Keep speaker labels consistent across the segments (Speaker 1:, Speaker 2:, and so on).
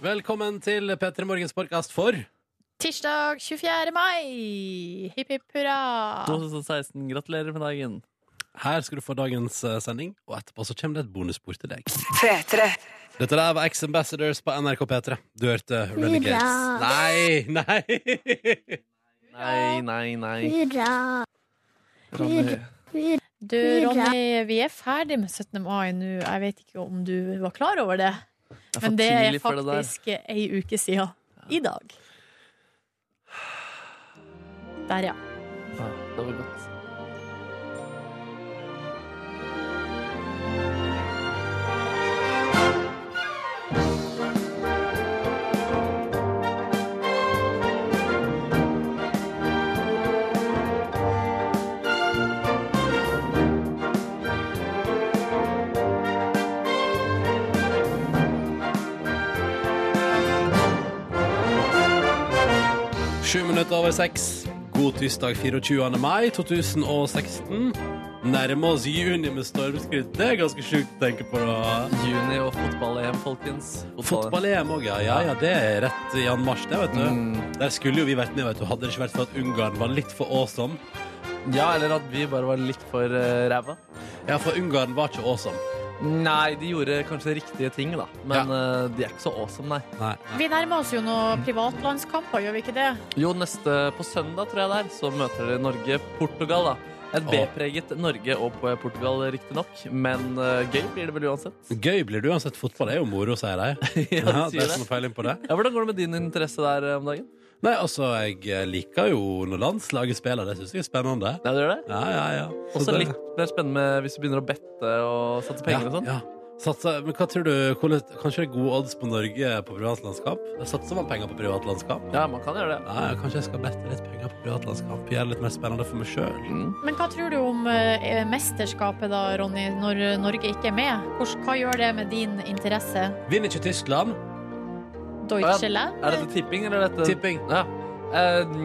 Speaker 1: Velkommen til P3 Morgens podkast for
Speaker 2: Tirsdag 24. mai. Hipp hipp hurra.
Speaker 3: 2016, gratulerer med dagen.
Speaker 1: Her skal du få dagens eh, sending, og etterpå så kommer det et bonusbord til deg. Dette der var Ex Ambassadors på NRK P3. Du hørte Renegades. Nei, nei!
Speaker 3: Nei, nei, nei.
Speaker 4: Hurra!
Speaker 3: Ronny.
Speaker 2: Du, Ronny, vi er ferdig med 17. mai nå. Jeg vet ikke om du var klar over det,
Speaker 3: Det er for
Speaker 2: men det er
Speaker 3: tidlig for det der.
Speaker 2: faktisk ei uke siden i dag. Der, ja.
Speaker 3: Ja, det var godt.
Speaker 1: Sju minutter over seks. God tirsdag 24. mai 2016. Nærmer oss juni med stormskritt. Det er ganske sjukt å tenke på. da
Speaker 3: Juni og fotball-EM, folkens.
Speaker 1: Fotball-EM òg, ja. ja. Ja, det er rett i Jan Mars, det, vet du.
Speaker 3: Mm.
Speaker 1: Der skulle jo vi vært med, vet du. Hadde det ikke vært for at Ungarn var litt for awesome.
Speaker 3: Ja, eller at vi bare var litt for eh, ræva.
Speaker 1: Ja, for Ungarn var ikke awesome.
Speaker 3: Nei, de gjorde kanskje riktige ting, da. Men eh, de er ikke så awesome, nei.
Speaker 1: Nei.
Speaker 2: Vi nærmer oss jo noen privatlandskamper, gjør vi ikke det?
Speaker 3: Jo, neste på søndag, tror jeg det er, så møter dere Norge-Portugal, da. Et
Speaker 1: Åh.
Speaker 3: B-preget Norge og Portugal, riktignok. Men eh, gøy blir det vel uansett.
Speaker 1: Gøy blir det uansett. Fotball er jo moro, sier de. Ja,
Speaker 3: Ja,
Speaker 1: de
Speaker 3: sier det.
Speaker 1: som har peiling på det.
Speaker 3: Ja, hvordan går det med din interesse der eh, om dagen?
Speaker 1: Nei, altså, jeg liker jo når landslaget spiller. Det syns jeg er spennende.
Speaker 3: Ja, du gjør det?
Speaker 1: Ja, ja, ja. Så
Speaker 3: Også
Speaker 1: det-
Speaker 3: litt mer spennende hvis du begynner å bette og satse penger
Speaker 1: ja,
Speaker 3: og sånn.
Speaker 1: Ja. Satsa, men hva tror du, hvordan, Kanskje det er gode odds på Norge på privatlandskap? Satser man penger på privatlandskap?
Speaker 3: Ja, man kan gjøre det.
Speaker 1: Nei, kanskje jeg skal bette litt penger på privatlandskap. Gjøre det litt mer spennende for meg sjøl.
Speaker 2: Men hva tror du om eh, mesterskapet da, Ronny, når eh, Norge ikke er med? Hvordan, hva gjør det med din interesse?
Speaker 1: Vinner ikke Tyskland?
Speaker 2: Deutsche Land?
Speaker 3: Er dette tipping, eller er dette
Speaker 1: Tipping.
Speaker 3: Ja. Eh,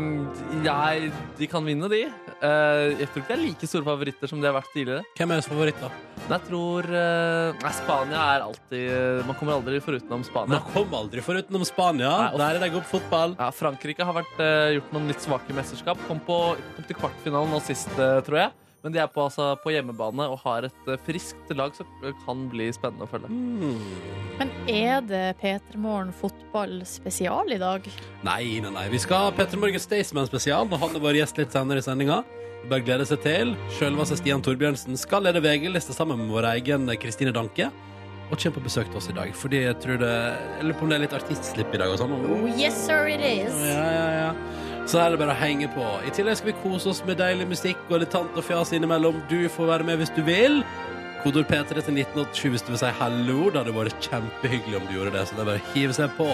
Speaker 3: jeg, de kan vinne, de. Eh, jeg tror ikke de er like store favoritter som de har vært tidligere.
Speaker 1: Hvem er deres favoritt, da?
Speaker 3: Men jeg tror eh, Nei, Spania er alltid eh, Man kommer aldri forutenom Spania.
Speaker 1: Man kom aldri forutenom Spania.
Speaker 3: Nei, og-
Speaker 1: Der er de gode på fotball.
Speaker 3: Ja, Frankrike har vært, eh, gjort noen litt svake mesterskap. Kom, på, kom til kvartfinalen nå sist, eh, tror jeg. Men de er på, altså, på hjemmebane og har et eh, friskt lag som eh, kan bli spennende å følge.
Speaker 1: Hmm.
Speaker 2: Men er det P3morgen fotball spesial i dag?
Speaker 1: Nei, nei, nei. Vi skal ha Petter Morgen Staysman spesial. Og han er vår gjest litt senere i sendinga. Bare glede seg til. Sjølveste Stian Torbjørnsen skal lede VG-lista sammen med vår egen Kristine Danke. Og kommer på besøk til oss i dag. Fordi jeg tror det Jeg lurer på om det er litt artistslipp i dag og sånn.
Speaker 2: Oh, yes, sir, it is.
Speaker 1: Ja, ja, ja. Så her er det bare å henge på. I tillegg skal vi kose oss med deilig musikk og litt tant og fjas innimellom. Du får være med hvis du vil. Kodord P3 til 1987 hvis du vil si hallo. Det hadde vært kjempehyggelig om du gjorde det, så det er bare å hive seg på.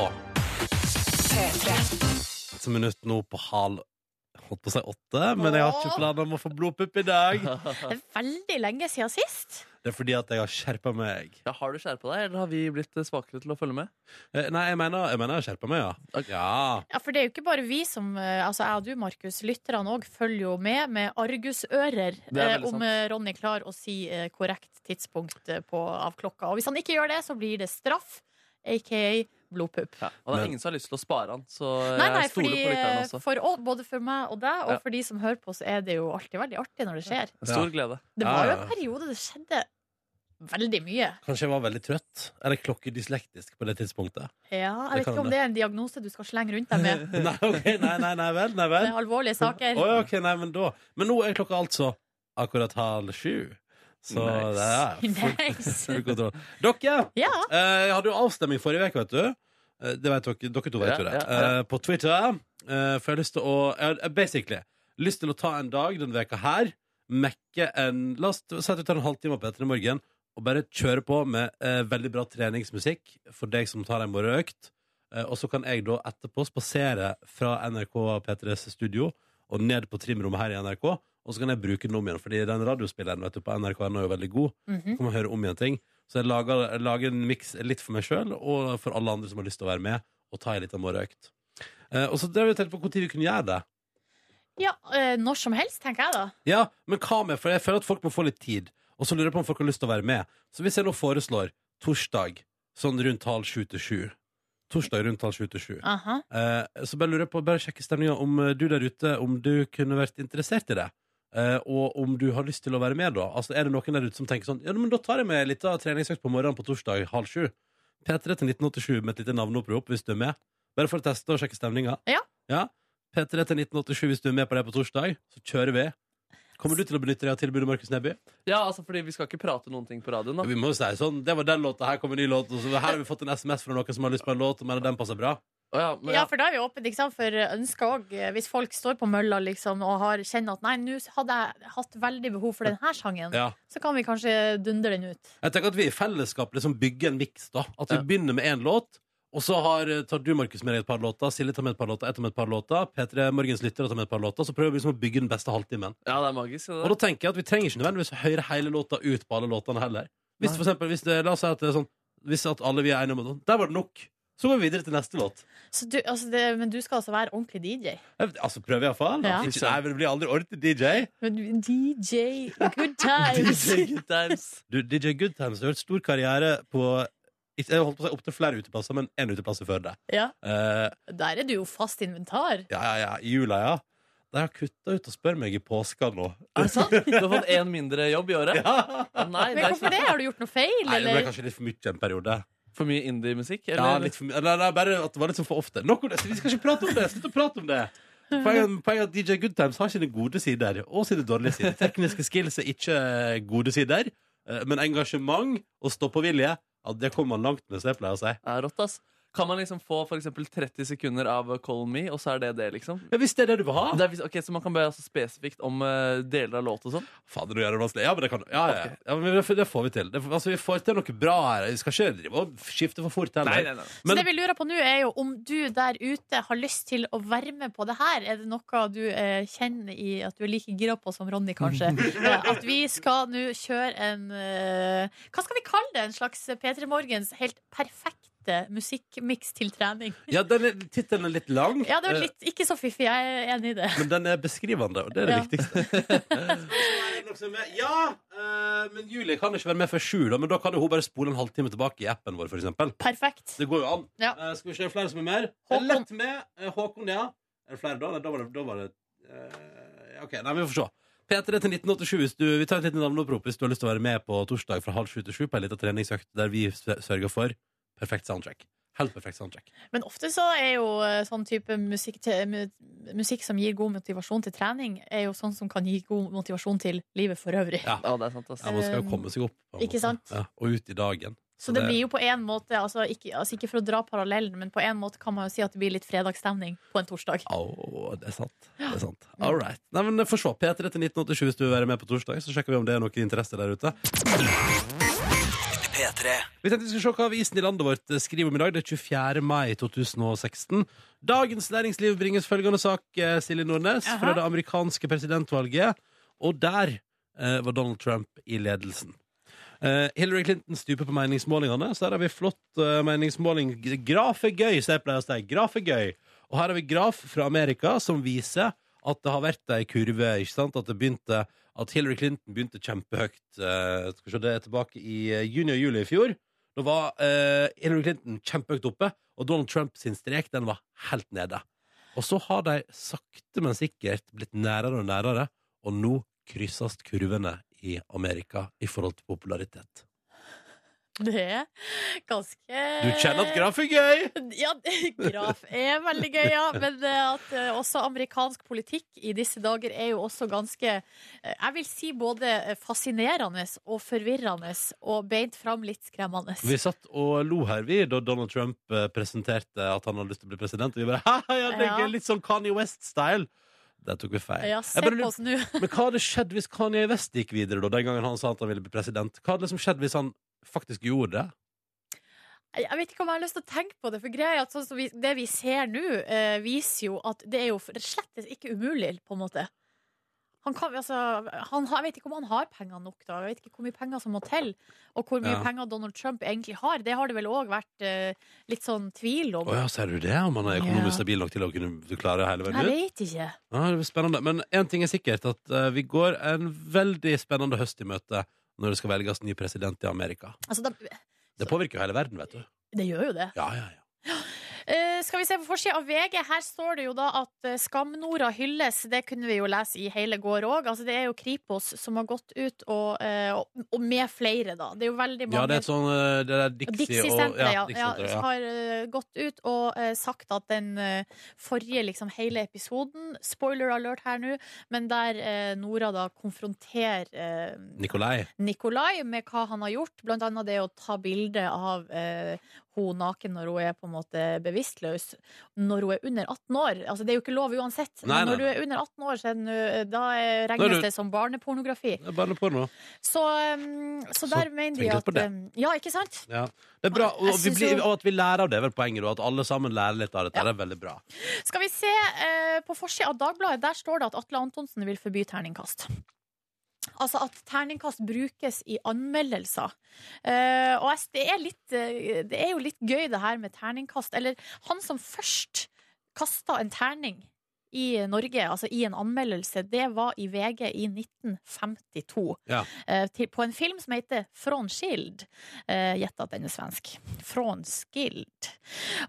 Speaker 1: Et minutt nå på hal Holdt på å si åtte, men jeg har ikke planer om å få blodpupp i dag.
Speaker 2: Det er veldig lenge siden sist.
Speaker 1: Det er fordi at jeg har skjerpa meg.
Speaker 3: Ja, har du skjerpa deg, eller har vi blitt eh, svakere til å følge med?
Speaker 1: Eh, Nei, jeg mener jeg, mener jeg har skjerpa meg, ja.
Speaker 3: Ok.
Speaker 1: ja.
Speaker 2: Ja, for det er jo ikke bare vi som eh, Altså, jeg og du, Markus, lytterne òg følger jo med med argusører
Speaker 3: Det er
Speaker 2: eh,
Speaker 3: veldig
Speaker 2: om
Speaker 3: sant.
Speaker 2: eh, Ronny klarer å si eh, korrekt tidspunkt eh, på, av klokka. Og hvis han ikke gjør det, så blir det straff, aka blodpupp.
Speaker 3: Ja, og det er
Speaker 1: Men-
Speaker 3: ingen som har lyst til å spare han, så
Speaker 2: Nei, nei,
Speaker 3: jeg stoler
Speaker 2: fordi,
Speaker 3: Eh, på lytterne
Speaker 2: eh,
Speaker 3: også.
Speaker 2: for, å- både for meg og deg, og
Speaker 3: Ja.
Speaker 2: for de som hører på, så er det jo alltid veldig artig når det skjer.
Speaker 3: En Stor glede.
Speaker 2: Det
Speaker 1: Ja,
Speaker 2: var jo
Speaker 1: ja.
Speaker 2: en periode det skjedde veldig mye.
Speaker 1: Kanskje jeg var veldig trøtt. Eller klokkedyslektisk på det tidspunktet.
Speaker 2: Ja, jeg
Speaker 1: Det
Speaker 2: vet
Speaker 1: kan
Speaker 2: ikke om
Speaker 1: det.
Speaker 2: det er en diagnose du skal slenge rundt deg med.
Speaker 1: Nei, ok, nei, nei, nei vel. Nei,
Speaker 2: Det
Speaker 1: vel.
Speaker 2: er alvorlige saker.
Speaker 1: Å ja, ok, nei, men da Men nå er klokka altså akkurat halv sju. Så
Speaker 3: Nice.
Speaker 1: det er full,
Speaker 2: Nice.
Speaker 1: full kontroll. Dere,
Speaker 2: Ja.
Speaker 1: eh, jeg hadde jo avstemning forrige uke, vet du. Eh, Det vet dere, dere to vet
Speaker 3: Ja,
Speaker 1: jo det.
Speaker 3: ja, ja.
Speaker 1: Eh, på Twitter. eh, for jeg har lyst til å jeg har Basically lyst til å ta en dag denne veka her, mekke en La oss si at vi tar en halvtime på etter i morgen, og bare kjøre på med eh, veldig bra treningsmusikk for deg som tar en morgenøkt. Eh, og så kan jeg da etterpå spasere fra NRK P3s studio og ned på trimrommet her i NRK. Og så kan jeg bruke den om igjen, Fordi den radiospilleren vet du, på NRK er nå jo veldig god.
Speaker 2: Mhm.
Speaker 1: Kan man høre om igjen ting Så jeg lager, jeg lager en miks litt for meg sjøl og for alle andre som har lyst til å være med. Og ta en liten morgenøkt. Eh, og så drev jeg og tenkte på når vi kunne gjøre det.
Speaker 2: ja, eh, når som helst, tenker jeg da.
Speaker 1: Ja, men hva med, for jeg føler at folk må få litt tid Og så lurer jeg på om folk har lyst til å være med Så hvis jeg nå foreslår torsdag sånn rundt halv sju til sju. Torsdag rundt halv sju til sju.
Speaker 2: Aha.
Speaker 1: Eh, så bare lurer jeg på, bare sjekke stemninga om eh, du der ute, om du kunne vært interessert i det. Eh, og om du har lyst til å være med, da. Altså, er det noen der ute som tenker sånn Ja, men da tar jeg med en liten treningsøkt på morgenen på torsdag halv sju. P3 til 1987 med et lite navneopprop hvis du er med. Bare for å teste og sjekke stemninga.
Speaker 2: Ja.
Speaker 1: P3 til 1987 hvis du er med på det på torsdag. Så kjører vi. Kommer du til å benytte deg av tilbudet, Markus Neby?
Speaker 3: Ja, altså, fordi vi skal ikke prate noen ting på radioen.
Speaker 1: Ja,
Speaker 3: da
Speaker 1: Vi må jo si sånn, Det var den låta, her kommer en ny låt. Og så, her har vi fått en SMS fra noen som har lyst på en låt og mener den passer bra.
Speaker 3: Å, ja, men,
Speaker 2: Ja, for da er vi åpne ikke sant? for ønsker òg. Hvis folk står på mølla liksom, og har, kjenner at nei, nå hadde jeg hatt veldig behov for denne sangen,
Speaker 1: Ja.
Speaker 2: så kan vi kanskje dundre den ut.
Speaker 1: Jeg tenker at vi i fellesskap liksom bygger en miks. da At vi
Speaker 3: Ja.
Speaker 1: begynner med én låt, og så har, eh, tar du Markus med deg et par låter, Silje tar med et par låter, jeg tar med et par låter, P3 Morgens lyttere tar med et par låter. Så prøver vi liksom å bygge den beste halvtimen.
Speaker 3: ja, det er magisk.
Speaker 1: Og
Speaker 3: Det,
Speaker 1: da tenker jeg at vi trenger ikke nødvendigvis å høre hele låta ut på alle låtene heller. Hvis for eksempel, hvis det, La oss si at det er sånn Hvis at alle vi er enige om det, Der var det nok. Så går vi videre til neste låt.
Speaker 2: Så du, altså det, men du skal altså være ordentlig DJ.
Speaker 1: Jeg vet- Altså, prøver iallfall.
Speaker 2: Ja.
Speaker 1: Ikke, nei, men det blir aldri ordentlig DJ.
Speaker 2: Men du- DJ Good
Speaker 3: der.
Speaker 2: times!
Speaker 3: DJ Good Times.
Speaker 1: Du, DJ Goodtimes har gjort stor karriere på ikke- jeg holdt på å si opptil flere uteplasser, men én uteplass før det.
Speaker 2: Ja,
Speaker 1: Eh,
Speaker 2: der er du jo fast inventar.
Speaker 1: ja, ja, ja, I jula, ja. De har kutta ut og spør meg i påska nå.
Speaker 3: Er det sant? Du har fått én mindre jobb i året?
Speaker 1: Ja.
Speaker 3: Å, nei, det
Speaker 2: Men
Speaker 3: er
Speaker 2: hvorfor det?
Speaker 3: ikke
Speaker 2: Har du gjort noe feil,
Speaker 1: Nei, det ble
Speaker 2: eller?
Speaker 1: kanskje litt for mye en periode.
Speaker 3: for mye indie-musikk?
Speaker 1: Ja,
Speaker 3: eller?
Speaker 1: litt for mye. Nei, nei, bare at det var litt sånn for ofte. Nok om det, så Vi skal ikke prate om det! Slutt å prate om det! Poenget poenget er at DJ Goodtimes har sine gode sider og sine dårlige sider. Tekniske skills er ikke gode sider, eh, men engasjement og stå-på-vilje, ja, det kommer man langt med, som jeg pleier å si.
Speaker 3: Ja, rått, ass. Kan man liksom få for eksempel 30 sekunder av uh, Call Me, og så er det det, liksom?
Speaker 1: Ja, hvis det er det du vil ha.
Speaker 3: Det er, vis- ok, Så man kan be altså spesifikt om eh, deler av låt og sånn?
Speaker 1: Fader, nå gjør jeg det vanskelig. Ja, men det kan ja, ja, ja. ja, men det, det får vi til. Det, altså, vi får til noe bra her. Vi skal ikke drive og skifte for fort heller.
Speaker 3: nei.
Speaker 2: Så
Speaker 1: Men
Speaker 2: det vi lurer på nå, er jo om du der ute har lyst til å være med på det her. Er det noe du eh, kjenner i at du er like gira på som Ronny, kanskje? Eh, at vi skal nå kjøre en eh, Hva skal vi kalle det? En slags P3 Morgens helt perfekte musikkmiks til trening.
Speaker 1: ja, den er- tittelen er litt lang,
Speaker 2: Ja, det var
Speaker 1: eh,
Speaker 2: litt ikke så fiffig. Jeg er enig i det.
Speaker 1: men den er beskrivende, og det er det
Speaker 2: Ja.
Speaker 1: viktigste. ja, eh, men Julie kan ikke være med før sju, da, men da kan jo hun bare spole en halvtime tilbake i appen vår, for eksempel.
Speaker 2: Perfekt.
Speaker 1: Det går jo an.
Speaker 2: Ja.
Speaker 1: Eh, skal vi se flere som er med?
Speaker 2: Håkon.
Speaker 1: Lett med. eh, Håkon, ja. Er det flere da? Nei, da var det, da var det eh, ja, OK, nei, vi får se. P3 til 1987 hvis du, Vi tar et lite navneopprop hvis du har lyst til å være med på torsdag fra halv sju til sju på ei lita treningsøkt der vi s- sørger for perfekt soundtrack. Helt perfekt soundtrack.
Speaker 2: Men ofte så er jo eh, sånn type musikk, til, mu- musikk som gir god motivasjon til trening, er jo sånn som kan gi god motivasjon til livet for øvrig.
Speaker 1: Ja.
Speaker 3: Ja, det er sant, ass.
Speaker 1: Ja, Man skal jo komme seg opp. på en
Speaker 2: Eh, Ikke
Speaker 1: måte.
Speaker 2: sant?
Speaker 1: Ja, og ut i dagen.
Speaker 2: Så det blir jo på en måte, altså ikke, altså ikke for å dra parallellen, men på en måte kan man jo si at det blir litt fredagsstemning på en torsdag.
Speaker 1: Au, det er sant. Det er sant. All right. Nei, men Få se. P3 til 1987 hvis du vil være med på torsdag, så sjekker vi om det er noen interesse der ute. Vi tenkte vi skulle se hva avisen i landet vårt eh, skriver om i dag. Det er 24. mai 2016. Dagens Næringsliv bringes følgende sak, eh, Silje Nordnes,
Speaker 2: Jaha.
Speaker 1: fra det amerikanske presidentvalget. Og der eh, var Donald Trump i ledelsen. Eh, Hillary Clinton stuper på meningsmålingene, så her har vi flott eh, meningsmåling. Graf er gøy, så jeg pleier å si. Graf er gøy. Og her har vi graf fra Amerika som viser at det har vært ei kurve. ikke sant? At, det begynte, at Hillary Clinton begynte kjempehøyt. Eh, skal vi se, det er tilbake i eh, juni og juli i fjor. Da var eh, Hillary Clinton kjempehøyt oppe, og Donald Trump sin strek den var helt nede. Og så har de sakte, men sikkert blitt nærere og nærere, og nå krysses kurvene i Amerika i forhold til popularitet.
Speaker 2: Det er ganske
Speaker 1: Du kjenner at graf er gøy!
Speaker 2: Ja, graf er veldig gøy, ja. Men eh, at eh, også amerikansk politikk i disse dager er jo også ganske eh, Jeg vil si både eh, fascinerende og forvirrende og beint fram litt skremmende.
Speaker 1: Vi satt og lo her, vi, da Donald Trump eh, presenterte at han hadde lyst til å bli president. Og vi bare «Haha, ja, det er
Speaker 2: Ja.
Speaker 1: gøy, litt sånn Kanye West-style. Der tok vi feil.
Speaker 2: Ja, se
Speaker 1: Jeg bare
Speaker 2: på
Speaker 1: lurer-
Speaker 2: oss nå.
Speaker 1: men hva hadde skjedd hvis Kanye West gikk videre, da, den gangen han sa at han ville bli president? Hva hadde liksom skjedd hvis han faktisk gjorde det?
Speaker 2: Jeg jeg vet ikke om jeg har lyst til å tenke på det, for greia er at sånn som vi, det vi ser nå, eh, viser jo at det er jo for- slett ikke umulig, på en måte. Han kan, altså, han, har- jeg vet ikke om han har penger nok, da. Jeg vet ikke hvor mye penger som må til. Og hvor mye
Speaker 1: Ja.
Speaker 2: penger Donald Trump egentlig har. Det har det vel òg vært eh, litt sånn tvil om.
Speaker 1: Å ja, ser du det? Om han er økonomisk
Speaker 2: Ja.
Speaker 1: stabil nok til å kunne klare hele
Speaker 2: Jeg
Speaker 1: veien ut?
Speaker 2: vet ikke.
Speaker 1: Ja, det blir spennende. Men én ting er sikkert, at eh, vi går en veldig spennende høst i møte når det skal velges ny president i Amerika.
Speaker 2: Altså, da,
Speaker 1: Det påvirker jo hele verden, vet du.
Speaker 2: Det gjør jo det.
Speaker 1: Ja, ja, ja.
Speaker 2: Eh, skal vi se på forsida av VG. Her står det jo da at eh, Skam-Nora hylles. Det kunne vi jo lese i hele går òg. Altså, det er jo Kripos som har gått ut, og, eh, og, og med flere, da. Det er jo veldig mange
Speaker 1: ja det er et sånn eh, Det der
Speaker 2: og
Speaker 1: Dixie og
Speaker 2: Dixie-senteret ja, ja,
Speaker 1: Dixie-senteret, ja.
Speaker 2: har eh, gått ut og eh, sagt at den eh, forrige liksom hele episoden Spoiler alert her nå, men der eh, Nora da konfronterer eh,
Speaker 1: Nikolai.
Speaker 2: Nikolai med hva han har gjort, blant annet det å ta bilde av eh, hun naken når hun er på en måte bevisstløs, når hun er under 18 år. Altså, det er jo ikke lov uansett.
Speaker 1: Nei, nei,
Speaker 2: Men når du er under 18 år, så er den, eh, da eh,
Speaker 1: Da er du-
Speaker 2: regnes det som barnepornografi.
Speaker 1: Det er bare porno.
Speaker 2: Så, um, så
Speaker 1: Så
Speaker 2: der mener vi
Speaker 1: tenk litt på
Speaker 2: at
Speaker 1: det.
Speaker 2: um, Ja, ikke sant?
Speaker 1: Ja. Det er bra, og,
Speaker 2: Jeg
Speaker 1: vi
Speaker 2: synes
Speaker 1: blir,
Speaker 2: jo-
Speaker 1: og at vi lærer av det, er vel poenget. da, At alle sammen lærer litt av dette. Det er veldig bra.
Speaker 2: Skal vi se eh, på forsida av Dagbladet, der står det at Atle Antonsen vil forby terningkast. Altså at terningkast brukes i anmeldelser. Eh, og jeg- det er, litt, eh, det er jo litt gøy det her med terningkast. Eller han som først kasta en terning i Norge, altså i en anmeldelse, det var i VG i 1952.
Speaker 1: Ja.
Speaker 2: Eh, til, på en film som heter Frånskild. Eh, Gjett at den er svensk. Frånskild.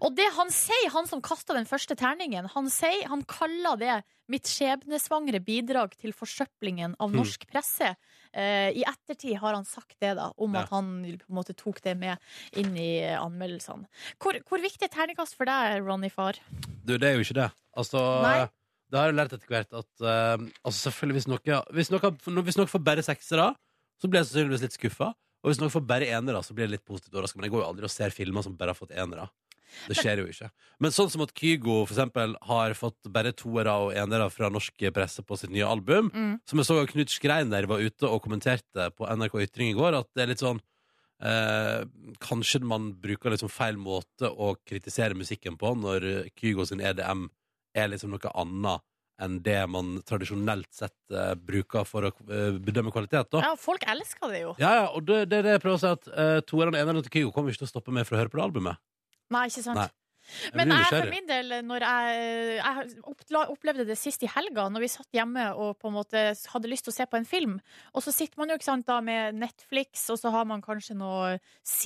Speaker 2: Og det han sier, han som kasta den første terningen, han sier, han kaller det mitt skjebnesvangre bidrag til forsøplingen av
Speaker 1: Hmm.
Speaker 2: norsk presse. Eh, I ettertid har han sagt det, da, om
Speaker 1: Ja.
Speaker 2: at han på en måte tok det med inn i eh, anmeldelsene. Hvor, hvor viktig er terningkast for deg, Ronny Farr?
Speaker 1: Du, det er jo ikke det. Altså,
Speaker 2: Nei.
Speaker 1: det har jeg lært etter hvert at eh, altså selvfølgelig hvis noe, hvis, noe, hvis noe får bare seksere, så blir jeg sannsynligvis litt skuffa. Og hvis noe får bare enere, så blir jeg litt positivt overraska. Men jeg går jo aldri og ser filmer som bare har fått enere. Det skjer jo ikke. Men sånn som at Kygo for eksempel, har fått bare toere og enere fra norsk presse på sitt nye album,
Speaker 2: Mm.
Speaker 1: som jeg så at Knut Skreiner var ute og kommenterte på NRK Ytring i går, at det er litt sånn eh, Kanskje man bruker liksom feil måte å kritisere musikken på når Kygo sin EDM er liksom noe annet enn det man tradisjonelt sett eh, bruker for å eh, bedømme kvalitet, da.
Speaker 2: Ja, folk elsker det jo.
Speaker 1: Ja, ja, og det, det er det jeg prøver å si, at eh, toeren og eneren til Kygo kommer ikke til å stoppe meg fra å høre på det albumet.
Speaker 2: Nei, ikke sant?
Speaker 1: Nei. Jeg
Speaker 2: Men
Speaker 1: blir
Speaker 2: jeg
Speaker 1: nysgjerrig.
Speaker 2: for min del, når jeg, jeg oppla- opplevde det sist i helga, når vi satt hjemme og på en måte hadde lyst til å se på en film, og så sitter man jo ikke sant, da med Netflix, og så har man kanskje noe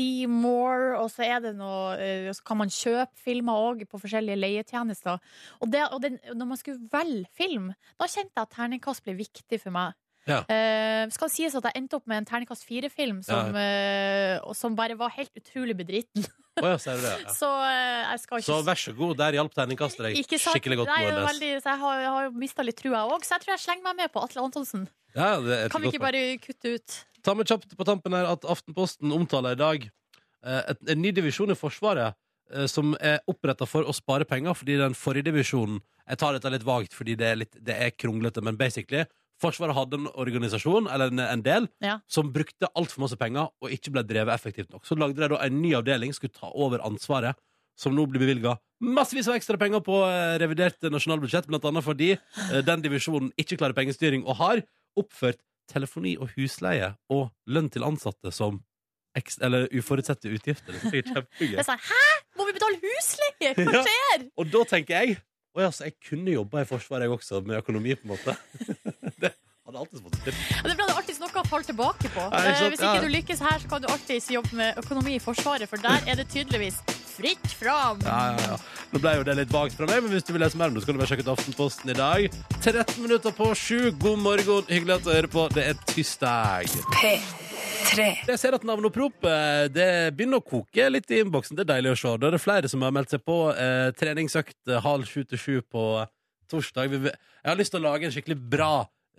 Speaker 2: Seymour, og så, er det noe, eh, og så kan man kjøpe filmer òg på forskjellige leietjenester. Og, det, og den, når man skulle velge film, da kjente jeg at terningkast ble viktig for meg.
Speaker 1: Ja.
Speaker 2: Eh, skal det sies at jeg endte opp med en terningkast fire-film som, eh, og som bare var helt utrolig bedriten.
Speaker 1: Å ja, sier du det? Ja.
Speaker 2: Så eh, jeg skal ikke
Speaker 1: Så vær så god, der hjalp terningkastet deg
Speaker 2: Ikke sant?
Speaker 1: skikkelig godt.
Speaker 2: Nei, det er
Speaker 1: Nordnes.
Speaker 2: veldig, så jeg har, jeg har jo mista litt trua òg, så jeg tror jeg slenger meg med på Atle Antonsen.
Speaker 1: Ja, det er et
Speaker 2: Kan vi
Speaker 1: godt
Speaker 2: ikke
Speaker 1: poeng.
Speaker 2: bare kutte ut?
Speaker 1: Ta med kjapt på tampen her at Aftenposten omtaler i dag eh, et, en ny divisjon i Forsvaret eh, som er oppretta for å spare penger, fordi den forrige divisjonen Jeg tar dette litt vagt fordi det er, litt, det er kronglete, men basically Forsvaret hadde en organisasjon, eller en, en del,
Speaker 2: Ja.
Speaker 1: som brukte altfor masse penger og ikke ble drevet effektivt nok. Så lagde de da en ny avdeling skulle ta over ansvaret, som nå blir bevilga massevis av ekstra penger på eh, revidert nasjonalbudsjett, blant annet fordi eh, den divisjonen ikke klarer pengestyring og har oppført telefoni og husleie og lønn til ansatte som eks- eller uforutsette utgifter. Det synes jeg er
Speaker 2: Det er
Speaker 1: kjempegøy.
Speaker 2: sånn, Hæ?! Må vi betale husleie?! Hva
Speaker 1: Ja.
Speaker 2: skjer?!
Speaker 1: Og da tenker jeg Å ja, så jeg kunne jobba i Forsvaret, jeg også, med økonomi, på en måte. Det hadde alltid fått til.
Speaker 2: Ja, Det er bra det er alltid noe å falle tilbake på.
Speaker 1: Ja, ikke
Speaker 2: Eh,
Speaker 1: sant?
Speaker 2: Hvis
Speaker 1: Ja.
Speaker 2: ikke du lykkes her, så kan du alltids jobbe med økonomi i Forsvaret, for der er det tydeligvis fritt fram!
Speaker 1: Ja, ja, ja. Nå ble jo det litt vagt fra meg, men hvis du vil lese mer om det, så kan du bare sjekke ut Aftenposten i dag. 13 minutter på sju. God morgen. Hyggelig at du hører på. Det er tirsdag. Jeg ser at navneopprop eh, det begynner å koke litt i innboksen. Det er deilig å se. Da er det flere som har meldt seg på eh, treningsøkt eh, halv sju til sju på eh, torsdag. Vi- Jeg har lyst til å lage en skikkelig bra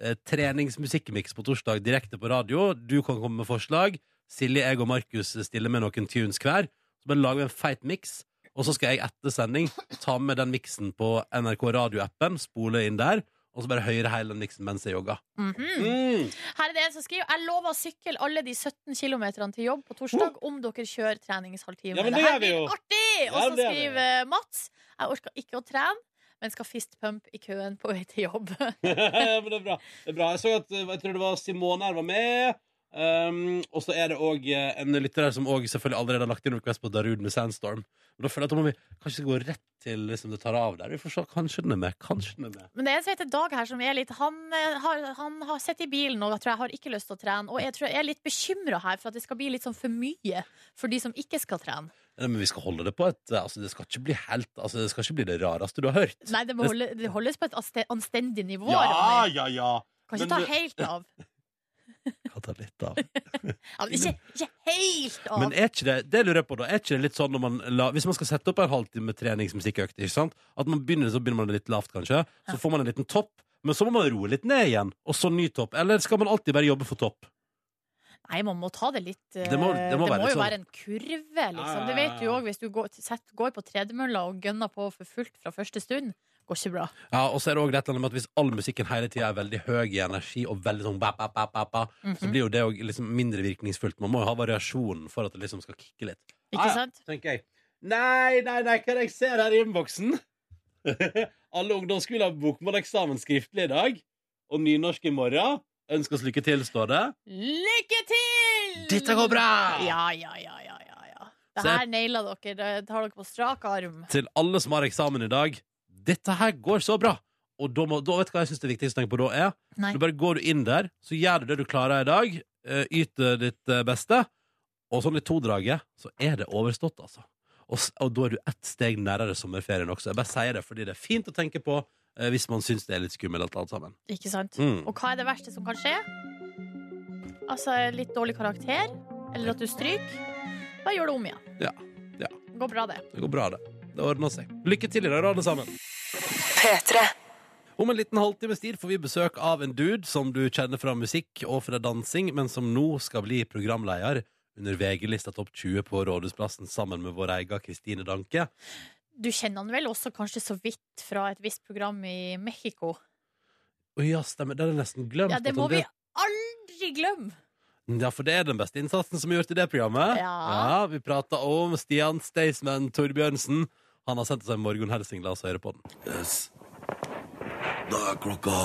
Speaker 1: eh, treningsmusikkmiks på torsdag direkte på radio. Du kan komme med forslag. Silje, jeg og Markus stiller med noen tunes hver. Så bare lager vi en feit miks. Og så skal jeg etter sending ta med den miksen på NRK radioappen, spole inn der, og så bare høre hele den miksen mens jeg jogger.
Speaker 2: Mhm.
Speaker 1: Mm.
Speaker 2: Her er det en som skriver Jeg lover å sykle alle de 17 kilometerne til jobb på torsdag om dere kjører treningshalvtime.
Speaker 1: Ja, men det
Speaker 2: her
Speaker 1: gjør vi
Speaker 2: blir
Speaker 1: jo.
Speaker 2: artig! Og
Speaker 1: Ja,
Speaker 2: så
Speaker 1: det gjør vi.
Speaker 2: skriver Mats Jeg orker ikke å trene, men skal fistpump i køen på vei til jobb.
Speaker 1: Men det er bra. Det er bra. Jeg så at eh, jeg tror det var Simone her var med. Um, og så er det òg en lytter her som også selvfølgelig allerede har lagt inn request på Darud med Sandstorm. Men da føler jeg at da må vi kanskje gå rett til liksom, det tar av der. Vi får se. Kanskje den er med. Kanskje den er med.
Speaker 2: Men det er en som heter Dag her som er litt Han, eh, har, han har sett i bilen og jeg tror jeg har ikke lyst til å trene. Og jeg tror jeg er litt bekymra her for at det skal bli litt sånn for mye for de som ikke skal trene.
Speaker 1: Nei, Men vi skal holde det på et altså, Det skal ikke bli helt altså, Det skal ikke bli det rareste du har hørt.
Speaker 2: Nei, det, må holde, det holdes på et anste- anstendig nivå.
Speaker 1: Ja,
Speaker 2: Ronny.
Speaker 1: ja, ja.
Speaker 2: kan ikke
Speaker 1: men
Speaker 2: ta
Speaker 1: du-
Speaker 2: helt av.
Speaker 1: Kan ta litt av.
Speaker 2: Ja, men ikke, ikke helt av.
Speaker 1: Men er ikke det, det lurer jeg på da Er ikke det litt sånn når man la, Hvis man skal sette opp en halvtime treningsmusikkøkt Ikke sant? At man begynner, så begynner man litt lavt kanskje Så får man en liten topp Men så må man roe litt ned igjen Og så ny topp Eller skal man alltid bare jobbe for topp?
Speaker 2: Nei, man må ta det litt eh,
Speaker 1: Det må- det må være litt
Speaker 2: jo
Speaker 1: sånn.
Speaker 2: være en kurve, liksom.
Speaker 1: ja,
Speaker 2: Det vet du
Speaker 1: ja.
Speaker 2: òg hvis du går, sett, går på tredemølla og gønner på for fullt fra første stund. Går ikke bra.
Speaker 1: Ja, og så er det også et eller annet med at Hvis all musikken hele tiden er veldig høy i energi Og veldig sånn ba, ba, ba, ba, ba, Så
Speaker 2: Mhm.
Speaker 1: blir jo det også liksom mindre virkningsfullt Man må jo ha variasjonen for at det liksom skal kikke litt
Speaker 2: Ikke sant?
Speaker 1: tenker jeg. Nei, nei, nei, hva er det jeg ser her i innboksen? Alle ungdomsskoler har bokmåleksamen skriftlig i dag. Og nynorsk i morgen. Ønsk oss lykke til, står det.
Speaker 2: Lykke til!
Speaker 1: Dette går bra!
Speaker 2: Ja, ja, ja, ja, ja, ja. Det
Speaker 1: Ah. Så jeg-
Speaker 2: her naila dere. Det tar dere på strak arm.
Speaker 1: Til alle som har eksamen i dag. Dette her går så bra! Og da, må, da vet du hva jeg synes det viktigste å tenke på da er?
Speaker 2: Nei.
Speaker 1: Du bare går du inn der, så gjør du det du klarer i dag. eh, Yter ditt eh, beste. Og sånn i todraget, så er det overstått, altså. Og, s- og da er du ett steg nærmere sommerferien også. Jeg bare sier det fordi det er fint å tenke på eh, hvis man syns det er litt skummelt alt sammen.
Speaker 2: Ikke sant?
Speaker 1: Mm.
Speaker 2: Og hva er det verste som kan skje? Altså litt dårlig karakter, eller at du stryker. Da gjør du om igjen.
Speaker 1: Ja, ja.
Speaker 2: Går bra, det.
Speaker 1: Det går bra, det. Det ordner seg. Lykke til i dag, da, alle sammen. Om en liten halvtimes tid får vi besøk av en dude som du kjenner fra musikk og fra dansing, men som nå skal bli programleder under VG-lista Topp 20 på Rådhusplassen sammen med vår egen Kristine Danke.
Speaker 2: Du kjenner han vel også kanskje så vidt fra et visst program i Mexico?
Speaker 1: Å ja, stemmer. Det hadde jeg nesten glemt.
Speaker 2: Ja, det
Speaker 1: at
Speaker 2: må
Speaker 1: han
Speaker 2: vi
Speaker 1: døde.
Speaker 2: aldri glemme!
Speaker 1: ja, for det er den beste innsatsen som er gjort i det programmet.
Speaker 2: Ja.
Speaker 1: vi prata om Stian Staysman Torbjørnsen. Han har sendt oss en morgenhelsing. La oss høre på den.
Speaker 4: Yes. Da er klokka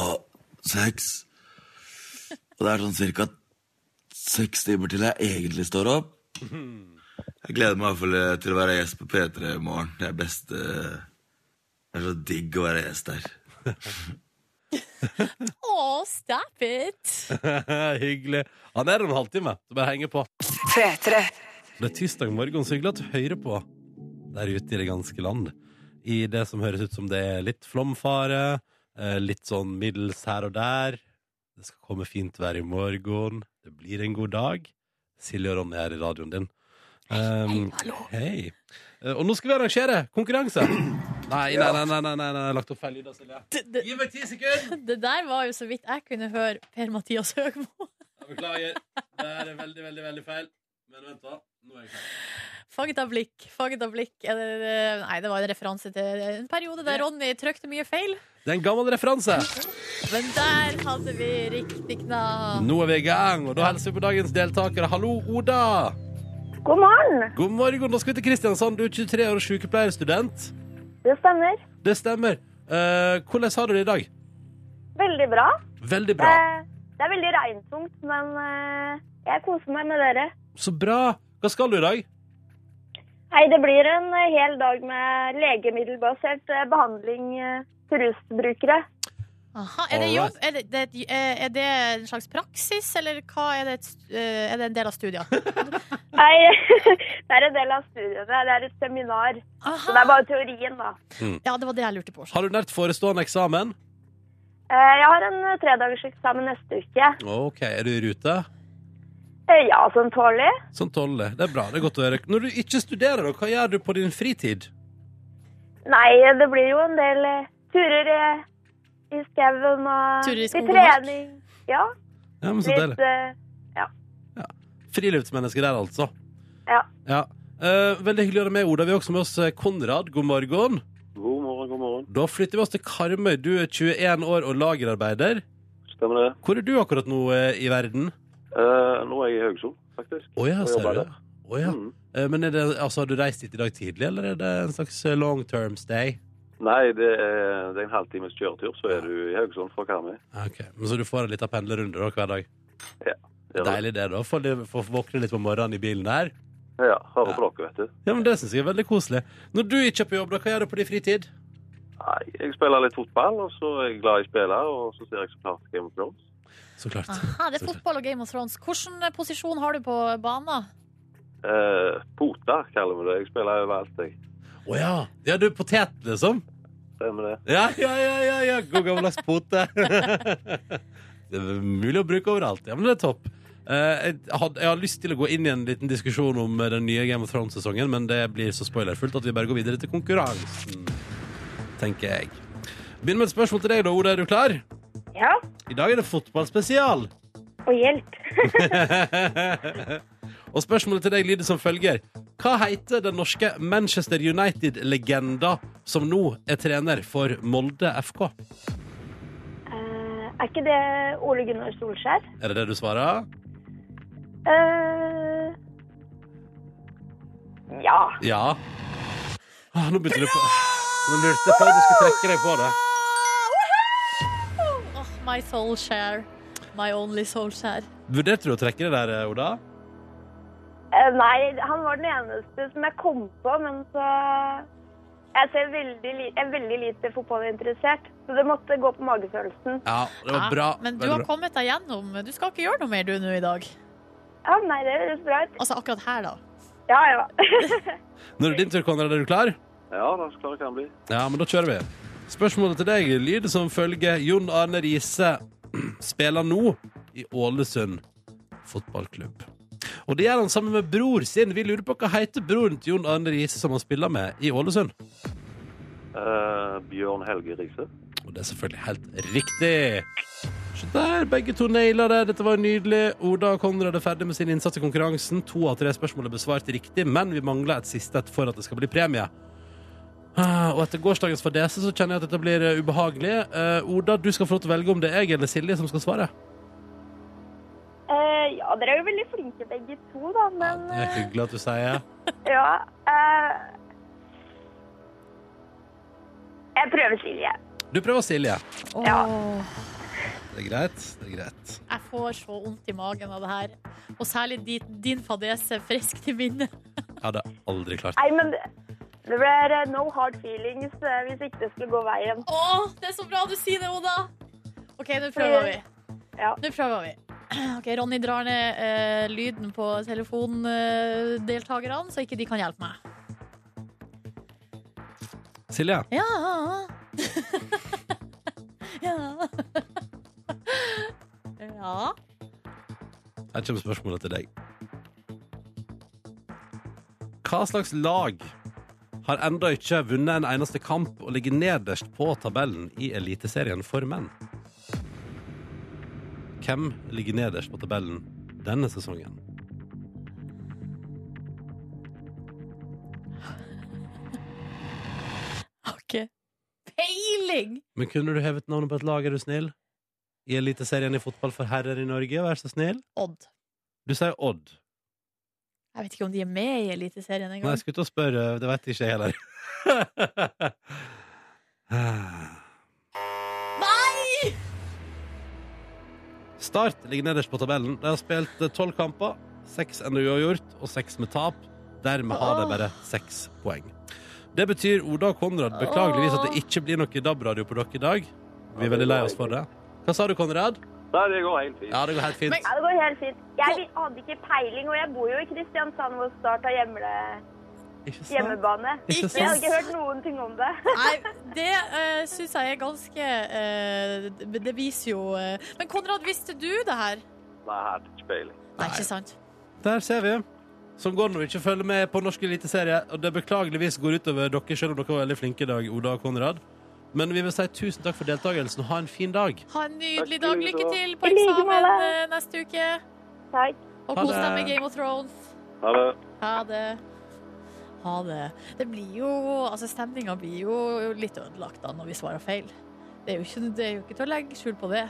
Speaker 4: seks. Og det er sånn cirka seks timer til jeg egentlig står opp. Jeg gleder meg i hvert fall eh, til å være gjest på P3 i morgen. Det er best eh, Det er så digg å være gjest der.
Speaker 2: Å, stop it!
Speaker 1: Hyggelig. Han er der om en halvtime, så bare henge på.
Speaker 5: P3.
Speaker 1: Det er tirsdag morgen, så hyggelig at du hører på der ute i det ganske land. I det som høres ut som det er litt flomfare, eh, litt sånn middels her og der. Det skal komme fint vær i morgen. Det blir en god dag. Silje og Ronny er i radioen din. Um, hei. Eh, Og nå skal vi arrangere konkurranse. Nei, nei, nei, nei, nei, nei, nei. jeg har lagt opp feil lyd, Silje.
Speaker 2: Det, det,
Speaker 1: Gi meg ti sekunder!
Speaker 2: det der var jo så vidt jeg kunne høre Per-Mathias Høgmo.
Speaker 1: Jeg beklager. Det er veldig, veldig, veldig feil. Men vent, da. Nå er jeg klar.
Speaker 2: Fanget av blikk, fanget av blikk. Eller, eh, nei, det var en referanse til en periode der Ronny trykte mye feil.
Speaker 1: Det er en gammel referanse.
Speaker 2: Men der hadde vi riktig knapp.
Speaker 1: Nå er vi i gang, og da hilser vi på dagens deltakere. Hallo, Oda.
Speaker 6: God morgen.
Speaker 1: God morgen. Da skal vi til Kristiansand. Du er 23 år og sykepleierstudent.
Speaker 6: Det stemmer.
Speaker 1: Det stemmer. Eh, hvordan har du det i dag?
Speaker 6: Veldig bra.
Speaker 1: Veldig bra.
Speaker 6: Eh, Det er veldig regntungt, men eh, jeg koser meg med dere.
Speaker 1: Så bra. Hva skal du i dag?
Speaker 6: Hei, det blir en eh, hel dag med legemiddelbasert eh, behandling eh, for rusbrukere.
Speaker 2: Aha, er, det jobb, er, det, det, er et- er det en slags praksis, eller hva er det, et, st- eh, er det en del av studiet?
Speaker 6: Hei, det er en del av studiene. Det er et seminar. Så det
Speaker 2: Aha.
Speaker 6: er bare teorien, da.
Speaker 2: Ja, det var det jeg lurte på.
Speaker 1: Har du nært forestående eksamen?
Speaker 6: Eh, Jeg har en eh, tredagerseksamen neste uke.
Speaker 1: OK, er du i rute?
Speaker 6: Eh, Ja, som tålig.
Speaker 1: Sånn tåler det. Det er bra. Det er godt å høre. Når du ikke studerer, da, hva gjør du på din fritid?
Speaker 6: Nei, det blir jo en del eh, turer i, i skauen og
Speaker 2: Turer i
Speaker 6: litt
Speaker 2: skogen.
Speaker 6: trening. Ja,
Speaker 1: Ja, men så deilig.
Speaker 6: litt eh,
Speaker 1: Friluftsmenneske der, altså.
Speaker 6: Ja.
Speaker 1: Eh, veldig hyggelig å ha deg med, Oda. Vi har også med oss eh, Konrad. God morgen.
Speaker 7: God morgen, god morgen.
Speaker 1: Da flytter vi oss til Karmøy. Du er 21 år og lagerarbeider.
Speaker 7: Stemmer det.
Speaker 1: Hvor er du akkurat nå eh, i verden?
Speaker 7: Eh, nå er jeg i Haugesund, faktisk.
Speaker 1: Å ja,
Speaker 7: Jeg
Speaker 1: ser
Speaker 7: jobber
Speaker 1: du.
Speaker 7: der.
Speaker 1: Å ja.
Speaker 7: Mm.
Speaker 1: Eh, men er det, altså, har du reist dit i dag tidlig, eller er det en slags eh, long term stay?
Speaker 7: Nei, det er, det er en halvtimes
Speaker 1: Ah,
Speaker 7: kjøretur, så er du i Haugesund fra Karmøy.
Speaker 1: Ok, men Så du får en liten pendlerrunde da hver dag?
Speaker 7: Ja. Ja, da.
Speaker 1: Deilig det, da. Få liv- Få våkne litt på morgenen i bilen der.
Speaker 7: Ja, hører på dere, vet du.
Speaker 1: Ja, men Det syns jeg er veldig koselig. Når du ikke er på jobb, da, hva gjør du på din fritid?
Speaker 7: Nei, jeg spiller litt fotball, og så er jeg glad i spiller, og så ser jeg så klart Game of Thrones.
Speaker 1: Så klart.
Speaker 2: Aha, det er fotball og Game of Thrones. Hvilken eh, posisjon har du på banen?
Speaker 7: Eh, Pota kaller vi det. Jeg spiller overalt, jeg.
Speaker 1: Å ja. ja. Du er potet, liksom?
Speaker 7: Stemmer det.
Speaker 1: Ja, ja, ja. ja, ja. God gammeldags pote. det er mulig å bruke overalt. Ja, men det er topp. Eh, jeg, had, jeg har lyst til å gå inn i en liten diskusjon om eh, den nye Game of Thrones-sesongen, men det blir så spoilerfullt at vi bare går videre til konkurransen, tenker jeg. Begynner med et spørsmål til deg, da, Oda. Er du klar?
Speaker 6: Ja,
Speaker 1: I dag er det fotballspesial.
Speaker 6: og hjelp.
Speaker 1: Og spørsmålet til deg lyder som følger. Hva heter den norske Manchester United-legenda som nå er trener for Molde FK?
Speaker 6: Eh, er ikke det Ole Gunnar Solskjær?
Speaker 1: Er det det du svarer?
Speaker 6: Eh, ja.
Speaker 1: Ja. Ah, nå begynte du på Nå lurte jeg på om du skulle trekke deg på det.
Speaker 2: Oh, my soul share. My only soul share.
Speaker 1: Vurderte du å trekke det der, Oda?
Speaker 6: Eh, nei, han var den eneste som jeg kom på, men så Jeg ser veldig, li- jeg er veldig lite fotballinteressert, så det måtte gå på magefølelsen.
Speaker 1: Ja, det var
Speaker 2: Ja,
Speaker 1: bra.
Speaker 2: Men du
Speaker 1: Veldig
Speaker 2: har
Speaker 1: bra.
Speaker 2: kommet deg gjennom. Du skal ikke gjøre noe mer du nå i dag.
Speaker 6: Ja, nei, det høres bra ut.
Speaker 2: Altså akkurat her, da.
Speaker 6: Ja, ja.
Speaker 1: Nå er det din tur, Konrad. Er du klar?
Speaker 7: Ja, da, så klar jeg kan bli.
Speaker 1: Ja, men da kjører vi. Spørsmålet til deg lyder som følger. Jon Arne Riise spiller nå i Ålesund fotballklubb. Og det gjør han sammen med bror sin. Vi lurer på hva heter broren til Jon Arne Riise som han spiller med i Ålesund?
Speaker 7: Eh, Bjørn Helge Riise.
Speaker 1: Og det er selvfølgelig helt riktig. Se der, begge to naila det. Dette var nydelig. Oda og Konrad er ferdig med sin innsats i konkurransen. To av tre spørsmål er besvart riktig, men vi mangler et siste et for at det skal bli premie. Ah, Og etter gårsdagens fadese så kjenner jeg at dette blir eh, ubehagelig. Eh, Oda, du skal få lov til å velge om det er jeg eller Silje som skal svare.
Speaker 6: Eh, ja, dere er jo veldig flinke begge to, da, men
Speaker 1: Det er hyggelig at du sier.
Speaker 6: eh, ja. eh, jeg prøver Silje.
Speaker 1: Du prøver Silje.
Speaker 2: Åh,
Speaker 1: Det er greit. Det er greit.
Speaker 2: Jeg får så vondt i magen av det her. Og særlig di- din fadese frisk til minne.
Speaker 1: Jeg hadde aldri klart det.
Speaker 6: Nei, men det, det blir eh, no hard feelings eh, hvis ikke det skulle gå veien.
Speaker 2: Å, det er så bra du sier det, Oda! OK, nå prøver vi.
Speaker 6: Ja.
Speaker 2: Nå prøver vi. Ok, Ronny drar ned eh, lyden på telefondeltakerne, så ikke de kan hjelpe meg.
Speaker 1: Silje,
Speaker 2: Ja. ja. ja.
Speaker 1: her kommer spørsmålet til deg. Hva slags lag har ennå ikke vunnet en eneste kamp og ligger nederst på tabellen i Eliteserien for menn? Hvem ligger nederst på tabellen denne sesongen?
Speaker 2: Har ikke peiling!
Speaker 1: Men kunne du hevet navnet på et lag, er du snill? I Eliteserien i fotball for herrer i Norge, vær så snill.
Speaker 2: Odd.
Speaker 1: Du sier Odd.
Speaker 2: Jeg vet ikke om de er med i Eliteserien
Speaker 1: Nei,
Speaker 2: engang.
Speaker 1: jeg skulle til å spørre, det vet jeg ikke heller. Ah.
Speaker 2: Nei!
Speaker 1: Start ligger nederst på tabellen. De har spilt eh, tolv kamper, seks enn uavgjort og seks med tap. Dermed har de bare seks poeng. Det betyr Oda og Konrad beklageligvis at det ikke blir noe DAB-radio på dere i dag. Vi er veldig lei oss for det. Hva sa du, Konrad?
Speaker 7: Nei, det går helt fint.
Speaker 1: Ja, det går helt fint.
Speaker 6: Ja, det går helt fint. Jeg vil- hadde ikke peiling, og jeg bor jo i Kristiansand hvor Start har hjemle,
Speaker 1: Ikke sant?
Speaker 6: hjemmebane.
Speaker 1: Ikke
Speaker 6: Jeg hadde
Speaker 1: sant?
Speaker 6: ikke hørt noen ting om det.
Speaker 2: Nei, det uh, syns jeg er ganske eh, det- Det viser jo eh, Men Konrad, visste du det her?
Speaker 7: Nei, jeg hadde ikke peiling.
Speaker 2: Nei, ikke sant?
Speaker 1: Der ser vi. Som går nå ikke følger med på norsk eliteserie. Og det beklageligvis går utover dere, selv om dere var veldig flinke i dag, Oda og Konrad. Men vi vil si tusen takk for deltakelsen, og ha en fin dag.
Speaker 2: Ha en nydelig
Speaker 7: Takk
Speaker 2: dag.
Speaker 7: i like
Speaker 2: Lykke
Speaker 7: måte.
Speaker 2: til på
Speaker 6: I like
Speaker 2: eksamen
Speaker 6: måte.
Speaker 2: eh, neste uke.
Speaker 6: Takk.
Speaker 2: Og
Speaker 1: Ha
Speaker 2: kos
Speaker 1: det.
Speaker 2: deg med Game of Thrones.
Speaker 7: Ha det.
Speaker 2: Ha det. Ha det. Det blir jo Altså, stemninga blir jo litt ødelagt da når vi svarer feil. Det er jo ikke, det er jo ikke til å legge skjul på det.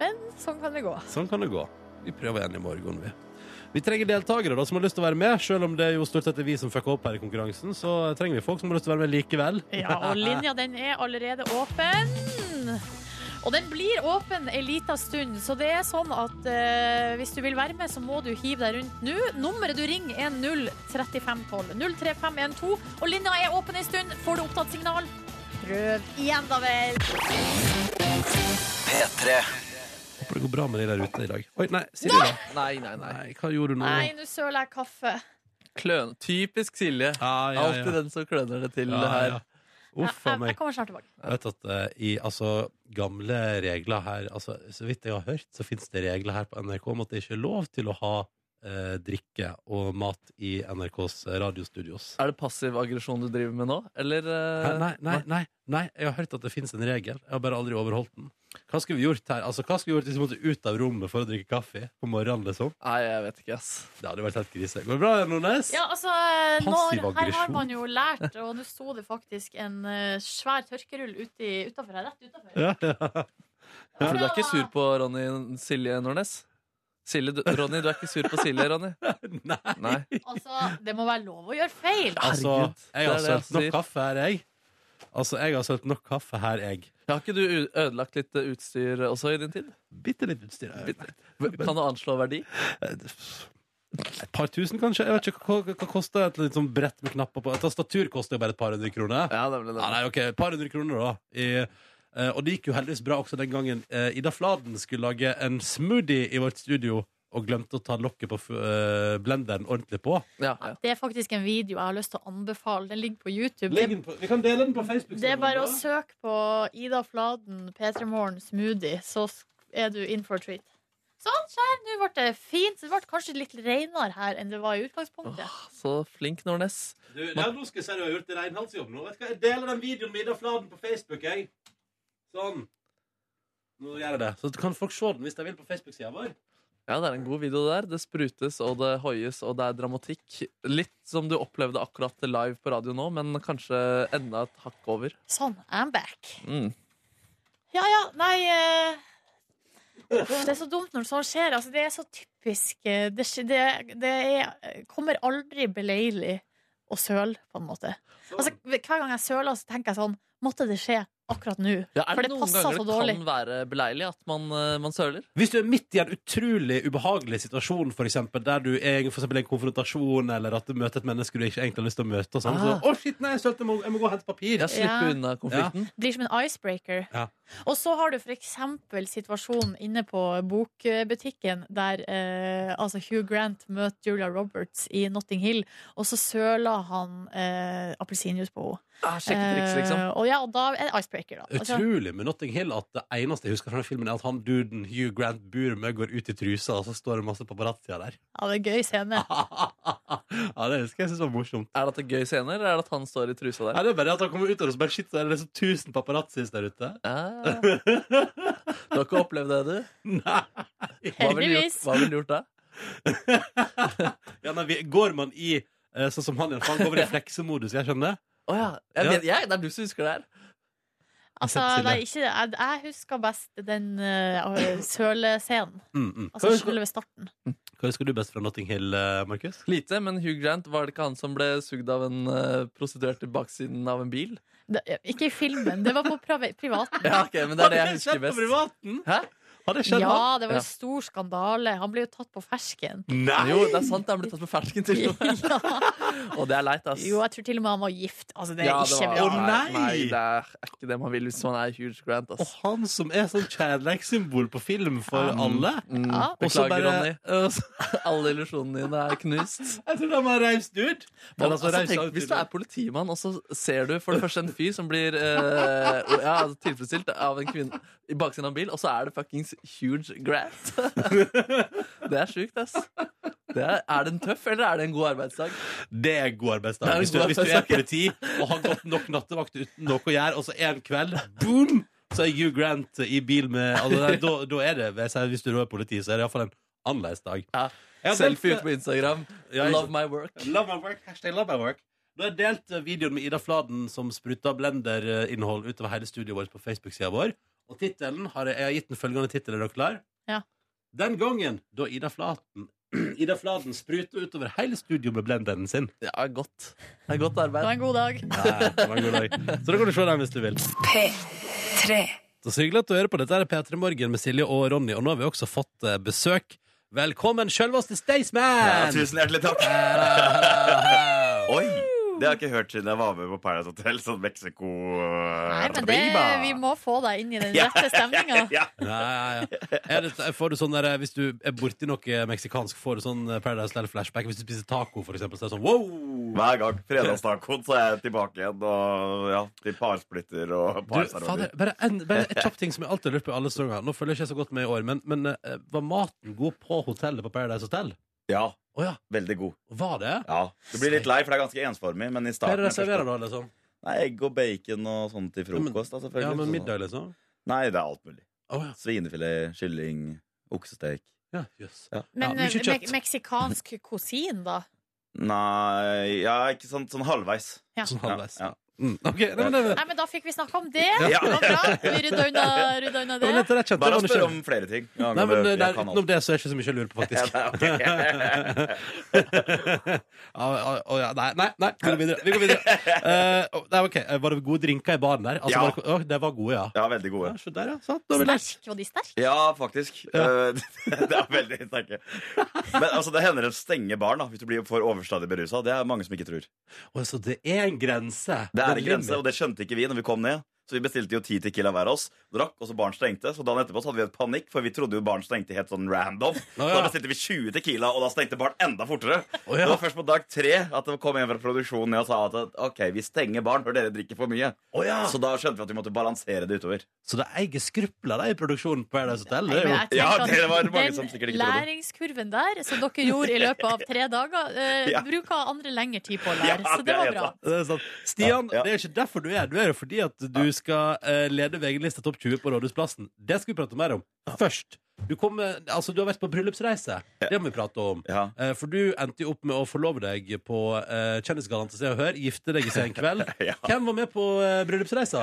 Speaker 2: Men sånn kan det gå.
Speaker 1: Sånn kan det gå. Vi prøver igjen i morgen, vi. Vi trenger deltakere da, som har lyst til å være med, selv om det jo stort sett er vi som fucker opp her i konkurransen. Så trenger vi folk som har lyst til å være med likevel.
Speaker 2: Ja, og linja den er allerede åpen. Og den blir åpen ei lita stund, så det er sånn at eh, hvis du vil være med, så må du hive deg rundt nå. Nummeret du ringer er 03512. 03512. Og linja er åpen ei stund. Får du opptatt signal, prøv igjen, da vel.
Speaker 1: Håper det går bra med de der ute i dag. Oi, nei, Silje, da.
Speaker 3: Nei, nei, nei.
Speaker 1: Nei, hva gjorde du nå?
Speaker 2: Nei, nå søler jeg kaffe.
Speaker 3: Kløn. Typisk Silje.
Speaker 1: Ja, ja,
Speaker 3: Alltid
Speaker 1: ja.
Speaker 3: den som kløner det til
Speaker 1: Ja,
Speaker 3: her.
Speaker 1: ja.
Speaker 2: Jeg,
Speaker 1: Uff a
Speaker 2: jeg,
Speaker 1: meg.
Speaker 2: jeg kommer snart tilbake.
Speaker 1: Jeg vet at eh, i altså, gamle regler her altså, Så vidt jeg har hørt, så fins det regler her på NRK om at det ikke er lov til å ha eh, drikke og mat i NRKs eh, radiostudios.
Speaker 3: Er det passiv aggresjon du driver med nå, eller
Speaker 1: Hæ?
Speaker 3: eh,
Speaker 1: Nei, nei, nei, nei, jeg har hørt at det fins en regel. Jeg har bare aldri overholdt den. Hva skulle vi gjort her? Altså, hva skulle vi gjort hvis vi måtte ut av rommet for å drikke kaffe på morgenen? liksom?
Speaker 3: Nei, jeg vet ikke, ass.
Speaker 1: Det hadde vært helt krise. Går det bra, Nordnes?
Speaker 2: Ja, altså,
Speaker 1: Passiv
Speaker 2: når, her har
Speaker 1: aggresjon.
Speaker 2: man jo lært, og nå sto det faktisk en eh, svær tørkerull uti- utenfor her, rett utenfor.
Speaker 1: Ja, ja.
Speaker 3: For du er ikke sur på Ronny Silje Nordnes? Silje, du, Ronny, du er ikke sur på Silje, Ronny?
Speaker 1: Nei.
Speaker 3: Nei.
Speaker 2: Altså, det må være lov å gjøre feil.
Speaker 1: Altså,
Speaker 3: Herregud, det
Speaker 1: jeg
Speaker 3: er
Speaker 1: har
Speaker 3: det jeg
Speaker 1: sølt nok
Speaker 3: sier.
Speaker 1: kaffe her, jeg. Altså, jeg har sølt nok kaffe her, jeg.
Speaker 3: Har ikke du u- ødelagt litt eh, utstyr også i din tid?
Speaker 1: Bitte litt utstyr. jeg.
Speaker 3: Kan du anslå verdi?
Speaker 1: Et par tusen, kanskje? Jeg vet ikke, Hva, hva- hva koster et litt sånn brett med knapper på? Et tastatur koster jo bare et par hundre kroner.
Speaker 3: Ja, nemlig
Speaker 1: Ja, nei, ok, et par hundre kroner da I, eh, Og det gikk jo heldigvis bra også den gangen eh, Ida Fladen skulle lage en smoothie i vårt studio Og glemte å ta lokket på eh, blenderen ordentlig på
Speaker 3: Ja, ja.
Speaker 2: Det er faktisk en video jeg har lyst til å anbefale. Den ligger på YouTube.
Speaker 1: Legg
Speaker 2: Det,
Speaker 1: den på, Vi kan dele den på Facebook
Speaker 2: det er bare å søke på Ida Fladen P3 Morgen Smoothie, så s- er du in for a treat. Sånn, skjær! Nå ble det fint. Det ble kanskje litt renere her enn det var i utgangspunktet.
Speaker 3: Så flink, Nordnes.
Speaker 1: du, ja, Nå skal jeg si du har gjort en renholdsjobb nå Vet du hva, jeg deler den videoen med Ida Fladen på Facebook jeg. Sånn Nå gjør jeg det Så kan folk se den hvis de vil på Facebook-siden vår
Speaker 3: Ja, det er en god video der. Det sprutes, og det hoies, og det er dramatikk. Litt som du opplevde akkurat live på radio nå, men kanskje enda et hakk over.
Speaker 2: Sånn, I'm back.
Speaker 3: Mm.
Speaker 2: Ja, ja, nei eh, uff, Det er så dumt når sånt skjer. Altså, det er så typisk. eh, Det, skj- det, det er, eh, kommer aldri beleilig å søle, på en måte.
Speaker 1: Sånn.
Speaker 2: Altså, hver gang jeg søler, så tenker jeg sånn Måtte det skje akkurat nå?
Speaker 3: Ja, er
Speaker 2: For
Speaker 3: det
Speaker 2: det
Speaker 3: noen
Speaker 2: passer
Speaker 3: ganger
Speaker 2: så
Speaker 3: det
Speaker 2: dårlig.
Speaker 3: kan være beleilig at man, eh, man søler?
Speaker 1: Hvis du er midt i en utrolig ubehagelig situasjon, for eksempel, der du er for eksempel, i en konfrontasjon, eller at du møter et menneske du ikke egentlig har lyst til å møte, og sånn,
Speaker 3: Ah.
Speaker 1: så, å shit, nei, jeg, sølte, jeg, må, jeg må gå og hente papir.
Speaker 3: Ja, slippe
Speaker 2: Ja.
Speaker 3: unna konflikten.
Speaker 2: Det blir som en icebreaker.
Speaker 1: Ja.
Speaker 2: Og så har du for eksempel situasjonen inne på bokbutikken der eh, altså Hugh Grant møter Julia Roberts i Notting Hill, og så søler han eh, appelsinjuice på henne.
Speaker 3: Ah, sjekketriks, liksom.
Speaker 2: Eh, og, ja, og da er det icebreaker, da. Altså,
Speaker 1: Utrolig med Notting Hill at det eneste jeg husker fra den filmen, er at han duden Hugh Grant Burme går ut i trusa, og så står det masse paparazzier der.
Speaker 2: ja, det er en gøy scene.
Speaker 1: ja, det husker jeg synes var morsomt.
Speaker 3: Er det en gøy scene, eller er det at han står i trusa der?
Speaker 1: Ja, det er bare at han kommer ut og så bare shit, så er det liksom tusen paparazzis der ute.
Speaker 3: Ah. Du har ikke opplevd det, du?
Speaker 1: Nei.
Speaker 3: Hva ville du gjort,
Speaker 2: Heldigvis.
Speaker 3: hva ville du gjort da?
Speaker 1: Ja, nei, vi- går man i, eh, sånn som han, i hvert fall, går man i fleksemodus, jeg skjønner.
Speaker 3: Å ja. Jeg
Speaker 1: Ja.
Speaker 3: vet, jeg, det er du som husker det her.
Speaker 2: Altså,
Speaker 1: Silje.
Speaker 2: nei, ikke, jeg, jeg husker best den eh, sølescenen.
Speaker 1: Mm, mm.
Speaker 2: Altså
Speaker 1: Hva-
Speaker 2: selve starten.
Speaker 1: Hva husker du best fra Notting Hill, eh, Markus?
Speaker 3: Lite, men Hugh Grant, var det ikke han som ble sugd av en eh, prostituert i baksiden av en bil?
Speaker 2: Det, ikke i filmen, det var på priva- privaten.
Speaker 3: Ja, ok, men det er det jeg husker
Speaker 1: Har det skjedd på
Speaker 3: best.
Speaker 1: privaten?
Speaker 3: Hæ?
Speaker 1: Har det skjedd? da?
Speaker 2: Ja, det var
Speaker 3: Ja.
Speaker 2: en stor skandale. Han ble jo tatt på fersken.
Speaker 1: Nei!
Speaker 3: Jo, det er sant, han ble tatt på fersken til og med.
Speaker 2: Ja.
Speaker 3: Og det er leit, ass.
Speaker 2: Jo, jeg tror til og med han var gift. Altså, det er
Speaker 3: Ja,
Speaker 2: ikke
Speaker 3: var-
Speaker 1: Å,
Speaker 2: bra.
Speaker 1: nei!
Speaker 3: Nei, det er ikke det man vil hvis man er Hugh Grant,
Speaker 1: Og
Speaker 3: ass.
Speaker 1: han som er sånn kjærlighetssymbol på film for alle.
Speaker 3: Mm,
Speaker 2: Ja.
Speaker 1: Og så
Speaker 3: beklager,
Speaker 1: bare-
Speaker 3: Ronny. Alle illusjonene dine er knust.
Speaker 1: Jeg tror han var reist ut.
Speaker 3: Men,
Speaker 1: Men altså,
Speaker 3: altså,
Speaker 1: reist
Speaker 3: tenk,
Speaker 1: ut
Speaker 3: hvis du er politimann, og så ser du for det første en fyr som blir eh, ja, altså, tilfredsstilt av en kvinne i baksiden av en bil, og så er det fuckings huge grant. det er sjukt, ass. Det er, er den tøff, eller er det en god arbeidsdag?
Speaker 1: Det er god arbeidsdag.
Speaker 3: Det er en
Speaker 1: Hvis du,
Speaker 3: god
Speaker 1: hvis du er
Speaker 3: arbeidsdag.
Speaker 1: politi og har gått nok nattevakt uten noe å gjøre, og så en kveld, boom, så er Hugh Grant i bil med altså, nei, da, da er det, vil jeg si, Hvis du da er politi, så er det iallfall en annerledes dag.
Speaker 3: Ja.
Speaker 1: Jeg har
Speaker 3: Selfie
Speaker 1: delt-
Speaker 3: ute på Instagram.
Speaker 1: Ja, ikke-
Speaker 3: Love my work.
Speaker 1: Love my work, hashtag love my work Da har jeg delt eh, videoen med Ida Fladen Som sprutter blender-innhold utover hele studioet vårt På Facebook-siden vår Og tittelen har jeg, jeg har gitt den følgende tittel, er dere klar?
Speaker 2: Ja.
Speaker 1: Den gangen da Ida Fladen Ida Fladen spruter utover hele studioet med blenderen sin
Speaker 3: Ja, godt. Det er godt
Speaker 2: Det
Speaker 3: arbeid.
Speaker 2: var en god dag.
Speaker 1: Nei, det var en god dag Så da kan du se den hvis du vil
Speaker 5: P3
Speaker 1: Og så hyggelig at du hører på. Dette er P3 Morgen med Silje og Ronny, og nå har vi også fått eh, besøk. Velkommen selveste
Speaker 5: Ja,
Speaker 1: Staysman!
Speaker 5: tusen hjertelig takk.
Speaker 1: Hello.
Speaker 5: Oi! Det har jeg ikke hørt siden jeg var med på Paradise Hotel. Sånn Mexico eh,
Speaker 2: Nei, men det, vi må få deg inn i den
Speaker 5: Ja,
Speaker 2: rette stemninga.
Speaker 5: Ja.
Speaker 1: Ja, ja, ja. Er det, får du sånn der, eh, hvis du er borti noe meksikansk, får du sånn eh, Paradise Hotel-flashback? Hvis du spiser taco, for eksempel, så er det sånn wow!
Speaker 5: Hver gang fredagstacoen så er jeg tilbake igjen og ja, til parsplitter og
Speaker 1: Du, fader,
Speaker 5: parservoller.
Speaker 1: bare, en, bare et kjapt ting som jeg alltid har lurt på i alle sesonger. Nå følger jeg ikke så godt med i år, men, men eh, var maten god på hotellet på Paradise Hotel?
Speaker 5: Ja,
Speaker 1: Å ja,
Speaker 5: veldig god.
Speaker 1: var det?
Speaker 5: Ja, Du blir litt lei, for det er ganske ensformig, men i
Speaker 1: Hva
Speaker 5: starten
Speaker 1: er det de serverer da, liksom?
Speaker 5: Nei, Egg og bacon og sånt til frokost, da, selvfølgelig.
Speaker 1: Ja, men
Speaker 5: Så-
Speaker 1: middag, liksom?
Speaker 5: Nei, det er alt mulig.
Speaker 1: Å ja.
Speaker 5: Svinefilet, kylling, oksestek.
Speaker 1: ja. Jøss.
Speaker 5: Ja.
Speaker 1: Ja,
Speaker 2: Men
Speaker 1: mye
Speaker 2: eh,
Speaker 1: kjøtt.
Speaker 2: me meksikansk kusin, da?
Speaker 5: Nei, ja, ikke sånn, sånn halvveis.
Speaker 2: Ja.
Speaker 1: Sånn halvveis.
Speaker 5: Ja, ja.
Speaker 1: Mm. Ok, nei, men det,
Speaker 2: Nei, men da fikk vi snakka om det.
Speaker 5: Ja.
Speaker 2: Det var bra. Vi rydda unna, rydda unna
Speaker 1: det
Speaker 2: det.
Speaker 1: var litt av det jeg kjente.
Speaker 5: Bare
Speaker 1: jeg var
Speaker 5: spør
Speaker 1: nysgjerrig.
Speaker 5: om flere ting.
Speaker 1: Nei, men
Speaker 5: Jeg
Speaker 1: det- der,
Speaker 5: kan alt.
Speaker 1: Utenom det så er det ikke så mye jeg lurer på, faktisk.
Speaker 5: Ja, ok.
Speaker 1: Ja, ja, ja, ja, nei, nei, nei, vi går videre. Vi går videre. Eh, å, nei, ok, eh, Var det gode drinker i baren der? Altså,
Speaker 5: Ja.
Speaker 1: var det, å, det var gode, ja.
Speaker 5: Ja, veldig gode.
Speaker 1: ja se der, ja. Sant, da har vi lært.
Speaker 2: Sterk, var de sterke?
Speaker 5: Ja, faktisk. Eh, det er veldig sterke. Men altså, det hender å stenge baren da, hvis du blir for overstadig berusa. Det er mange som ikke tror.
Speaker 1: Å, så det er en grense.
Speaker 5: Det er en
Speaker 1: rimelig.
Speaker 5: grense, og det skjønte ikke vi når vi kom ned. Så vi bestilte jo ti tequila hver av oss, drakk, og så baren stengte. Så dagen etterpå så hadde vi et panikk, for vi trodde jo baren stengte helt sånn random.
Speaker 1: Å,
Speaker 5: Så da
Speaker 1: ja.
Speaker 5: bestilte vi 20 tequila, og da stengte baren enda fortere.
Speaker 1: Å, ja.
Speaker 5: Det var først på dag tre at det kom en fra produksjonen ned og sa at OK, vi stenger baren når dere drikker for mye.
Speaker 1: Å, ja.
Speaker 5: Så da skjønte vi at vi måtte balansere det utover.
Speaker 1: Så det eier skrupler de, i produksjonen på Paradise Hotel. Det
Speaker 2: Nei,
Speaker 1: er
Speaker 2: men
Speaker 1: jo
Speaker 2: jeg
Speaker 5: Ja,
Speaker 2: tenker at
Speaker 5: det var mange
Speaker 2: den
Speaker 5: som sikkert ikke trodde.
Speaker 2: læringskurven der, som dere gjorde i løpet av tre dager, eh,
Speaker 5: Ja.
Speaker 2: bruker andre lengre tid på å
Speaker 5: Ja,
Speaker 2: lære, så det
Speaker 5: er
Speaker 2: var
Speaker 5: helt
Speaker 2: bra.
Speaker 5: sant.
Speaker 1: det er sant. Stian,
Speaker 5: Ja, ja.
Speaker 1: det er ikke derfor du er her. Du er jo fordi at du skal eh, lede VG-lista Topp 20 på Rådhusplassen. Det skal vi prate mer om. Først. Du, kom, eh, altså, du har vært på bryllupsreise. Det må vi prate om.
Speaker 5: Ja.
Speaker 1: Eh, For du endte jo opp med å forlove deg på uh, Kjendisgallaen til Se og Hør. Gifte deg i sen kveld.
Speaker 5: Ja.
Speaker 1: Hvem var med på uh, bryllupsreisa?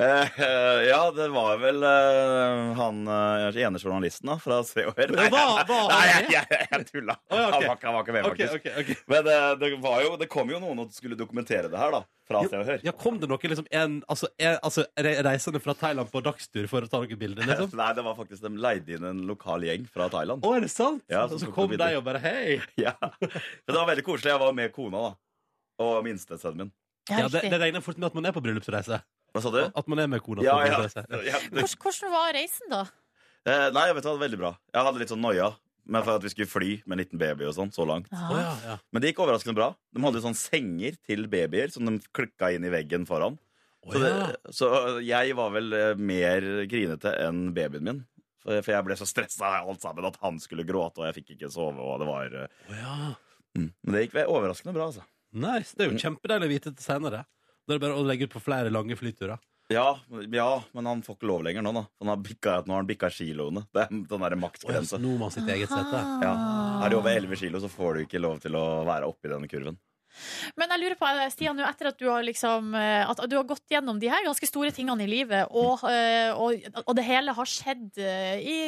Speaker 5: Eh, eh, ja, det var vel eh, han eh, ene journalisten da, fra Se og Hør.
Speaker 1: Ja, hva- hva-
Speaker 5: nei, jeg, jeg, jeg tulla.
Speaker 1: Å, ja, ok.
Speaker 5: han, var ikke, han var ikke med, faktisk. Men eh, det, var jo, det kom jo noen og skulle dokumentere det her, da. Fra Se og Hør.
Speaker 1: Ja, kom det noe liksom en, altså, en, altså re reisende fra Thailand på dagstur for å ta noen bilder, liksom?
Speaker 5: Nei, det var faktisk de leide inn en lokal gjeng fra Thailand.
Speaker 1: Å, er det sant?
Speaker 5: Ja,
Speaker 1: og
Speaker 5: så
Speaker 1: så
Speaker 5: tok
Speaker 1: kom
Speaker 5: vi
Speaker 1: de
Speaker 5: bilder.
Speaker 1: og bare hei.
Speaker 5: Ja. Men det var veldig koselig. Jeg var med kona, da. Og minstesønnen min.
Speaker 1: Ja, det, det
Speaker 2: riktig.
Speaker 1: regner fort med at man er på bryllupsreise.
Speaker 5: Hva sa du?
Speaker 1: At man er med kona.
Speaker 5: Ja,
Speaker 1: på
Speaker 5: ja.
Speaker 1: bryllupsreise.
Speaker 5: ja det,
Speaker 2: Hvordan, hvordan var reisen, da?
Speaker 5: eh, nei, jeg vet hva, det var veldig bra. Jeg hadde litt sånn noia. Men for at vi skulle fly med en liten baby og sånn, så langt.
Speaker 1: Å, ja, ja.
Speaker 5: Men det gikk overraskende bra. De hadde jo sånne senger til babyer som de klikka inn i veggen foran.
Speaker 1: Å,
Speaker 5: Så, det,
Speaker 1: ja.
Speaker 5: så jeg var vel eh, mer grinete enn babyen min. For for jeg ble så stressa av alt sammen at han skulle gråte, og jeg fikk ikke sove. Og det var, eh,
Speaker 1: Å, ja.
Speaker 5: mm. Men det gikk vel overraskende bra, altså.
Speaker 1: Nice. Det er jo kjempedeilig å vite det senere. Da er det bare å legge ut på flere lange flyturer.
Speaker 5: Ja, ja, men han får ikke lov lenger nå, da. Han har bikka, nå har han bikka kiloene. Det er den derre
Speaker 1: Å, ja,
Speaker 5: maksgrensa.
Speaker 1: så nå må man sitt eget sete.
Speaker 2: Ah.
Speaker 5: Ja. Er du over 11 kilo, så får du ikke lov til å være oppi denne kurven.
Speaker 2: Men jeg lurer på, eh, Stian, nå etter at du har, liksom, eh, at du har gått gjennom de her ganske store tingene i livet, og, eh, og, og det hele har skjedd eh, i,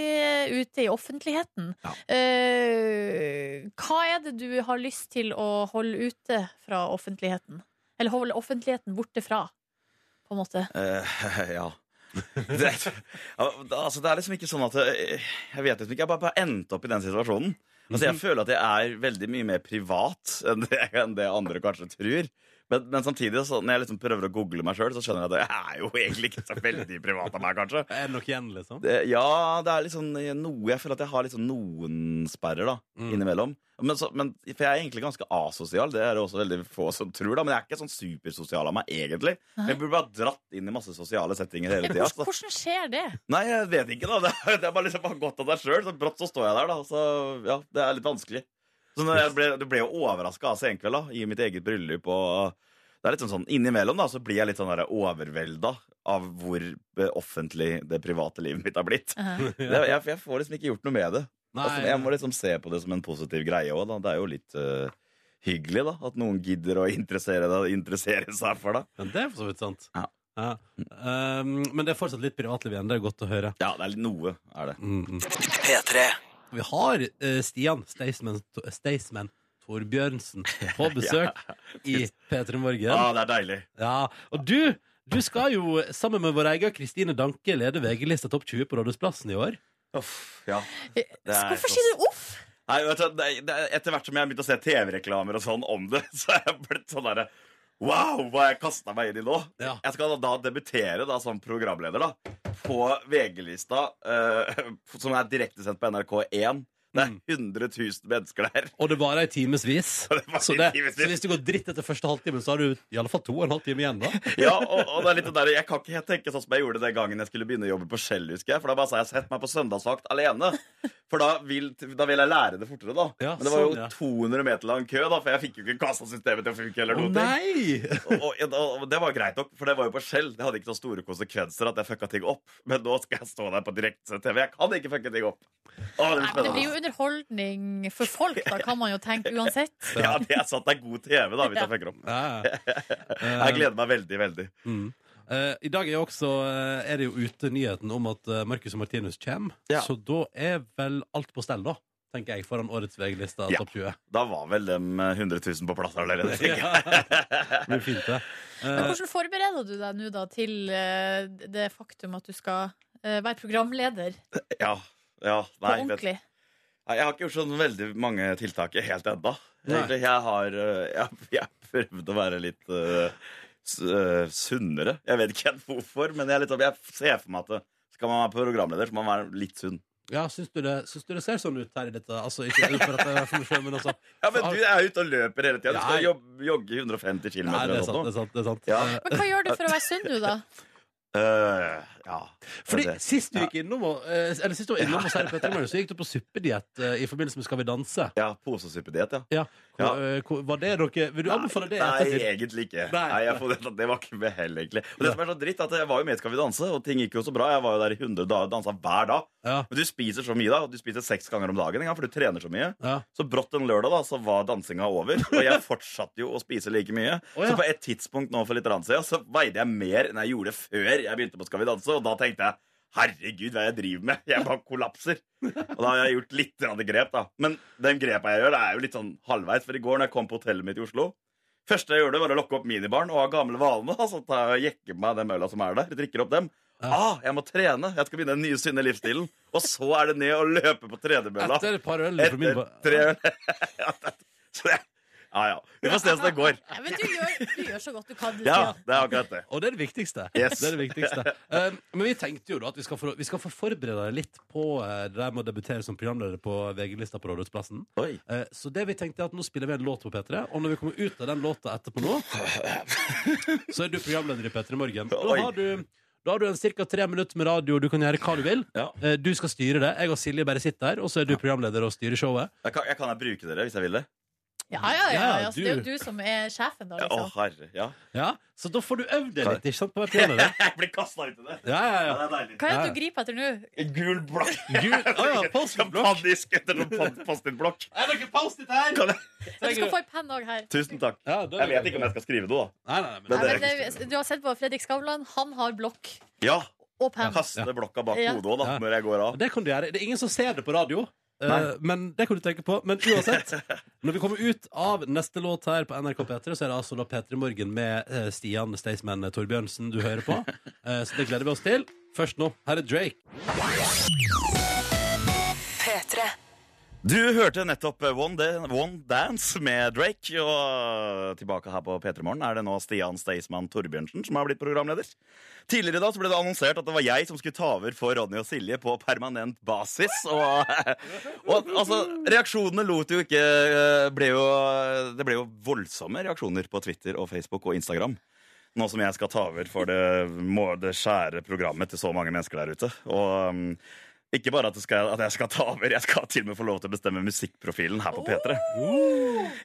Speaker 2: ute i offentligheten, Eh, hva er det du har lyst til å holde ute fra offentligheten? Eller holde offentligheten borte fra, på en måte?
Speaker 5: Eh, ja. Det, altså, det er liksom ikke sånn at eh, Jeg vet liksom ikke, jeg bare, bare endte opp i den situasjonen. Altså, Jeg føler at jeg er veldig mye mer privat enn det, enn det andre kanskje tror. Men, men samtidig, så, når jeg liksom prøver å google meg sjøl, så skjønner jeg at jeg er jo egentlig ikke så veldig privat av meg, kanskje.
Speaker 1: Er det nok igjen, liksom?
Speaker 5: Det, ja, det er liksom noe Jeg føler at jeg har liksom noen sperrer da
Speaker 1: Mm.
Speaker 5: innimellom. Men så, men, for jeg er egentlig ganske asosial, det er det også veldig få som tror. da Men jeg er ikke sånn supersosial av meg, egentlig. Men jeg burde bare dratt inn i masse sosiale settinger hele tida.
Speaker 2: Hvordan, hvordan skjer det?
Speaker 5: Nei, jeg vet ikke, da. Det er, det er bare liksom bare godt av deg sjøl. Så brått så står jeg der, da. Så ja, det er litt vanskelig. Så når jeg ble, du ble jo overraska av senkveld, da, i mitt eget bryllup og det er litt sånn sånn, Innimellom da, så blir jeg litt sånn overvelda av hvor eh, offentlig det private livet mitt har blitt.
Speaker 2: Eh,
Speaker 5: Det, jeg, jeg får liksom ikke gjort noe med det.
Speaker 1: Nei,
Speaker 5: Altså, jeg må liksom se på det som en positiv greie òg, da. Det er jo litt eh, hyggelig, da. At noen gidder å interessere, deg- interessere seg for deg.
Speaker 1: men det er for så vidt sant.
Speaker 5: Ja.
Speaker 1: Ja. Um, men det er fortsatt litt privatliv igjen. Det er godt å høre.
Speaker 5: Ja, det er litt noe, er det.
Speaker 1: Mm, mm.
Speaker 4: P3.
Speaker 1: Vi har eh, Stian Staysman, Staysman Torbjørnsen på besøk i P3 Morgen.
Speaker 5: Ja, det er deilig.
Speaker 1: Ja, og du Du skal jo sammen med vår egen Kristine Danke lede VG-lista Topp 20 på Rådhusplassen i år.
Speaker 5: Uff, ja. er
Speaker 2: Hvorfor
Speaker 5: så-
Speaker 2: sier du uff?
Speaker 5: Nei, vet du, det, det, etter hvert som jeg har begynt å se TV-reklamer og sånn om det, så er jeg blitt sånn derre Wow, hva jeg kasta meg inn i nå!
Speaker 1: Ja.
Speaker 5: Jeg skal da, da debutere da, som programleder da, på VG-lista, eh, som er direktesendt på NRK1. Det er 100 000 mennesker der.
Speaker 1: Og det varer i timevis.
Speaker 5: Og det varer
Speaker 1: Så,
Speaker 5: i
Speaker 1: det-
Speaker 5: timevis.
Speaker 1: så hvis du går dritt etter første halvtime, så har du i alle fall to og en halv time igjen. da
Speaker 5: Ja, og, og det er litt det der, Jeg kan ikke helt tenke sånn som jeg gjorde den gangen jeg skulle begynne å jobbe på Shell. husker jeg For da bare sa jeg 'sett meg på søndagsvakt alene'. For da vil, da vil jeg lære det fortere, da.
Speaker 1: Ja,
Speaker 5: Men det var jo
Speaker 1: sånn, ja.
Speaker 5: 200 meter lang kø, da for jeg fikk jo ikke kassasystemet til å funke. eller
Speaker 1: Å
Speaker 5: noe
Speaker 1: nei!
Speaker 5: og, og, og det var jo greit nok, for det var jo på Shell. Det hadde ikke så store konsekvenser at jeg fucka ting opp. Men nå skal jeg stå der på direktesendt TV. Jeg kan ikke fucke ting opp. Å, det blir
Speaker 2: Nei, men det blir
Speaker 5: spennende.
Speaker 2: jo underholdning for folk, da kan man jo tenke uansett.
Speaker 5: Ja, det er sant. Det er god TV, da, hvis jeg fucker opp.
Speaker 1: Ja.
Speaker 5: Jeg gleder meg veldig, veldig.
Speaker 1: Mm. Eh, I dag er, jo også, eh, er det jo ute nyheten om at eh, Marcus og Martinus kommer.
Speaker 5: Ja.
Speaker 1: Så da er vel alt på stell, da. Tenker jeg, foran årets VG-lista
Speaker 5: Ja.
Speaker 1: topp 20.
Speaker 5: Da var vel de 100 000 på plass allerede. tenker jeg.
Speaker 1: Det blir fint, det.
Speaker 2: Men
Speaker 1: Eh,
Speaker 2: hvordan forbereder du deg nå da til eh, det faktum at du skal eh, være programleder på
Speaker 5: Ja. Ja, nei, vet,
Speaker 2: ordentlig?
Speaker 5: nei, jeg har ikke gjort sånn veldig mange tiltak helt ennå.
Speaker 1: Nei.
Speaker 5: Egentlig, Jeg har øh, jeg, jeg har prøvd å være litt øh, s- øh, sunnere. Jeg vet ikke helt hvorfor, men jeg, er litt, sånn- jeg ser for meg at øh, skal man være programleder, så må man være litt sunn.
Speaker 1: ja, syns du, det, syns du det ser sånn ut her i dette? Altså, ikke for at jeg er for meg selv, men altså
Speaker 5: Ja, men du er ute og løper hele tida. Du
Speaker 1: Nei.
Speaker 5: skal jog- jogge 150 km
Speaker 1: Nei, det
Speaker 5: eller
Speaker 1: er sant,
Speaker 5: noe
Speaker 1: det er sant. Det er sant.
Speaker 5: Ja.
Speaker 1: Eh,
Speaker 2: Men hva gjør du for å være sunn nå, da?
Speaker 5: Øh, ja.
Speaker 1: Fordi
Speaker 5: Det-
Speaker 1: Sist du gikk innom og, eh, Eller sist du var innom hos Herre Petter Møller, så gikk du på suppediett eh, i forbindelse med Skal vi danse.
Speaker 5: ja, Posesuppediett, ja.
Speaker 1: Ja. Hvor,
Speaker 5: Ja.
Speaker 1: eh, hvor, var det dere Vil du anbefale det?
Speaker 5: Nei,
Speaker 1: ettertid?
Speaker 5: egentlig ikke.
Speaker 1: Nei.
Speaker 5: Nei, jeg får det, det var ikke med hell, egentlig. Og det som er så dritt, er at jeg var jo med i Skal vi danse, og ting gikk jo så bra. Jeg var jo der i 100 dager og dansa hver dag.
Speaker 1: Ja,
Speaker 5: Men du spiser så mye, da. og Du spiser seks ganger om dagen, en gang, for du trener så mye.
Speaker 1: ja.
Speaker 5: Så brått en lørdag da, så var dansinga over, og jeg fortsatte jo å spise like mye.
Speaker 1: Å, ja.
Speaker 5: Så på et tidspunkt nå for litt rann siden, så veide jeg mer enn jeg gjorde før jeg begynte på Skal vi danse, og da tenkte jeg Herregud, hva er det jeg driver med? Jeg bare kollapser. Og da har jeg gjort litt grann grep, da. Men den grepa jeg gjør, er jo litt sånn halvveis. For i går når jeg kom på hotellet mitt i Oslo Første jeg gjorde, var å lokke opp minibaren og ha gamle vanene. Så tar jeg og jekker meg den øla som er der, drikker opp dem. Ah, jeg må trene! Jeg skal begynne den nye, sunne livsstilen. Og så er det ned og løpe på tredemølla.
Speaker 1: Etter et par øl fra min
Speaker 5: Etter tre øl. Så det- Ja, ja. Vi får se hvordan Altså, det går.
Speaker 2: Nei, men du gjør, du gjør så godt du kan. Du,
Speaker 5: Ja,
Speaker 2: Stian.
Speaker 5: det er akkurat det.
Speaker 1: Og det er det viktigste.
Speaker 5: Yes.
Speaker 1: Det er det viktigste. Um, men vi tenkte jo da at vi skal få, vi skal få forberede deg litt på eh, det der med å debutere som programleder på VG-lista på Rådhusplassen.
Speaker 5: Oi.
Speaker 1: Eh, så det vi tenkte er at nå spiller vi en låt på P3, og når vi kommer ut av den låta etterpå nå, så er du programleder i P3 Morgen. Da
Speaker 5: Oi.
Speaker 1: har du da har du en cirka tre minutter med radio, du kan gjøre hva du vil.
Speaker 5: Ja.
Speaker 1: Eh, Du skal styre det. Jeg og Silje bare sitter her, og så er du programleder og styrer showet.
Speaker 5: Jeg kan, jeg kan jeg bruke dere hvis jeg vil det?
Speaker 2: Ja, ja, ja,
Speaker 1: Ja,
Speaker 2: ja, altså, det er
Speaker 1: du.
Speaker 2: jo du som er sjefen, da.
Speaker 5: Å,
Speaker 2: Liksom.
Speaker 5: herre. Ja.
Speaker 1: Ja, Så da får du øvd deg litt, ikke sant? På å være programleder.
Speaker 5: Jeg blir kasta ut i det.
Speaker 1: Ja, ja,
Speaker 5: Ja,
Speaker 1: ja.
Speaker 5: det er deilig.
Speaker 2: Hva er det du griper etter nå?
Speaker 5: En Gul blokk.
Speaker 1: Gud, å ja, postblokk.
Speaker 5: Panisk etter noen pod- Post-It-blokk.
Speaker 1: Er det ikke Post-It her?
Speaker 5: Kan jeg-
Speaker 2: Du skal få en penn òg her.
Speaker 5: Tusen takk.
Speaker 1: Ja, da-
Speaker 5: Jeg vet ikke om jeg skal skrive noe, da.
Speaker 1: Nei, nei, nei, men...
Speaker 5: Men
Speaker 2: Nei,
Speaker 5: det er
Speaker 2: men det, du har sett på Fredrik Skavlan. Han har blokk
Speaker 5: Ja,
Speaker 2: og penn.
Speaker 5: Kaste blokka bak
Speaker 2: Ja.
Speaker 5: hodet òg, da,
Speaker 1: Ja.
Speaker 5: når jeg går av.
Speaker 1: Det kan du gjøre. Det er ingen som ser det på radio. eh,
Speaker 5: Nei.
Speaker 1: men det kan du tenke på. Men uansett, når vi kommer ut av neste låt her på NRK P3, så er det altså da P3 Morgen med eh, Stian Staysman Torbjørnsen du hører på. Eh, så det gleder vi oss til. Først nå, her er Drake.
Speaker 5: Du hørte nettopp eh, One, Dan- One Dance med Drake. Og tilbake her på P3 Morgen er det nå Stian Staysman Torbjørnsen som har blitt programleder. Tidligere i dag så ble det annonsert at det var jeg som skulle ta over for Ronny og Silje på permanent basis. Og, og altså, reaksjonene lot jo ikke eh, ble jo, Det ble jo voldsomme reaksjoner på Twitter og Facebook og Instagram. Nå som jeg skal ta over for det, må- det skjære programmet til så mange mennesker der ute. Og um, ikke bare at, det skal, at jeg skal ta over, jeg skal til og med få lov til å bestemme musikkprofilen her på P3.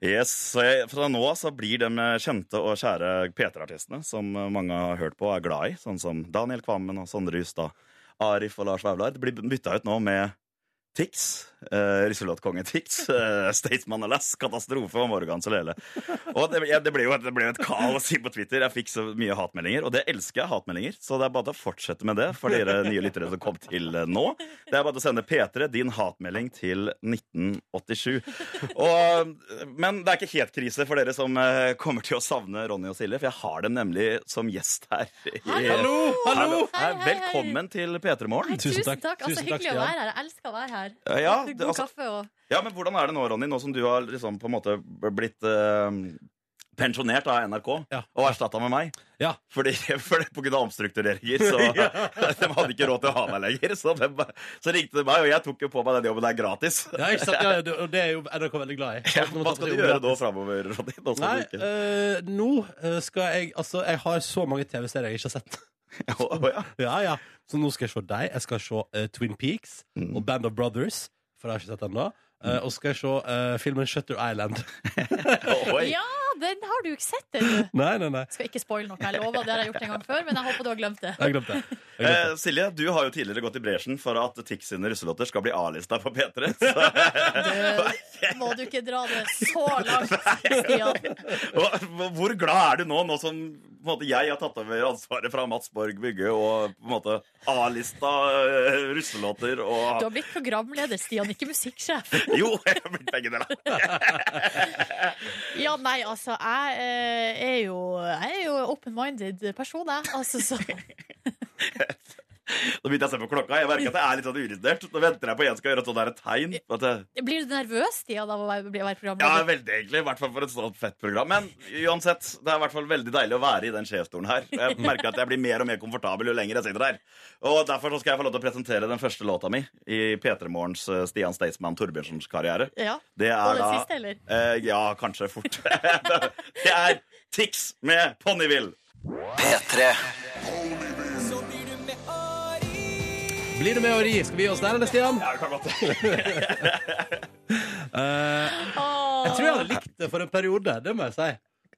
Speaker 5: Yes, så jeg, fra nå av så blir de kjente og kjære P3-artistene som mange har hørt på og er glad i, sånn som Daniel Kvammen og Sondre Justad, Arif og Lars Vaular, det blir bytta ut nå med Tix. Uh, Risselåtkonge Tix. eh, Statesman Alas. Katastrofe og Morgan Solele. Og det, ja, det, ble jo, et- det ble jo et kaos inn på Twitter. Jeg fikk så mye hatmeldinger. Og det elsker jeg, hatmeldinger. Så det er bare til å fortsette med det for dere nye lyttere som kom til eh, nå. Det er bare til å sende P3 din hatmelding til 1987. Og, men det er ikke helt krise for dere som eh, kommer til å savne Ronny og Silje, for jeg har dem nemlig som gjest her. i-
Speaker 2: Hallo!
Speaker 5: Hallo!
Speaker 2: Hei, hei, hei.
Speaker 5: Velkommen til P3
Speaker 2: Hei,
Speaker 5: Morgen.
Speaker 1: Tusen
Speaker 2: tusen
Speaker 1: takk.
Speaker 2: takk. Altså,
Speaker 1: Tusen takk,
Speaker 2: hyggelig å
Speaker 1: Stian.
Speaker 2: være her. Jeg elsker å være her.
Speaker 5: Ja,
Speaker 2: God
Speaker 5: det- altså-
Speaker 2: kaffe og
Speaker 5: Ja, men Hvordan er det nå, Ronny? Nå som du har liksom på en måte blitt eh, pensjonert av NRK
Speaker 1: Ja.
Speaker 5: og erstatta med meg.
Speaker 1: Ja.
Speaker 5: Fordi, fordi På grunn av omstruktureringer. Så De hadde ikke råd til å ha meg lenger. Så, de, bare- så ringte de meg, og jeg tok jo på meg den jobben der gratis.
Speaker 1: Ja, ikke sant? Ja, ja, det- og det er jo NRK veldig glad i.
Speaker 5: Ja,
Speaker 1: At når
Speaker 5: Hva
Speaker 1: man tar
Speaker 5: skal
Speaker 1: seg
Speaker 5: du
Speaker 1: om
Speaker 5: gjøre
Speaker 1: gratis.
Speaker 5: nå framover, Ronny? Nå skal
Speaker 1: Nei,
Speaker 5: du ikke...
Speaker 1: eh, nå eh, skal jeg Altså, jeg har så mange TV-serier jeg ikke har sett.
Speaker 5: Å, å, ja.
Speaker 1: Ja, ja. Så nå skal jeg se deg. Jeg skal se eh, Twin Peaks
Speaker 5: Mm.
Speaker 1: og Band of Brothers, for jeg har ikke sett ennå. Eh, og så skal jeg se eh, filmen Shutter Island.
Speaker 5: Oi.
Speaker 2: Ja, den har du ikke sett ennå.
Speaker 1: Nei, nei, nei.
Speaker 2: Skal ikke spoile noe, jeg lover. Det har jeg gjort en gang før, men jeg håper du har glemt det.
Speaker 1: Jeg glemte det. Jeg glemte det.
Speaker 5: Eh, Silje, du har jo tidligere gått i bresjen for at Tix sine russelåter skal bli A-lista på P3. Så,
Speaker 2: Det Eh, må du ikke dra det så langt, Stian.
Speaker 5: og, hvor glad er du nå, nå som på en måte, jeg har tatt over ansvaret fra Mats Borg Bygge og på en måte A-lista eh, russelåter
Speaker 2: Du
Speaker 5: og
Speaker 2: har blitt programleder, Stian, ikke musikksjef.
Speaker 5: Jo, jeg har blitt begge deler.
Speaker 2: Ja, nei, altså, jeg eh, er jo, jeg er jo open-minded person, jeg. Altså, så
Speaker 5: Nå begynte jeg å se på klokka. Jeg merker at jeg er litt sånn urinert. Nå venter jeg på at en skal gjøre et sånt der tegn. At jeg,
Speaker 2: Blir du nervøs, Stian, av å være, bli- være
Speaker 5: ja,
Speaker 2: programleder?
Speaker 5: veldig egentlig. I hvert fall for et sånt fett program. Men uansett, det er i hvert fall veldig deilig å være i den sjefstolen her. Jeg merker at jeg blir mer og mer komfortabel jo lenger jeg sitter her. Og derfor så skal jeg få lov til å presentere den første låta mi i P3 Morgens eh, Stian Staysman Torbjørsens karriere.
Speaker 2: Ja.
Speaker 5: Det
Speaker 2: Og
Speaker 5: er
Speaker 2: den
Speaker 5: da
Speaker 2: siste, eller?
Speaker 5: Eh, ja, kanskje fort. det er Tix med Ponyville.
Speaker 1: Blir du med og ri? Skal vi gi oss der, eller, Stian?
Speaker 5: Ja, det kan godt.
Speaker 1: Eh, jeg
Speaker 2: Åh,
Speaker 1: tror jeg hadde likt det for en periode. Det må jeg si.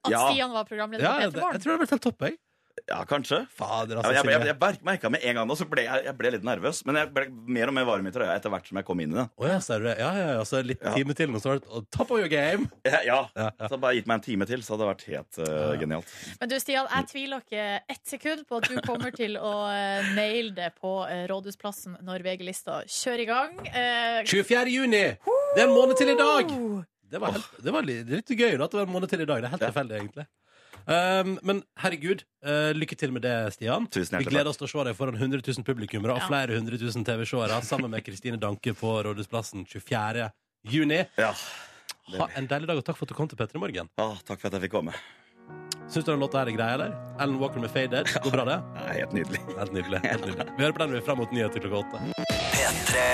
Speaker 2: At
Speaker 5: Ja.
Speaker 2: Stian var programleder
Speaker 1: Ja,
Speaker 2: for
Speaker 1: jeg, jeg
Speaker 2: Peter
Speaker 1: tror
Speaker 2: Morgen?
Speaker 1: det hadde vært helt topp, jeg.
Speaker 5: ja kanskje.
Speaker 1: Fader,
Speaker 5: Ja,
Speaker 1: altså.
Speaker 5: men jeg, jeg,
Speaker 1: Silje.
Speaker 5: jeg, merk- merket med en gang nå, så ble jeg, jeg ble litt nervøs. Men jeg ble mer og mer varm i trøya etter hvert som jeg kom inn i det.
Speaker 1: Å ja, ser du det. Ja, ja, ja. Så en liten
Speaker 5: Ja.
Speaker 1: time til, og så var det oh, top of your game.
Speaker 5: Ja, ja.
Speaker 1: Ja, ja.
Speaker 5: Så bare gitt meg en time til, så hadde det vært helt eh, genialt.
Speaker 2: Men du, Stian, jeg tviler ikke ett sekund på at du kommer til å eh, naile det på eh, Rådhusplassen når VG-lista kjører i gang. Eh,
Speaker 1: 24. juni! Det er en måned til i dag!
Speaker 2: oh,
Speaker 1: Det var, helt, det var litt, litt gøy da, at det var en måned til i dag. Det er helt
Speaker 5: Ja.
Speaker 1: tilfeldig, egentlig. Um, men herregud, eh, lykke til med det, Stian.
Speaker 5: Tusen
Speaker 1: Vi
Speaker 5: hjertelig
Speaker 1: gleder oss til å se deg foran 100 000 publikummere og
Speaker 2: Ja.
Speaker 1: flere hundre tusen TV-seere sammen med Kristine Danke på Rådhusplassen 24. juni.
Speaker 5: Ja.
Speaker 1: Ha en deilig dag, og takk for at du kom til Petter i morgen.
Speaker 5: Ah, takk for at jeg fikk komme.
Speaker 1: Syns du den låta her er grei, eller? Ellen Walker med Faded. Går bra, det?
Speaker 5: Det er helt nydelig.
Speaker 1: Helt nydelig. Helt nydelig. Vi hører på den vi er fram mot nyheter klokka åtte.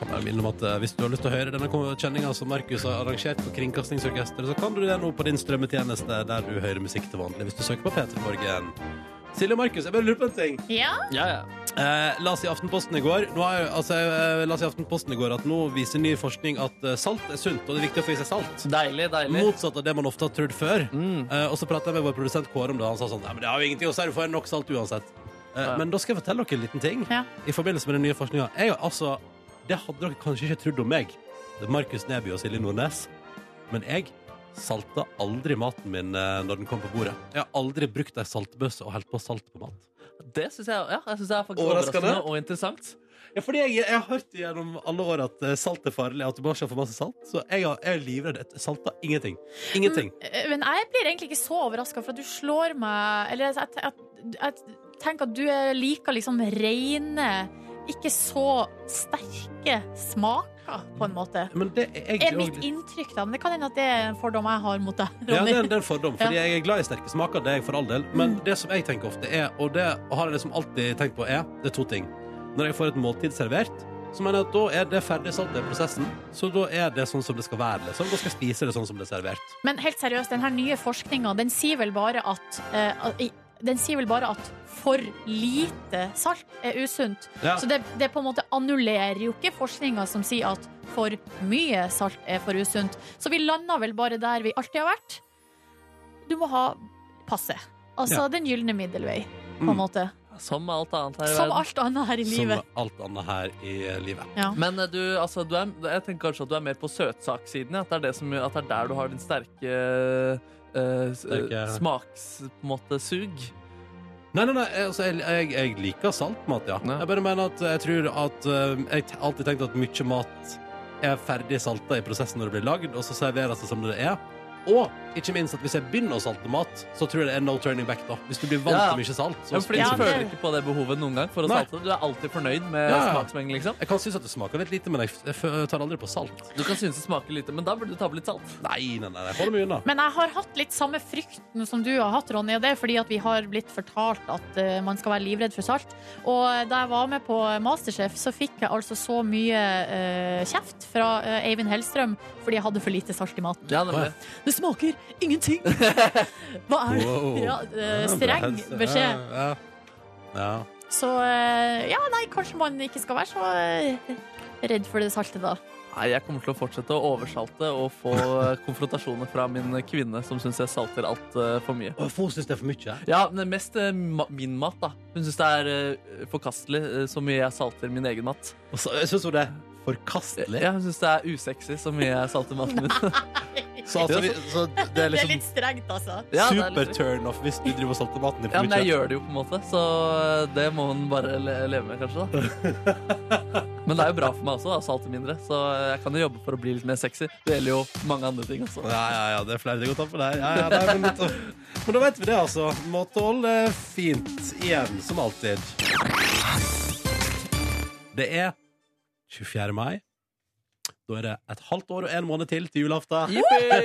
Speaker 1: Kan bare minne om at eh, Hvis du har lyst til å høre denne kjenninga som Markus har arrangert for Kringkastingsorkesteret, så kan du det nå på din strømmetjeneste der du hører musikk til vanlig, hvis du søker på P3 Morgen. Silje og Markus, jeg bare lurer på en ting.
Speaker 2: ja,
Speaker 3: Ja, ja.
Speaker 1: Eh, las i Aftenposten i går nå er, altså, jeg eh, las i Aftenposten i går at nå viser ny forskning at eh, salt er sunt, og det er viktig å få i seg salt.
Speaker 3: Deilig, deilig.
Speaker 1: Motsatt av det man ofte har trodd før.
Speaker 3: Mm.
Speaker 1: Eh, og så pratet jeg med vår produsent Kåre om det, og han sa sånn Nei, men det har jo ingenting å si, du får nok salt uansett. Eh,
Speaker 3: Ja.
Speaker 1: Men da skal jeg fortelle dere en liten ting
Speaker 2: Ja.
Speaker 1: i forbindelse med den nye forskninga. Altså, det hadde dere kanskje ikke trodd om meg, Det er Markus Neby og Silje Nordnes, men jeg salta aldri maten min eh, når den kom på bordet. Jeg har aldri brukt ei saltbøsse og helt på salt på mat.
Speaker 3: Det syns jeg, ja, jeg synes det er faktisk
Speaker 1: Overraskende.
Speaker 3: overraskende og interessant.
Speaker 1: Ja, fordi jeg, jeg har hørt gjennom alle år at eh, salt er farlig, at du bare skal få masse salt. Så jeg, har, jeg er livredd. Jeg Salta ingenting. Ingenting.
Speaker 2: eh, men jeg blir egentlig ikke så overraska, for at du slår meg Eller jeg, jeg, jeg, jeg tenker at du er- liker liksom reine, ikke så sterke smaker, på en måte.
Speaker 1: Men det er
Speaker 2: er
Speaker 1: egentlig også
Speaker 2: mitt
Speaker 1: litt-
Speaker 2: inntrykk, da. Men det kan hende at det er en fordom jeg har mot deg,
Speaker 1: Ja, det
Speaker 2: Ronny.
Speaker 1: er, en- det er en fordom, fordi
Speaker 2: Ja. Mm.
Speaker 1: jeg er glad i sterke smaker, det er jeg for all del. Men det som jeg tenker ofte er, og det har jeg liksom alltid tenkt på, er det er to ting. Når jeg får et måltid servert, så mener jeg at da er det ferdig salt i prosessen. Så da er det sånn som det skal være, liksom. Da skal jeg spise det sånn som det er servert.
Speaker 2: Men helt seriøst, den her nye forskninga, den sier vel bare at eh, i- den sier vel bare at for lite salt er usunt.
Speaker 1: Ja.
Speaker 2: Så det, det på en måte annullerer jo ikke forskninga som sier at for mye salt er for usunt. Så vi lander vel bare der vi alltid har vært. Du må ha passe. Altså
Speaker 1: Ja.
Speaker 2: den gylne middelvei, på
Speaker 1: Mm.
Speaker 2: en måte.
Speaker 3: Som med alt annet her i
Speaker 2: Som
Speaker 3: verden.
Speaker 2: alt annet her i
Speaker 1: Som
Speaker 2: livet.
Speaker 1: alt annet her i livet.
Speaker 2: Ja.
Speaker 3: Men eh, du, altså, du er, jeg tenker kanskje at du er mer på søtsaksiden. ja. At, det er det som- at det er der du har din sterke eh, s-
Speaker 1: Sterke-
Speaker 3: eh, smaks... På en måte sug.
Speaker 1: Nei, nei, nei, altså, jeg, jeg, jeg liker saltmat, ja.
Speaker 3: Ja.
Speaker 1: Jeg bare mener at jeg tror at eh, Jeg har alltid tenkt at mye mat er ferdig salta i prosessen når det blir lagd, og så serveres det som det er. Og ikke minst at hvis jeg begynner å salte mat, så tror jeg det er no turning back. da Hvis du blir vant
Speaker 3: Ja.
Speaker 1: til mye salt.
Speaker 3: Ja,
Speaker 1: Så
Speaker 3: fordi
Speaker 2: Ja,
Speaker 3: du
Speaker 1: spiser du
Speaker 3: føler
Speaker 2: det-
Speaker 3: ikke på det behovet noen gang for å
Speaker 1: Nei.
Speaker 3: salte det. Du er alltid fornøyd med
Speaker 1: Ja, ja.
Speaker 3: smaksmengden, liksom.
Speaker 1: Jeg kan synes at det smaker litt lite, men jeg, f- jeg f- tar aldri på salt.
Speaker 3: Du kan synes det smaker lite, men da burde du ta på litt salt.
Speaker 1: Nei, nei, nei, jeg holder meg unna.
Speaker 2: Men jeg har hatt litt samme frykten som du har hatt, Ronny. Og det er fordi at vi har blitt fortalt at eh, man skal være livredd for salt. Og eh, da jeg var med på Masterchef, så fikk jeg altså så mye eh, kjeft fra eh, Eivind Hellstrøm fordi jeg hadde for lite salt i maten.
Speaker 3: Ja, nemlig.
Speaker 2: Det smaker ingenting! Hva er det?
Speaker 1: Wow.
Speaker 2: Ja, eh, streng beskjed.
Speaker 1: Ja, ja. ja.
Speaker 2: Så eh, ja, nei, kanskje man ikke skal være så eh, redd for det salte, da.
Speaker 3: Nei, jeg kommer til å fortsette å oversalte og få eh, konfrontasjoner fra min kvinne som syns jeg salter altfor mye.
Speaker 1: Å, Folk syns det er for mye.
Speaker 3: Ja, men mest eh, ma min mat, da. Hun syns det er eh, forkastelig eh, så mye jeg salter min egen mat.
Speaker 1: Og så- Jeg syns jo det er forkastelig.
Speaker 3: Ja, hun syns det er usexy så mye jeg salter maten min.
Speaker 1: Så, altså, vi, så det er
Speaker 2: Det er
Speaker 1: liksom
Speaker 2: litt strengt, altså.
Speaker 3: Ja, det er litt
Speaker 1: super turn-off hvis du driver og salter maten din
Speaker 3: Ja,
Speaker 1: for
Speaker 3: men jeg
Speaker 1: mye.
Speaker 3: gjør det jo på en måte, så det må hun bare le leve med, kanskje. da Men det er jo bra for meg også, da, å salte mindre, så jeg kan jo jobbe for å bli litt mer sexy. Det gjelder jo mange andre ting også.
Speaker 1: Ja, ja, ja, det er flere ting å ta for deg. Ja, ja, nei, men, da- men da vet vi det, altså. Måtehold er fint igjen, som alltid. Det er 24. mai. Da er det et halvt år og en måned til til julaften.
Speaker 3: Yippee!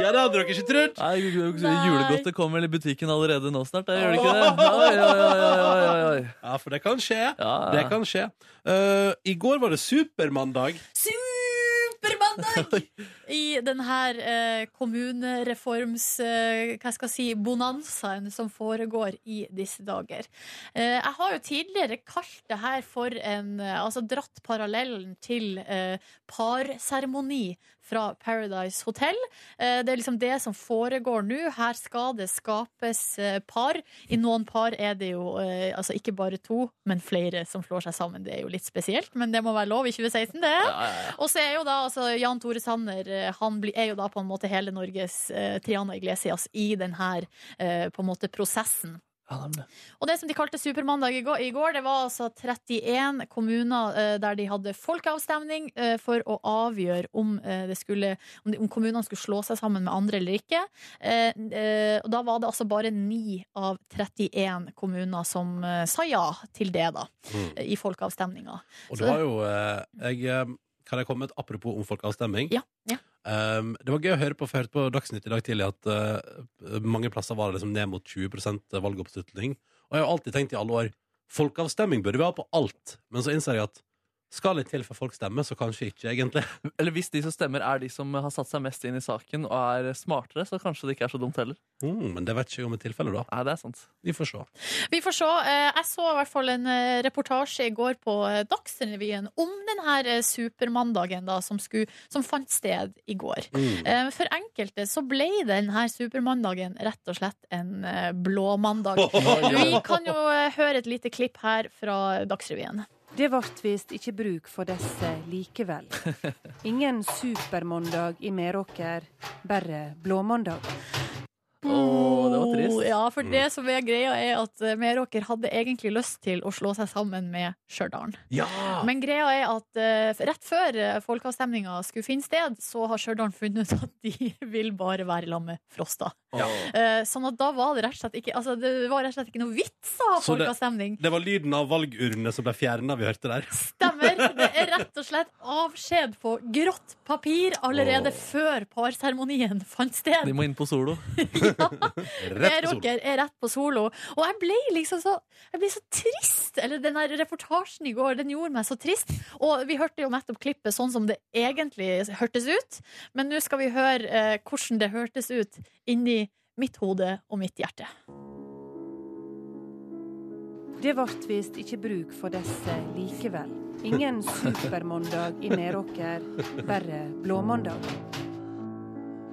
Speaker 1: Ja, det hadde dere ikke trodd!
Speaker 3: Nei, ju- ju-
Speaker 2: Nei.
Speaker 3: Julegodtet kommer vel i butikken allerede nå snart, da, gjør det ikke det? Oi, oi, oi, oi, oi, oi.
Speaker 1: Ja, for det kan skje.
Speaker 3: Ja,
Speaker 1: Det kan skje. Eh, I går var det supermandag.
Speaker 2: Supermandag! I den her eh, kommunereforms eh, hva skal jeg si, bonanzaen som foregår i disse dager. Eh, jeg har jo tidligere kalt det her for en eh, Altså dratt parallellen til eh, parseremoni fra Paradise Hotel. Eh, det er liksom det som foregår nå. Her skal det skapes eh, par. I noen par er det jo eh, altså ikke bare to, men flere som slår seg sammen. Det er jo litt spesielt, men det må være lov i 2016, det.
Speaker 3: Ja, ja, ja.
Speaker 2: Og så er jo da altså, Jan Tore Sanner eh, Han blir- er jo da på en måte hele Norges eh, Triana Iglesias i denne eh, på en måte prosessen.
Speaker 3: Ja, det er det.
Speaker 2: Og det som de kalte Supermandag i går, i går det var altså 31 kommuner eh, der de hadde folkeavstemning eh, for å avgjøre om, eh, det skulle, om, de, om kommunene skulle slå seg sammen med andre eller ikke. Eh, eh, og da var det altså bare 9 av 31 kommuner som eh, sa ja til det, da,
Speaker 1: Mm.
Speaker 2: eh, i folkeavstemninga.
Speaker 1: Og det var jo eh, jeg, eh, Kan jeg komme med et apropos om folkeavstemning?
Speaker 2: Ja, ja.
Speaker 1: Um, det var gøy å høre på, for jeg hørte på Dagsnytt i dag tidlig at eh, mange plasser var det liksom ned mot 20 valgoppslutning. Og jeg har alltid tenkt i alle år folkeavstemning burde vi ha på alt. Men så innser jeg at skal litt til før folk stemmer, så kanskje ikke, egentlig.
Speaker 3: Eller hvis de som stemmer, er de som har satt seg mest inn i saken og er smartere, så kanskje det ikke er så dumt heller.
Speaker 1: Mm, men det vet ikke jeg om er tilfellet, da.
Speaker 3: Nei, det er sant.
Speaker 1: Vi får se.
Speaker 2: Vi får se. Eh, Jeg så i hvert fall en eh, reportasje i går på eh, Dagsrevyen om denne supermandagen da, som, skulle, som fant sted i går.
Speaker 1: Mm.
Speaker 2: Eh, For enkelte så ble denne supermandagen rett og slett en eh, blåmandag. Vi kan jo eh, høre et lite klipp her fra Dagsrevyen.
Speaker 8: Det vart visst ikke bruk for disse likevel. Ingen supermandag i Meråker, bare blåmandag.
Speaker 3: Åh, det var trist. Mm.
Speaker 2: Ja, for det som er greia, er at eh, Meråker hadde egentlig lyst til å slå seg sammen med Stjørdal.
Speaker 1: Ja!
Speaker 2: Men greia er at eh, rett før uh, folkeavstemninga skulle finne sted, så har Stjørdal funnet ut at de vil bare være i lag med Frosta. Eh, sånn at da var det rett og slett ikke, altså, det var rett og slett ikke noe vits å
Speaker 1: Så
Speaker 2: ha
Speaker 1: det-
Speaker 2: folkeavstemning.
Speaker 1: Det var lyden av valgurnene som ble fjerna, vi hørte der.
Speaker 2: Stemmer. Det er rett og slett avskjed på grått papir allerede før parseremonien fant sted.
Speaker 3: De må inn på solo.
Speaker 1: Rett på solen.
Speaker 2: Meråker er rett på solo. Og jeg ble liksom så, jeg ble så trist. Eller den der reportasjen i går, den gjorde meg så trist. Og vi hørte jo nettopp klippet sånn som det egentlig hørtes ut. Men nå skal vi høre eh, hvordan det hørtes ut inni mitt hode og mitt hjerte.
Speaker 8: Det vart visst ikke bruk for disse likevel. Ingen supermandag i Meråker, bare blåmandag.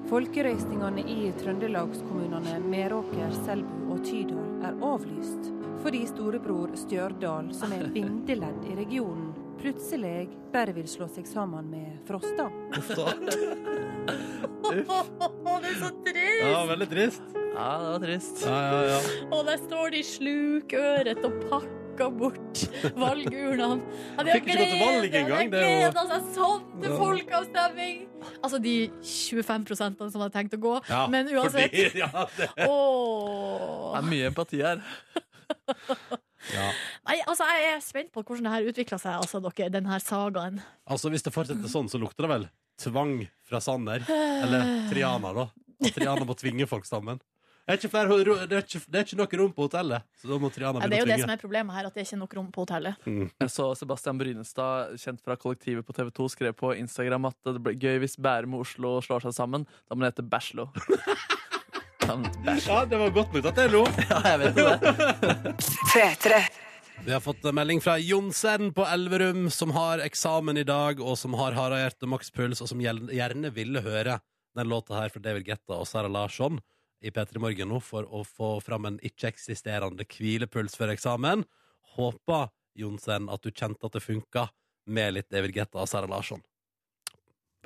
Speaker 8: Folkerøystingene i trøndelagskommunene Meråker, Selbu og Tydal er avlyst fordi storebror Stjørdal, som er bindeledd i regionen, plutselig bare vil slå seg sammen med Frosta.
Speaker 2: det er så trist!
Speaker 1: Ja, veldig trist.
Speaker 3: Ja, det var trist.
Speaker 1: Ja, ja, ja.
Speaker 2: Og der står de slukøret og pakker bort valgurnene. Ja, de har
Speaker 1: Fikk ikke gå til
Speaker 2: gleda-
Speaker 1: valg engang,
Speaker 2: De
Speaker 1: det er jo-
Speaker 2: gleda seg sånn til
Speaker 1: Ja.
Speaker 2: folkeavstemning! Altså de 25 som hadde tenkt å gå,
Speaker 1: Ja,
Speaker 2: men uansett.
Speaker 1: Fordi, ja, det,
Speaker 3: Det
Speaker 2: Åh.
Speaker 3: er mye empati her.
Speaker 1: ja.
Speaker 2: Nei, altså, jeg er spent på hvordan det her utvikla seg, altså, dere, den her sagaen.
Speaker 1: Altså, hvis det fortsetter sånn, så lukter det vel tvang fra Sander. Eller Triana, da. Og Triana må tvinge folk sammen. Det er ikke, flere, ro- det er ikke, det er ikke nok rom på hotellet, så da må Triana
Speaker 2: Ja, det er
Speaker 1: begynne å
Speaker 2: jo det som
Speaker 1: tvinge.
Speaker 2: er problemet her, at det er ikke nok rom på hotellet.
Speaker 3: Jeg så Sebastian Brynestad, kjent fra Kollektivet på TV2, skrev på Instagram at det ble gøy hvis Bærum og Oslo slår seg sammen. Da må det hete Bæslo. Ja, men Bæsj.
Speaker 1: Ja, det var godt nytt at det er lov.
Speaker 3: Ja, jeg vet jo det.
Speaker 1: Vi har fått en melding fra Jonsen på Elverum, som har eksamen i dag, og som har harde hjerte og makspuls, og som gjel- gjerne ville høre den låta her fra David Guetta og Sara Larsson i P3 Morgen nå, for å få fram en ikke-eksisterende hvilepuls før eksamen. Håper, Jonsen, at du kjente at det funka med litt David Guetta og Sara Larsson.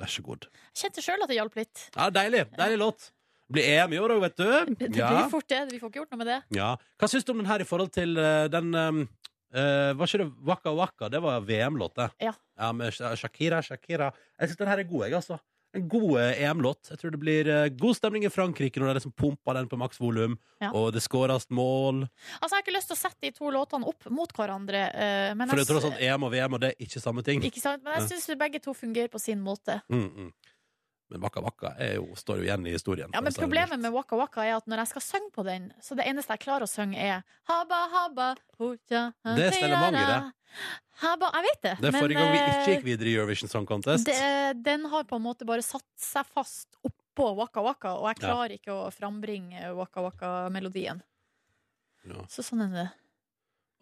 Speaker 1: Vær så god.
Speaker 2: Jeg kjente sjøl at det hjalp litt.
Speaker 1: Ja, deilig. Deilig låt. Blir EM i år òg, vet du.
Speaker 2: Det det
Speaker 1: Ja.
Speaker 2: blir fort det. Vi får ikke gjort noe med det.
Speaker 1: Ja. Hva syns du om den her i forhold til eh, den um, eh, Var ikke det Waka Waka? Det var VM-låt, det.
Speaker 2: Ja.
Speaker 1: med Sha- Shakira, Shakira. Jeg syns den her er god, jeg, altså. En god eh, EM-låt. Jeg tror det blir eh, god stemning i Frankrike når de liksom pumper den på maks volum,
Speaker 2: Ja.
Speaker 1: og det skåres mål.
Speaker 2: Altså, Jeg har ikke lyst til å sette de to låtene opp mot hverandre. eh, Men
Speaker 1: For det
Speaker 2: jeg,
Speaker 1: er tross alt EM og VM, og det er ikke samme ting.
Speaker 2: ikke sant? Men jeg syns begge to fungerer på sin måte.
Speaker 1: Mm, mm. Men Waka Waka er jo, står jo igjen i historien.
Speaker 2: Ja, men
Speaker 1: Så er det
Speaker 2: Problemet
Speaker 1: litt-
Speaker 2: med Waka Waka er at når jeg skal synge på den, så det eneste jeg klarer å synge, er Haba, haba, hoja,
Speaker 1: Det er Stella Manger, det.
Speaker 2: Haba, jeg vet det.
Speaker 1: Det er forrige gang vi ikke gikk
Speaker 2: videre.
Speaker 1: videre i Eurovision Song Contest.
Speaker 2: Den har på en måte bare satt seg fast oppå Waka Waka, og jeg
Speaker 1: Ja.
Speaker 2: klarer ikke å frambringe Waka Waka-melodien.
Speaker 1: Ja.
Speaker 2: Så sånn er det.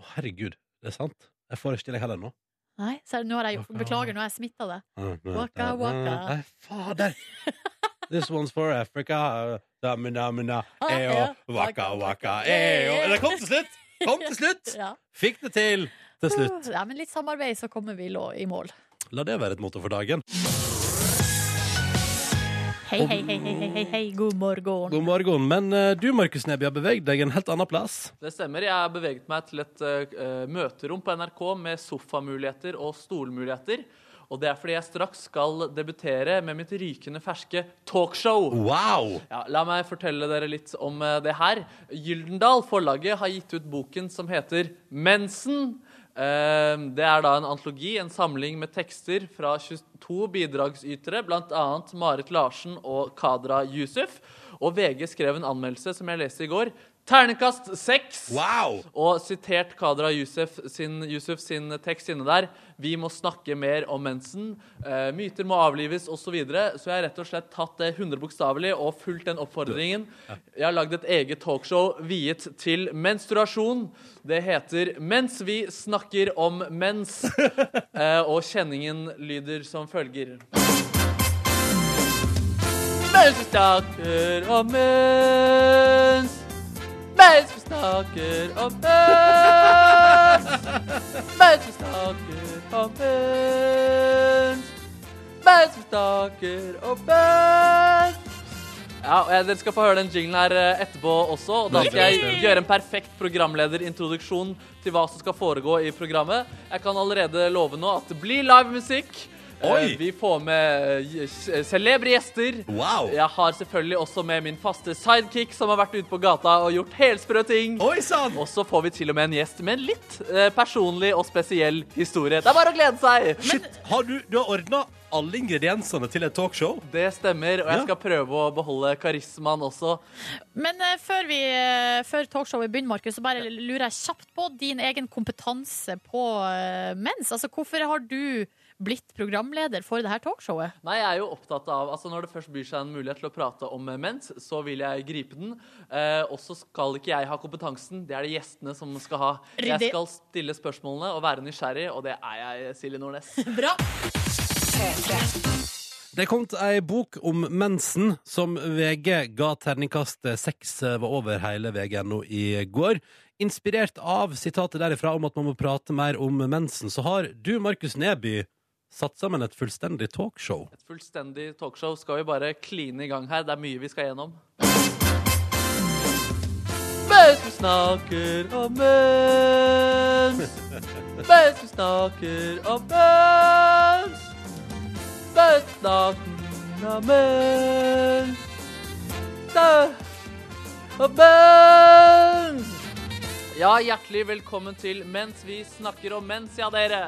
Speaker 1: Å, herregud, det er sant. Jeg får ikke til det heller nå.
Speaker 2: Nei, så nå har jeg,
Speaker 1: Waka
Speaker 2: beklager, nå har jeg smitta det.
Speaker 1: Waka
Speaker 2: Waka, waka.
Speaker 1: Nei, fader! This one's for Africa. Dami, dami, da.
Speaker 2: Ah,
Speaker 1: Eo.
Speaker 2: ja.
Speaker 1: Waka, waka. Eo. Det kom til slutt! Kom til slutt!
Speaker 2: Ja.
Speaker 1: Fikk det til! Til slutt.
Speaker 2: Ja, men litt samarbeid, så kommer vi lå i mål.
Speaker 1: La det være et motto for dagen.
Speaker 2: Hei, hei, hei, hei, hei, hei, hei. god morgen.
Speaker 1: God morgen. Men eh, du, Markus Neby, har beveget deg en helt annen plass.
Speaker 3: Det stemmer. Jeg har beveget meg til et eh, møterom på NRK med sofamuligheter og stolmuligheter. Og det er fordi jeg straks skal debutere med mitt rykende ferske talkshow.
Speaker 1: Wow!
Speaker 3: Ja, la meg fortelle dere litt om eh, det her. Gyldendal forlaget har gitt ut boken som heter Mensen. Eh, Det er da en antologi, en samling med tekster fra 22 bidragsytere, bl.a. Marit Larsen og Kadra Yusuf. Og VG skrev en anmeldelse som jeg leste i går. Ternekast seks!
Speaker 1: Wow!
Speaker 3: Og sitert Kadra Yusuf sin, Yusuf sin tekst inne der. Vi må snakke mer om mensen. eh, myter må avlives, osv. Så, videre. så jeg har rett og slett tatt det 100 bokstavelig og fulgt den oppfordringen. Jeg har lagd et eget talkshow viet til menstruasjon. Det heter Mens vi snakker om mens. Eh, og kjenningen lyder som følger. Mens vi snakker om mens. Mens vi snakker om mens. Mens vi snakker om mens. Mens vi snakker om mens. Ja, og jeg- Dere skal få høre den jinglen her eh, etterpå også. Og da skal jeg gjøre en perfekt programlederintroduksjon til hva som skal foregå i programmet. Jeg kan allerede love nå at det blir live musikk. Eh,
Speaker 1: Oi!
Speaker 3: Vi får med eh, celebre gjester.
Speaker 1: Wow!
Speaker 3: Jeg har selvfølgelig også med min faste sidekick, som har vært ute på gata og gjort helsprø ting.
Speaker 1: Oi sann!
Speaker 3: Og så får vi til og med en gjest med en litt eh, personlig og spesiell historie. Det er bare å glede seg!
Speaker 1: Shit! Har du, du har ordna alle ingrediensene til et talkshow?
Speaker 3: Det stemmer, og
Speaker 1: Ja.
Speaker 3: jeg skal prøve å beholde karismaen også.
Speaker 2: Men eh, før, vi, eh, før talkshowet begynner, Markus, så bare lurer jeg kjapt på din egen kompetanse på eh, mens. Altså, hvorfor har du blitt programleder for det her talkshowet?
Speaker 3: Nei, jeg er jo opptatt av altså Når det først byr seg en mulighet til å prate om eh, mens, så vil jeg gripe den. Eh, og så skal ikke jeg ha kompetansen, det er det gjestene som skal ha.
Speaker 2: Ryddig.
Speaker 3: Jeg skal stille spørsmålene og være nysgjerrig, og det er jeg, Silje Nordnes.
Speaker 2: Bra!
Speaker 1: Det kom til ei bok om mensen som VG ga terningkast seks eh, var over hele VG.no i går. Inspirert av sitatet derifra om at man må prate mer om mensen, så har du, Markus Neby, satt sammen et fullstendig talkshow.
Speaker 3: Et fullstendig talkshow skal vi bare kline i gang her. Det er mye vi skal gjennom. Mens vi snakker om mens. Mens vi snakker om mens. Mens vi snakker om mens. Da- Om mens. Ja, hjertelig velkommen til Mens vi snakker om mens, ja, dere.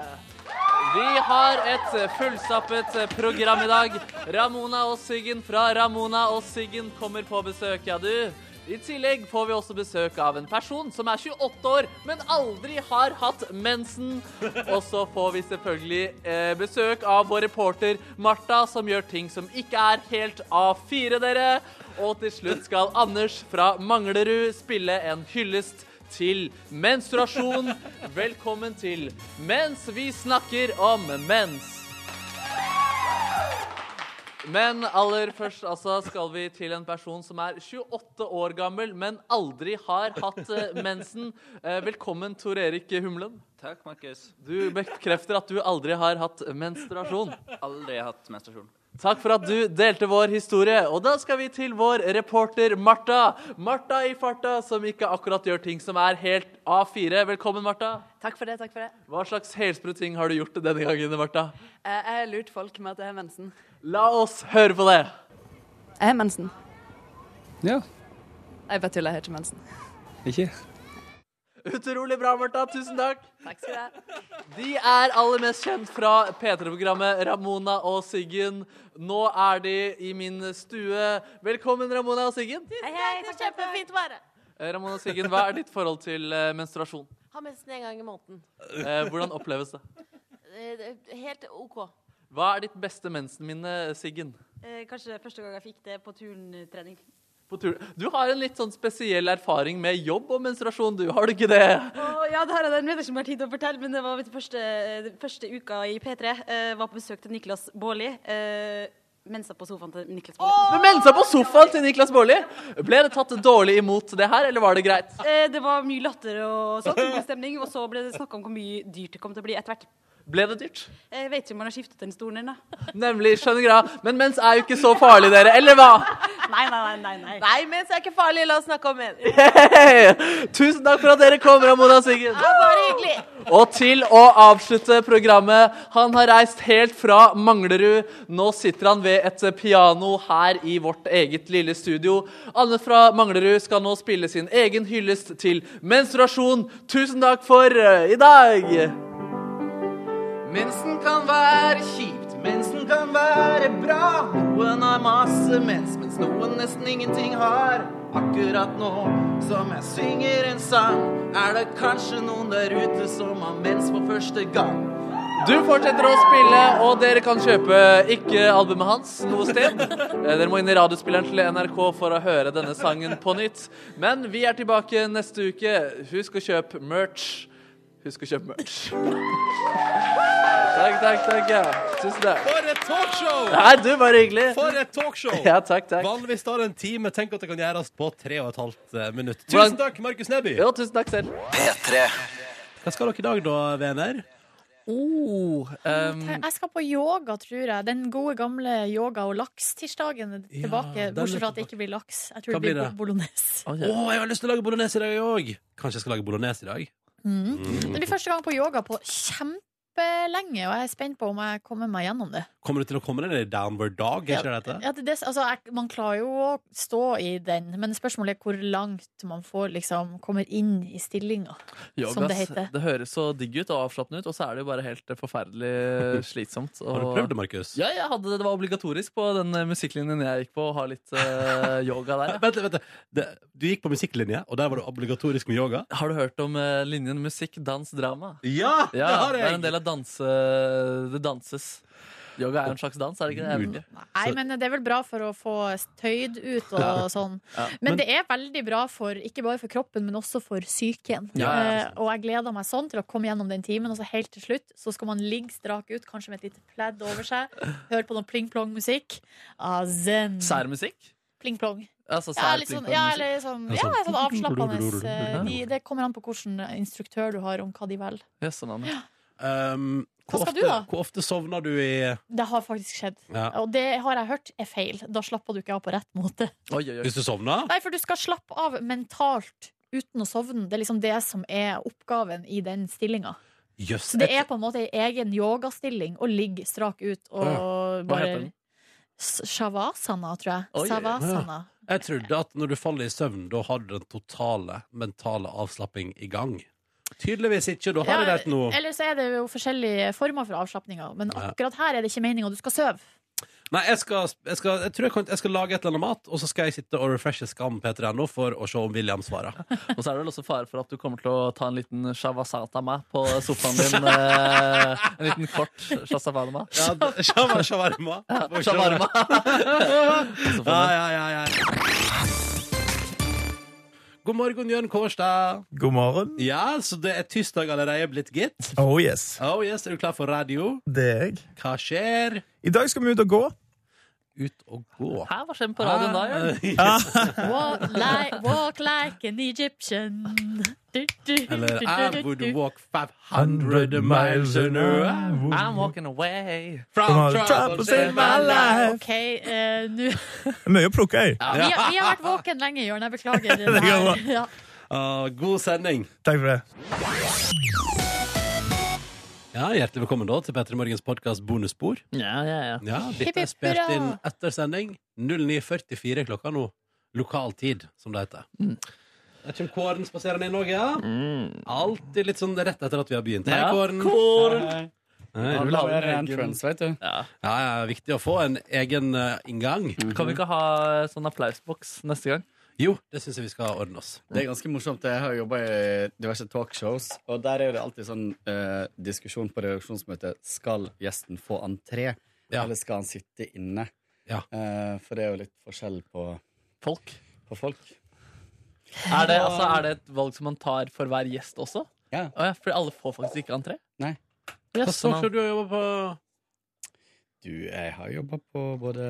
Speaker 3: Vi har et fullstappet program i dag. Ramona og Siggen fra Ramona og Siggen kommer på besøk, ja du. I tillegg får vi også besøk av en person som er 28 år, men aldri har hatt mensen. Og så får vi selvfølgelig eh, besøk av vår reporter Martha, som gjør ting som ikke er helt A4, dere. Og til slutt skal Anders fra Manglerud spille en hyllest til menstruasjon. Velkommen til Mens vi snakker om mens. Men aller først altså, skal vi til en person som er 28 år gammel, men aldri har hatt eh, mensen. Eh, Velkommen, Tor Erik Humlen.
Speaker 9: Takk, Markus.
Speaker 3: Du bekrefter at du aldri har hatt menstruasjon.
Speaker 9: Aldri hatt menstruasjon.
Speaker 3: Takk for at du delte vår historie. Og da skal vi til vår reporter Martha. Martha i farta, som ikke akkurat gjør ting som er helt A4. Velkommen, Martha.
Speaker 10: Takk for det. takk for det.
Speaker 3: Hva slags helsprø ting har du gjort denne gangen, Martha?
Speaker 10: Eh, Jeg har lurt folk med at jeg har mensen.
Speaker 3: La oss høre på det.
Speaker 10: Jeg har mensen.
Speaker 9: Ja.
Speaker 10: Jeg bare tuller, jeg har ikke mensen.
Speaker 9: Ikke?
Speaker 3: Utrolig bra, Martha. Tusen takk.
Speaker 10: Takk skal du ha.
Speaker 3: De er aller mest kjent fra P3-programmet Ramona og Siggen. Nå er de i min stue. Velkommen, Ramona og Siggen.
Speaker 10: Hei, hei.
Speaker 2: Det er kjempefint å være
Speaker 3: Eh, Ramona og Siggen, Hva er ditt forhold til eh, menstruasjon?
Speaker 10: Har mensen en gang i måneden. Eh,
Speaker 3: Eh, Hvordan oppleves det?
Speaker 10: Helt OK.
Speaker 3: Hva er ditt beste mensenminne, Siggen?
Speaker 10: Eh, Kanskje første gang jeg fikk det på turntrening.
Speaker 3: På tur. Du har en litt sånn spesiell erfaring med jobb og menstruasjon, du. Har du ikke det?
Speaker 10: Oh, ja, det her er det. Jeg vet ikke om jeg har tid til å fortelle, men det var mitt første, den første uka i P3. Jeg var på besøk til Niklas Baarli. Eh, Mensa på sofaen til Niklas Baarli.
Speaker 3: Du meldte seg på sofaen til Niklas Baarli. Ble det tatt dårlig imot det her, eller var det greit?
Speaker 10: Eh, Det var mye latter og sånn, god stemning. Og så ble det snakka om hvor mye dyrt det kom til å bli etter hvert.
Speaker 3: Ble det dyrt?
Speaker 10: Jeg vet ikke om han har skiftet den stolen ennå.
Speaker 3: Nemlig. Skjønner greia. Men mens er jo ikke så farlig, dere. Eller hva?
Speaker 10: Nei, nei, nei. nei, nei.
Speaker 2: Nei, mens er ikke farlig, la oss snakke om mens
Speaker 3: Hei! Tusen takk for at dere kom, Ramona og Siggen.
Speaker 2: Bare hyggelig
Speaker 3: Og til å avslutte programmet Han har reist helt fra Manglerud. Nå sitter han ved et piano her i vårt eget lille studio. Anne fra Manglerud skal nå spille sin egen hyllest til menstruasjon. Tusen takk for eh, i dag!
Speaker 9: Mensen kan være kjipt, mensen kan være bra. Noen har masse mens, mens noen nesten ingenting har. Akkurat nå som jeg synger en sang, er det kanskje noen der ute som har mens for første gang.
Speaker 3: Du fortsetter å spille, og dere kan kjøpe ikke albumet hans noe sted. Eh, Dere må inn i radiospilleren til NRK for å høre denne sangen på nytt. Men vi er tilbake neste uke. Husk å kjøpe merch. Husk å kjøpe merch. Takk, takk, takk. Ja. Tusen takk.
Speaker 1: For et talkshow!
Speaker 3: Nei, du, bare hyggelig.
Speaker 1: For et talkshow!
Speaker 3: Ja, takk, takk.
Speaker 1: Vanligvis tar det en time. Tenk at det kan gjøres på tre og et halvt eh, minutt.
Speaker 3: Hvordan-
Speaker 1: Tusen takk, Markus Neby.
Speaker 3: Jo, tusen takk selv.
Speaker 1: Hva skal dere i dag, da, venner?
Speaker 3: Oh, um,
Speaker 2: Jeg skal på yoga, tror jeg Den gode gamle yoga- og laks-tirsdagen er
Speaker 1: Ja,
Speaker 2: tilbake
Speaker 1: den er
Speaker 2: Bortsett fra at
Speaker 1: tilbake.
Speaker 2: det ikke blir laks Jeg tror
Speaker 1: Hva
Speaker 2: det blir
Speaker 1: blir
Speaker 2: bo-
Speaker 1: det?
Speaker 2: bolognese
Speaker 1: Å, jeg har lyst til å lage bolognese i dag òg. Kanskje jeg skal lage bolognese i dag?
Speaker 2: Mm. Det blir første gang på yoga på kjempelenge Og jeg er spent på om jeg kommer meg gjennom det
Speaker 1: Kommer du til å komme ned i downward dog? Er ikke det det heter?
Speaker 2: Ja, det, det, altså, jeg, man klarer jo å stå i den, men spørsmålet er hvor langt man får liksom kommer inn i stillinga.
Speaker 3: yoga,
Speaker 2: som det
Speaker 3: ass.
Speaker 2: heter.
Speaker 3: Det høres så digg ut og avslappende ut, og så er det jo bare helt eh, forferdelig slitsomt. Og...
Speaker 1: Har du prøvd det, Markus?
Speaker 3: Ja, jeg hadde det. Det var obligatorisk på den eh, musikklinjen jeg gikk på, å ha litt eh, yoga der. Ja.
Speaker 1: Vent, vent, vent. Det, du gikk på musikklinje, og der var det obligatorisk med yoga?
Speaker 3: Har du hørt om eh, linjen musikk, dans, drama?
Speaker 1: Ja,
Speaker 3: Ja, det er en del av danse... Det danses. Yoga er jo en slags dans, er det ikke det? Mm. Jeg vet ikke.
Speaker 2: Nei, men det er vel bra for å få tøyd ut og sånn.
Speaker 3: Ja.
Speaker 2: Men det er veldig bra for, ikke bare for kroppen, men også for psyken.
Speaker 3: Ja, ja, ja.
Speaker 2: Eh, og jeg gleder meg sånn til å komme gjennom den timen, og så helt til slutt så skal man ligge strak ut, kanskje med et lite pledd over seg, høre på noe pling-plong-musikk. Ah, zen.
Speaker 3: Særmusikk?
Speaker 2: Pling-plong.
Speaker 3: Altså,
Speaker 2: Ja,
Speaker 3: sær
Speaker 2: litt sånn,
Speaker 3: type
Speaker 2: ja,
Speaker 3: musikk.
Speaker 2: eller sånn, ja, sånn avslappende. eh, De, det kommer an på hvilken instruktør du har, om hva de velger.
Speaker 3: Yes, sånn, Anne.
Speaker 1: Um, hvor,
Speaker 2: Hva skal
Speaker 1: ofte,
Speaker 2: du da?
Speaker 1: hvor ofte sovner du i
Speaker 2: Det har faktisk skjedd.
Speaker 1: ja.
Speaker 2: Og det har jeg hørt er feil. Da slapper du ikke av på rett måte.
Speaker 3: Oi, oi, oi.
Speaker 1: Hvis du sovner?
Speaker 2: Nei, for du skal slappe av mentalt uten å sovne. Det er liksom det som er oppgaven i den stillinga.
Speaker 1: Jøss.
Speaker 2: Så det er på en måte ei egen yogastilling å ligge strak ut og
Speaker 3: Hva heter
Speaker 2: bare
Speaker 3: den?
Speaker 2: S- Shavasana, tror jeg.
Speaker 3: Oi, oi, oi.
Speaker 2: Savasana.
Speaker 1: Jeg trodde at når du faller i søvn, da har du den totale mentale avslapping i gang. Tydeligvis ikke. Da har jeg
Speaker 2: Ja,
Speaker 1: lært noe.
Speaker 2: Eller så er det jo forskjellige former for avslapninger. Men
Speaker 1: Ja.
Speaker 2: akkurat her er det ikke meninga du skal sove.
Speaker 1: Nei, jeg, skal, jeg, skal, jeg tror jeg, kan, jeg skal lage et eller annet mat, og så skal jeg sitte og refreshe skam P3.no for å se om William svarer.
Speaker 3: Og så er det vel også fare for at du kommer til å ta en liten shavasatama på sofaen din. eh, En liten kort shasafalama.
Speaker 1: Ja, det- shawarma, shawarma.
Speaker 3: Shawarma. På sofaen din.
Speaker 1: Ja, ja, ja, ja. God morgen, Jørn Kårstad.
Speaker 4: God morgen.
Speaker 1: Ja, så det er tirsdag allerede blitt, gitt.
Speaker 4: Oh yes,
Speaker 1: Oh yes, er du klar for radio?
Speaker 4: det er jeg.
Speaker 1: Hva skjer?
Speaker 4: I dag skal vi ut og gå.
Speaker 1: Ut og gå.
Speaker 3: Hæ, hva skjer på radioen da? Jørn?
Speaker 2: Walk like, walk like an Egyptian. Du, du, du,
Speaker 1: Eller
Speaker 2: du,
Speaker 1: I
Speaker 2: du,
Speaker 1: would
Speaker 2: du.
Speaker 1: walk 500 miles an hour
Speaker 3: I'm walking away.
Speaker 1: from troubles in my life.
Speaker 2: OK, eh, nå
Speaker 4: Mye å plukke i.
Speaker 2: vi, har- vi har vært våken lenge, Jørn. Jeg beklager.
Speaker 4: går
Speaker 2: Det her.
Speaker 4: bra.
Speaker 2: Ja.
Speaker 1: Ah, god sending.
Speaker 4: Takk for det.
Speaker 1: Ja, Hjertelig velkommen da til Petter i Morgens podkast Bonusspor.
Speaker 3: Ja, ja, ja.
Speaker 1: Ja,
Speaker 2: Hipp,
Speaker 1: Dette er
Speaker 2: hipp,
Speaker 1: spilt
Speaker 2: hurra.
Speaker 1: inn etter sending. 09.44 klokka nå. Lokal tid, som det heter. Der kommer Kåren spaserende inn òg, ja. Alltid litt sånn rett etter at vi har begynt. Hei,
Speaker 3: Ja,
Speaker 1: Kåren.
Speaker 3: Kåren.
Speaker 1: Hei.
Speaker 3: Du vil ha den reggen. Ja.
Speaker 1: Ja, ja, viktig å få en egen eh, inngang.
Speaker 3: Kan vi ikke ha sånn applausboks neste gang?
Speaker 1: Jo, det syns jeg vi skal ordne oss.
Speaker 11: Det er ganske morsomt. Jeg har jobba i diverse talkshows, og der er det alltid sånn eh, diskusjon på redaksjonsmøtet Skal gjesten få entré,
Speaker 1: Ja.
Speaker 11: eller skal han sitte inne?
Speaker 1: Ja.
Speaker 11: Eh, for det er jo litt forskjell på,
Speaker 3: Folk.
Speaker 11: på folk.
Speaker 3: Er det, altså, er det et valg som man tar for hver gjest også?
Speaker 11: Ja.
Speaker 3: Å ja, fordi alle får faktisk ikke entré?
Speaker 11: Nei.
Speaker 3: Yes,
Speaker 1: Hva
Speaker 3: sånn.
Speaker 1: står du og jobber på?
Speaker 11: Du, jeg har jobba på både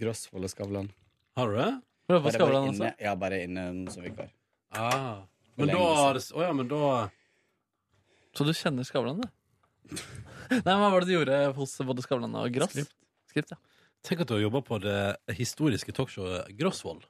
Speaker 11: Grosvoll og Skavlan.
Speaker 1: Har du det?
Speaker 3: Prøv
Speaker 11: Bare,
Speaker 3: på
Speaker 11: bare,
Speaker 3: Skavlan også.
Speaker 11: inne, ja, bare inne som vikar.
Speaker 1: Ah.
Speaker 11: For
Speaker 1: Men da
Speaker 11: lenge
Speaker 1: har det Å ja, men da
Speaker 3: Så du kjenner Skavlan, du? Nei, men Hva var det du gjorde hos både Skavlan og Grass? Skript. ja.
Speaker 1: Tenk at du har jobba på det historiske talkshowet Grosvoll.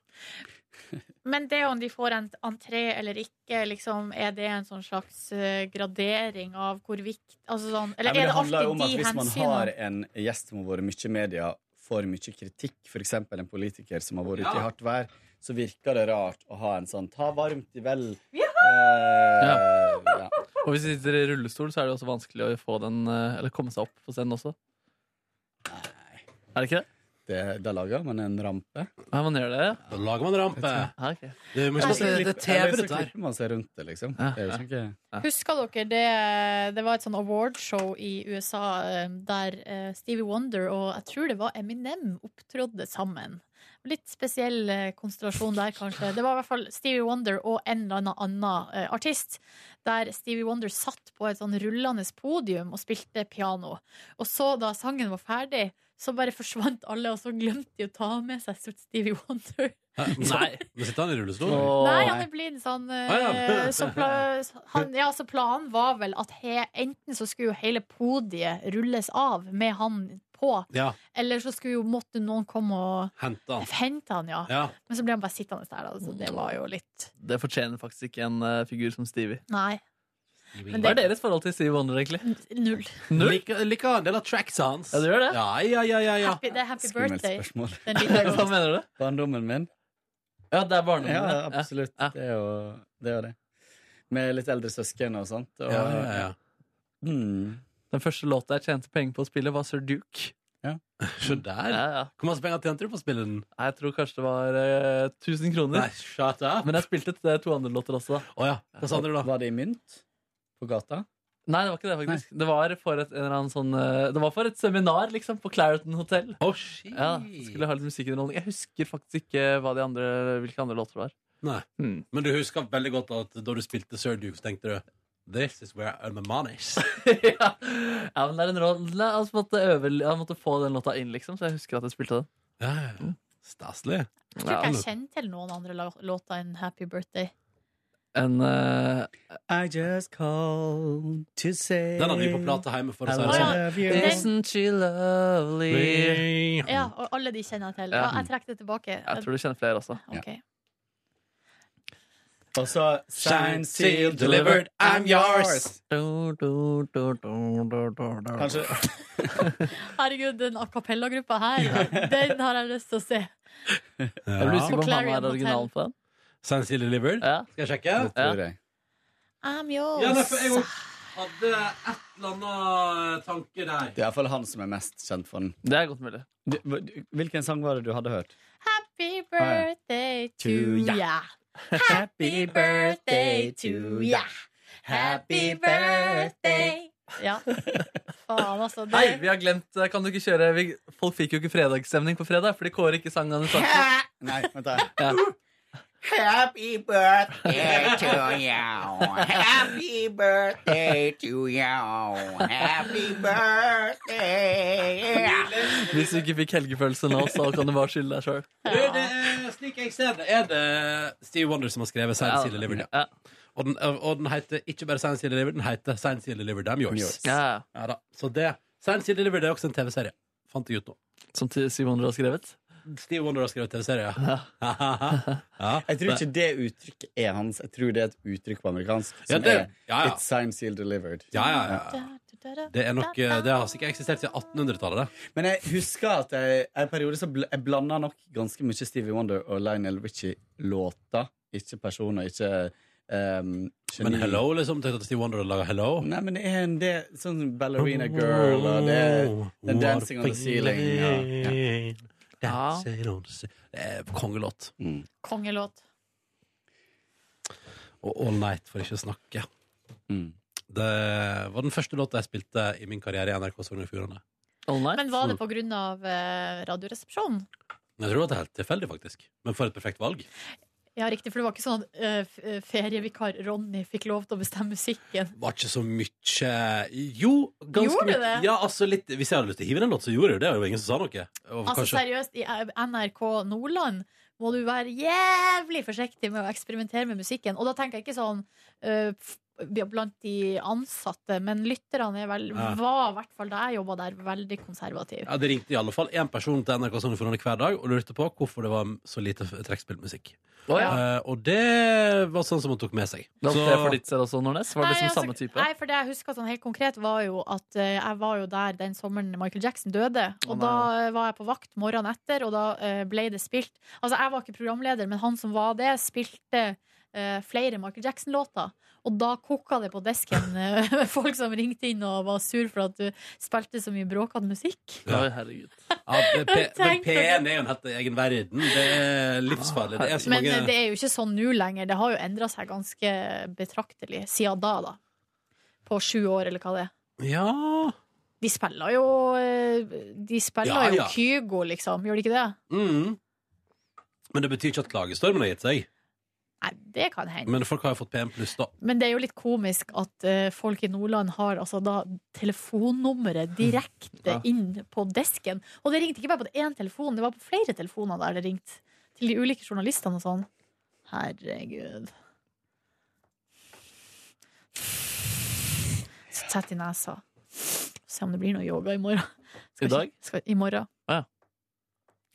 Speaker 2: Men det om de får en entré eller ikke, liksom, er det en sånn slags eh, gradering av hvor vikt altså sånn, Eller
Speaker 11: Nei, men
Speaker 2: er det
Speaker 11: handler jo
Speaker 2: alltid
Speaker 11: om at
Speaker 2: de
Speaker 11: Hvis man har
Speaker 2: hensynene?
Speaker 11: en gjest som har vært mye i media, får mye kritikk, f.eks. en politiker som har vært ute i hardt vær, så virker det rart å ha en sånn 'ta varmt i vel'. Eh, ja.
Speaker 3: Og hvis de sitter i rullestol, så er det også vanskelig å få den, eh, eller komme seg opp på scenen også. Er det ikke det?
Speaker 11: Det, da lager man en rampe.
Speaker 3: Nei, man gjør det, ja.
Speaker 1: Da lager man rampe.
Speaker 3: ja Ah, ok.
Speaker 1: Det er,
Speaker 11: Eller så
Speaker 1: det er
Speaker 11: klipper-
Speaker 1: TV,
Speaker 11: eller så
Speaker 1: dette her.
Speaker 11: klipper man seg rundt det, liksom.
Speaker 3: Ja.
Speaker 11: Det er jo ikke-
Speaker 2: Husker dere det Det var et sånn awardshow i USA eh, der eh, Stevie Wonder og jeg tror det var Eminem opptrådde sammen. Litt spesiell eh, konstellasjon der, kanskje. Det var i hvert fall Stevie Wonder og en eller annen annen eh, artist. Der Stevie Wonder satt på et sånn rullende podium og spilte piano. Og så, da sangen var ferdig, så bare forsvant alle, og så glemte de å ta med seg Stevie Wonder.
Speaker 3: Nei.
Speaker 1: Nå sitter han i rullestol.
Speaker 3: Åh.
Speaker 2: Nei, han er blind sånn eh,
Speaker 1: Ah, ja.
Speaker 2: så, pla han, ja, så planen var vel at he, enten så skulle jo hele podiet rulles av med han på,
Speaker 1: Ja,
Speaker 2: eller så skulle jo måtte noen komme og
Speaker 1: hente han.
Speaker 2: hente han, ja.
Speaker 1: Ah. Ja. Mm.
Speaker 2: Men så ble han bare sittende der, da, så det var jo litt
Speaker 3: Det fortjener faktisk ikke en eh, figur som Stevie.
Speaker 2: Nei. Men
Speaker 3: Hva er
Speaker 2: det
Speaker 3: deres forhold til Stevie Wonder, egentlig?
Speaker 2: Null.
Speaker 3: Null?
Speaker 1: Liker, liker en del av tracks hans.
Speaker 3: Ja, du gjør det?
Speaker 1: Ja, ja, ja, ja, ja.
Speaker 2: Happy, det er happy
Speaker 11: Skummelt
Speaker 2: birthday.
Speaker 11: spørsmål.
Speaker 2: Den liker jeg
Speaker 3: Hva
Speaker 2: godt.
Speaker 3: mener du?
Speaker 11: Barndommen min?
Speaker 3: Ja, det er barndommen.
Speaker 11: Ja,
Speaker 3: ja.
Speaker 11: absolutt.
Speaker 3: Ja.
Speaker 11: Det er jo det. Er jo det. Med litt eldre søsken og sånt. Og,
Speaker 1: Ja, ja, ja.
Speaker 11: Mm.
Speaker 3: Den første låta jeg tjente penger på å spille, var Sir Duke.
Speaker 1: Se der.
Speaker 3: Ja, ja.
Speaker 1: Hvor masse penger tjente du på å spille den?
Speaker 3: Nei, Jeg tror kanskje det var eh, 1000 kroner.
Speaker 1: Nei, shut up.
Speaker 3: Men jeg spilte til to andre låter også. da
Speaker 1: Å ja. Hva sa dere da?
Speaker 11: Var det i mynt? På gata?
Speaker 3: Nei, det var ikke det, faktisk. Det var for et, en eller annen sånn, eh, det var for et seminar, liksom, på Clariton Hotel. ja, skulle ha litt musikkunderholdning. Jeg husker faktisk ikke hva de andre, hvilke andre låter det var.
Speaker 1: Nei. Men du husker veldig godt at da du spilte Sir Duke, så tenkte du This is where I earn my monies.
Speaker 3: Ja, men det er en rå- la- altså, måtte øve, Jeg måtte få den låta inn, liksom, så jeg husker at jeg spilte den.
Speaker 1: Ja, ja. Staselig.
Speaker 2: Jeg tror ikke jeg kjenner til noen andre la- låter enn Happy Birthday.
Speaker 3: En eh,
Speaker 11: I just called to say
Speaker 1: Den hadde vi på plate hjemme for å
Speaker 11: I
Speaker 1: si det sånn.
Speaker 11: love you.
Speaker 2: Den-
Speaker 3: Isn't she
Speaker 1: sånn.
Speaker 3: lovely?
Speaker 2: Ja, og alle de kjenner jeg til. Ja,
Speaker 3: Ja.
Speaker 2: jeg trekker det tilbake.
Speaker 3: Jeg tror du kjenner flere også.
Speaker 2: Ok.
Speaker 11: Og så Signed, sealed, delivered, I'm yours!
Speaker 3: Du, du, du, du, du, du, du.
Speaker 11: Kanskje
Speaker 2: Herregud, den a cappella-gruppa her, den har jeg lyst til å se.
Speaker 3: Jeg blir usikker på om han
Speaker 2: Clarion
Speaker 3: er
Speaker 2: Hotel.
Speaker 3: originalen på den.
Speaker 1: Sensi Delivered.
Speaker 3: Ja.
Speaker 1: Skal jeg sjekke?
Speaker 11: Det tror jeg.
Speaker 2: I'm yours.
Speaker 1: Ja, nei, for jeg òg hadde et eller annet tanke der.
Speaker 11: Det er iallfall han som er mest kjent for den.
Speaker 3: Det er godt mulig.
Speaker 11: Du, hva- hvilken sang var det du hadde hørt?
Speaker 2: Happy birthday to
Speaker 11: To
Speaker 2: ya. Happy birthday to ya. Happy birthday. Ja. Faen, altså.
Speaker 3: Nei,
Speaker 2: Det
Speaker 3: vi har glemt eh, Kan du ikke kjøre vi, Folk fikk jo ikke fredagsstemning på fredag fordi Kåre ikke sang den sangen.
Speaker 11: Nei, vent da.
Speaker 3: Ja.
Speaker 9: Happy birthday to you. Happy birthday to you. Happy birthday.
Speaker 3: Hvis du ikke fikk helgefølelse nå, så kan du bare skylde deg sjøl.
Speaker 1: Du, det er slik jeg ser det, er det Steve Wonder som har skrevet Sensi Delivered.
Speaker 3: Ja.
Speaker 1: Og den, og den heter ikke bare Sensi Delivered, den heter Sensi Delivered, I'm yours.
Speaker 11: Yours.
Speaker 3: Ja.
Speaker 1: Ja da, så det Sensi Delivered er også en TV-serie. Fant jeg ut nå.
Speaker 3: Som til Simon har skrevet.
Speaker 1: Steve Wonder har skrevet TV-serie, ja. ja.
Speaker 11: Jeg tror ikke det uttrykket er hans. Jeg tror det er et uttrykk på amerikansk
Speaker 1: Ja,
Speaker 11: som
Speaker 1: det-
Speaker 11: er
Speaker 1: ja, ja.
Speaker 11: It's signed, sealed, delivered.
Speaker 1: Ja, ja, ja. Det er nok, eh, det har sikkert eksistert siden 1800-tallet. det.
Speaker 11: Men jeg husker at jeg, en periode så bl jeg blanda nok ganske mye Stevie Wonder og Lionel Richie-låter. Ikke personer, ikke um,
Speaker 1: Men Hello, liksom. Tenkte at Steve Wonder hadde laget Hello.
Speaker 11: Nei, men det er en del sånn Ballerina Girl og det er
Speaker 1: Oh,
Speaker 11: den Dancing on the Ceiling. Ja. Ja.
Speaker 1: Dancing on the ceiling. Det er kongelåt.
Speaker 2: Kongelåt.
Speaker 1: Og All Night, for ikke å snakke.
Speaker 11: Mm.
Speaker 1: Det var den første låta jeg spilte i min karriere i NRK Sogn og Fjordane.
Speaker 3: All night.
Speaker 2: Men var det på grunn av eh, Radioresepsjonen?
Speaker 1: Jeg tror det var helt tilfeldig, faktisk. Men for et perfekt valg.
Speaker 2: Ja, riktig, for det var ikke sånn at eh, f- eh, ferievikar Ronny fikk lov til å bestemme musikken.
Speaker 1: Var ikke så mye Jo, ganske
Speaker 2: Gjorde
Speaker 1: mye.
Speaker 2: det?
Speaker 1: Ja, altså litt Hvis jeg hadde lyst til å hive den låten, så gjorde jeg jo det. Og det var ingen som sa noe. Og
Speaker 2: Altså
Speaker 1: kanskje-
Speaker 2: seriøst, i eh, NRK Nordland må du være jævlig forsiktig med å eksperimentere med musikken. Og da tenker jeg ikke sånn eh, f- blant de ansatte, men lytterne er vel,
Speaker 1: Ja.
Speaker 2: var i hvert fall da jeg jobba der, veldig konservative.
Speaker 1: Ja, Det ringte i alle fall én person til NRK Sogn og Fjordane hver dag og lurte på hvorfor det var så lite trekkspillmusikk.
Speaker 3: Å, ja.
Speaker 1: Eh, og det var sånn som hun tok med seg.
Speaker 3: Det
Speaker 1: Så-
Speaker 3: var det for ditt selv også, Nordnes? Var det liksom samme type?
Speaker 2: nei, for det jeg husker sånn helt konkret, var jo at eh, jeg var jo der den sommeren Michael Jackson døde. Og
Speaker 3: Å, nei.
Speaker 2: da eh, var jeg på vakt morgenen etter, og da eh, ble det spilt Altså, jeg var ikke programleder, men han som var det, spilte eh, flere Michael Jackson-låter. Og da koka det på desken eh, folk som ringte inn og var sur for at du spilte så mye bråkete musikk.
Speaker 1: Ja.
Speaker 3: Oi, herregud.
Speaker 1: Ja, det- P- men
Speaker 2: Tenk på det.
Speaker 1: P1 er jo en helt egen verden. Det er livsfarlig. Det er så
Speaker 2: Men eh,
Speaker 1: mange
Speaker 2: det er jo ikke sånn nå lenger. Det har jo endra seg ganske betraktelig siden da, da. På sju år, eller hva det er.
Speaker 1: Ja
Speaker 2: De spiller jo eh, De spiller
Speaker 1: Ja,
Speaker 2: jo
Speaker 1: ja.
Speaker 2: Kygo, liksom. Gjør de ikke det?
Speaker 1: mm. Men det betyr ikke at klagestormen har gitt seg.
Speaker 2: Nei, det kan
Speaker 3: Mm.
Speaker 2: hende.
Speaker 1: Men folk har jo fått P1 pluss, da.
Speaker 2: Men det er jo litt komisk at eh, folk i Nordland har altså da telefonnummeret direkte
Speaker 3: Mm. Ja.
Speaker 2: inn på desken. Og det ringte ikke bare på én telefon, det var på flere telefoner der det ringte. Til de ulike journalistene og sånn. Herregud. Så tett i nesa. Se om det blir noe yoga i morgen. Skal
Speaker 3: I
Speaker 2: ikke-
Speaker 3: dag?
Speaker 2: Skal, I morgen.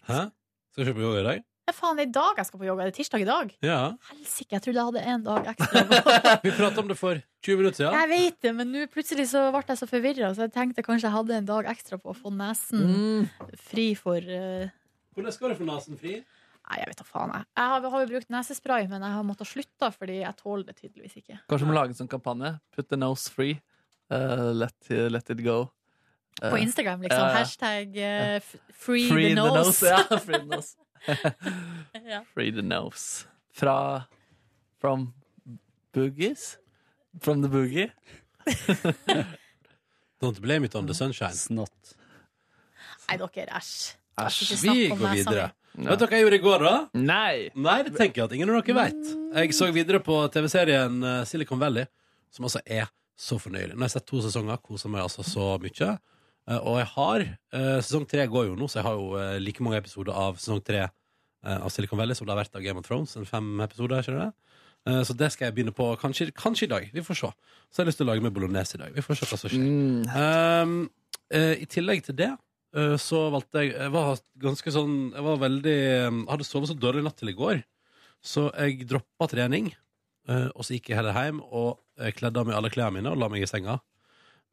Speaker 1: Hæ? Skal vi kjøpe yoga i dag?
Speaker 2: Nei, faen, det er i dag jeg skal på yoga. Det er tirsdag i dag.
Speaker 1: Ja.
Speaker 2: Helsike, jeg trodde jeg hadde en dag ekstra.
Speaker 1: Vi pratet om det for 20 minutter siden.
Speaker 2: Jeg vet det, men nå plutselig så ble jeg så forvirra, så jeg tenkte kanskje jeg hadde en dag ekstra på å få nesen
Speaker 3: Mm.
Speaker 2: fri for eh,
Speaker 1: Hvordan skal du få nesen fri?
Speaker 2: Nei, jeg vet da faen, jeg. Jeg har, har jo brukt nesespray, men jeg har måttet slutte fordi jeg tåler det tydeligvis ikke.
Speaker 3: Kanskje vi må lage en sånn kampanje. Put the nose free. Eh, let, let it go. Eh,
Speaker 2: På Instagram, liksom.
Speaker 3: Ja, ja.
Speaker 2: Hashtag eh, f- free,
Speaker 3: free
Speaker 2: the nose.
Speaker 3: Ja, free the nose.
Speaker 2: Ja.
Speaker 3: Free the nose. Fra From boogies? From the boogie?
Speaker 1: Don't blame it on the sunshine.
Speaker 11: Snott.
Speaker 2: Nei, dere, æsj.
Speaker 1: Æsj.
Speaker 2: Ikke snakk
Speaker 1: Vi
Speaker 2: om
Speaker 1: går
Speaker 2: meg,
Speaker 1: videre.
Speaker 2: Sami.
Speaker 1: Vet dere hva jeg gjorde i går, da?
Speaker 3: Nei.
Speaker 1: det tenker jeg at ingen av dere vet. Jeg så videre på TV-serien eh, Silicon Valley, som altså er så fornøyelig. Nå har jeg sett to sesonger, koser meg altså så mye. Eh, Og jeg har eh, Sesong tre går jo nå, så jeg har jo eh, like mange episoder av sesong tre eh, av Silicon Valley som det har vært av Game of Thrones. En fem episoder, skjønner du? Eh, Så det skal jeg begynne på kanskje, kanskje i dag. Vi får se. Så har jeg lyst til å lage med bolognese i dag. Vi får se hva som skjer.
Speaker 3: Mm.
Speaker 1: Um, eh, I tillegg til det eh, så valgte jeg Jeg var ganske sånn Jeg var veldig eh, hadde sovet så dårlig natt til i går, så jeg droppa trening. eh, og så gikk jeg heller hjem og eh, kledde av meg alle klærne mine og la meg i senga.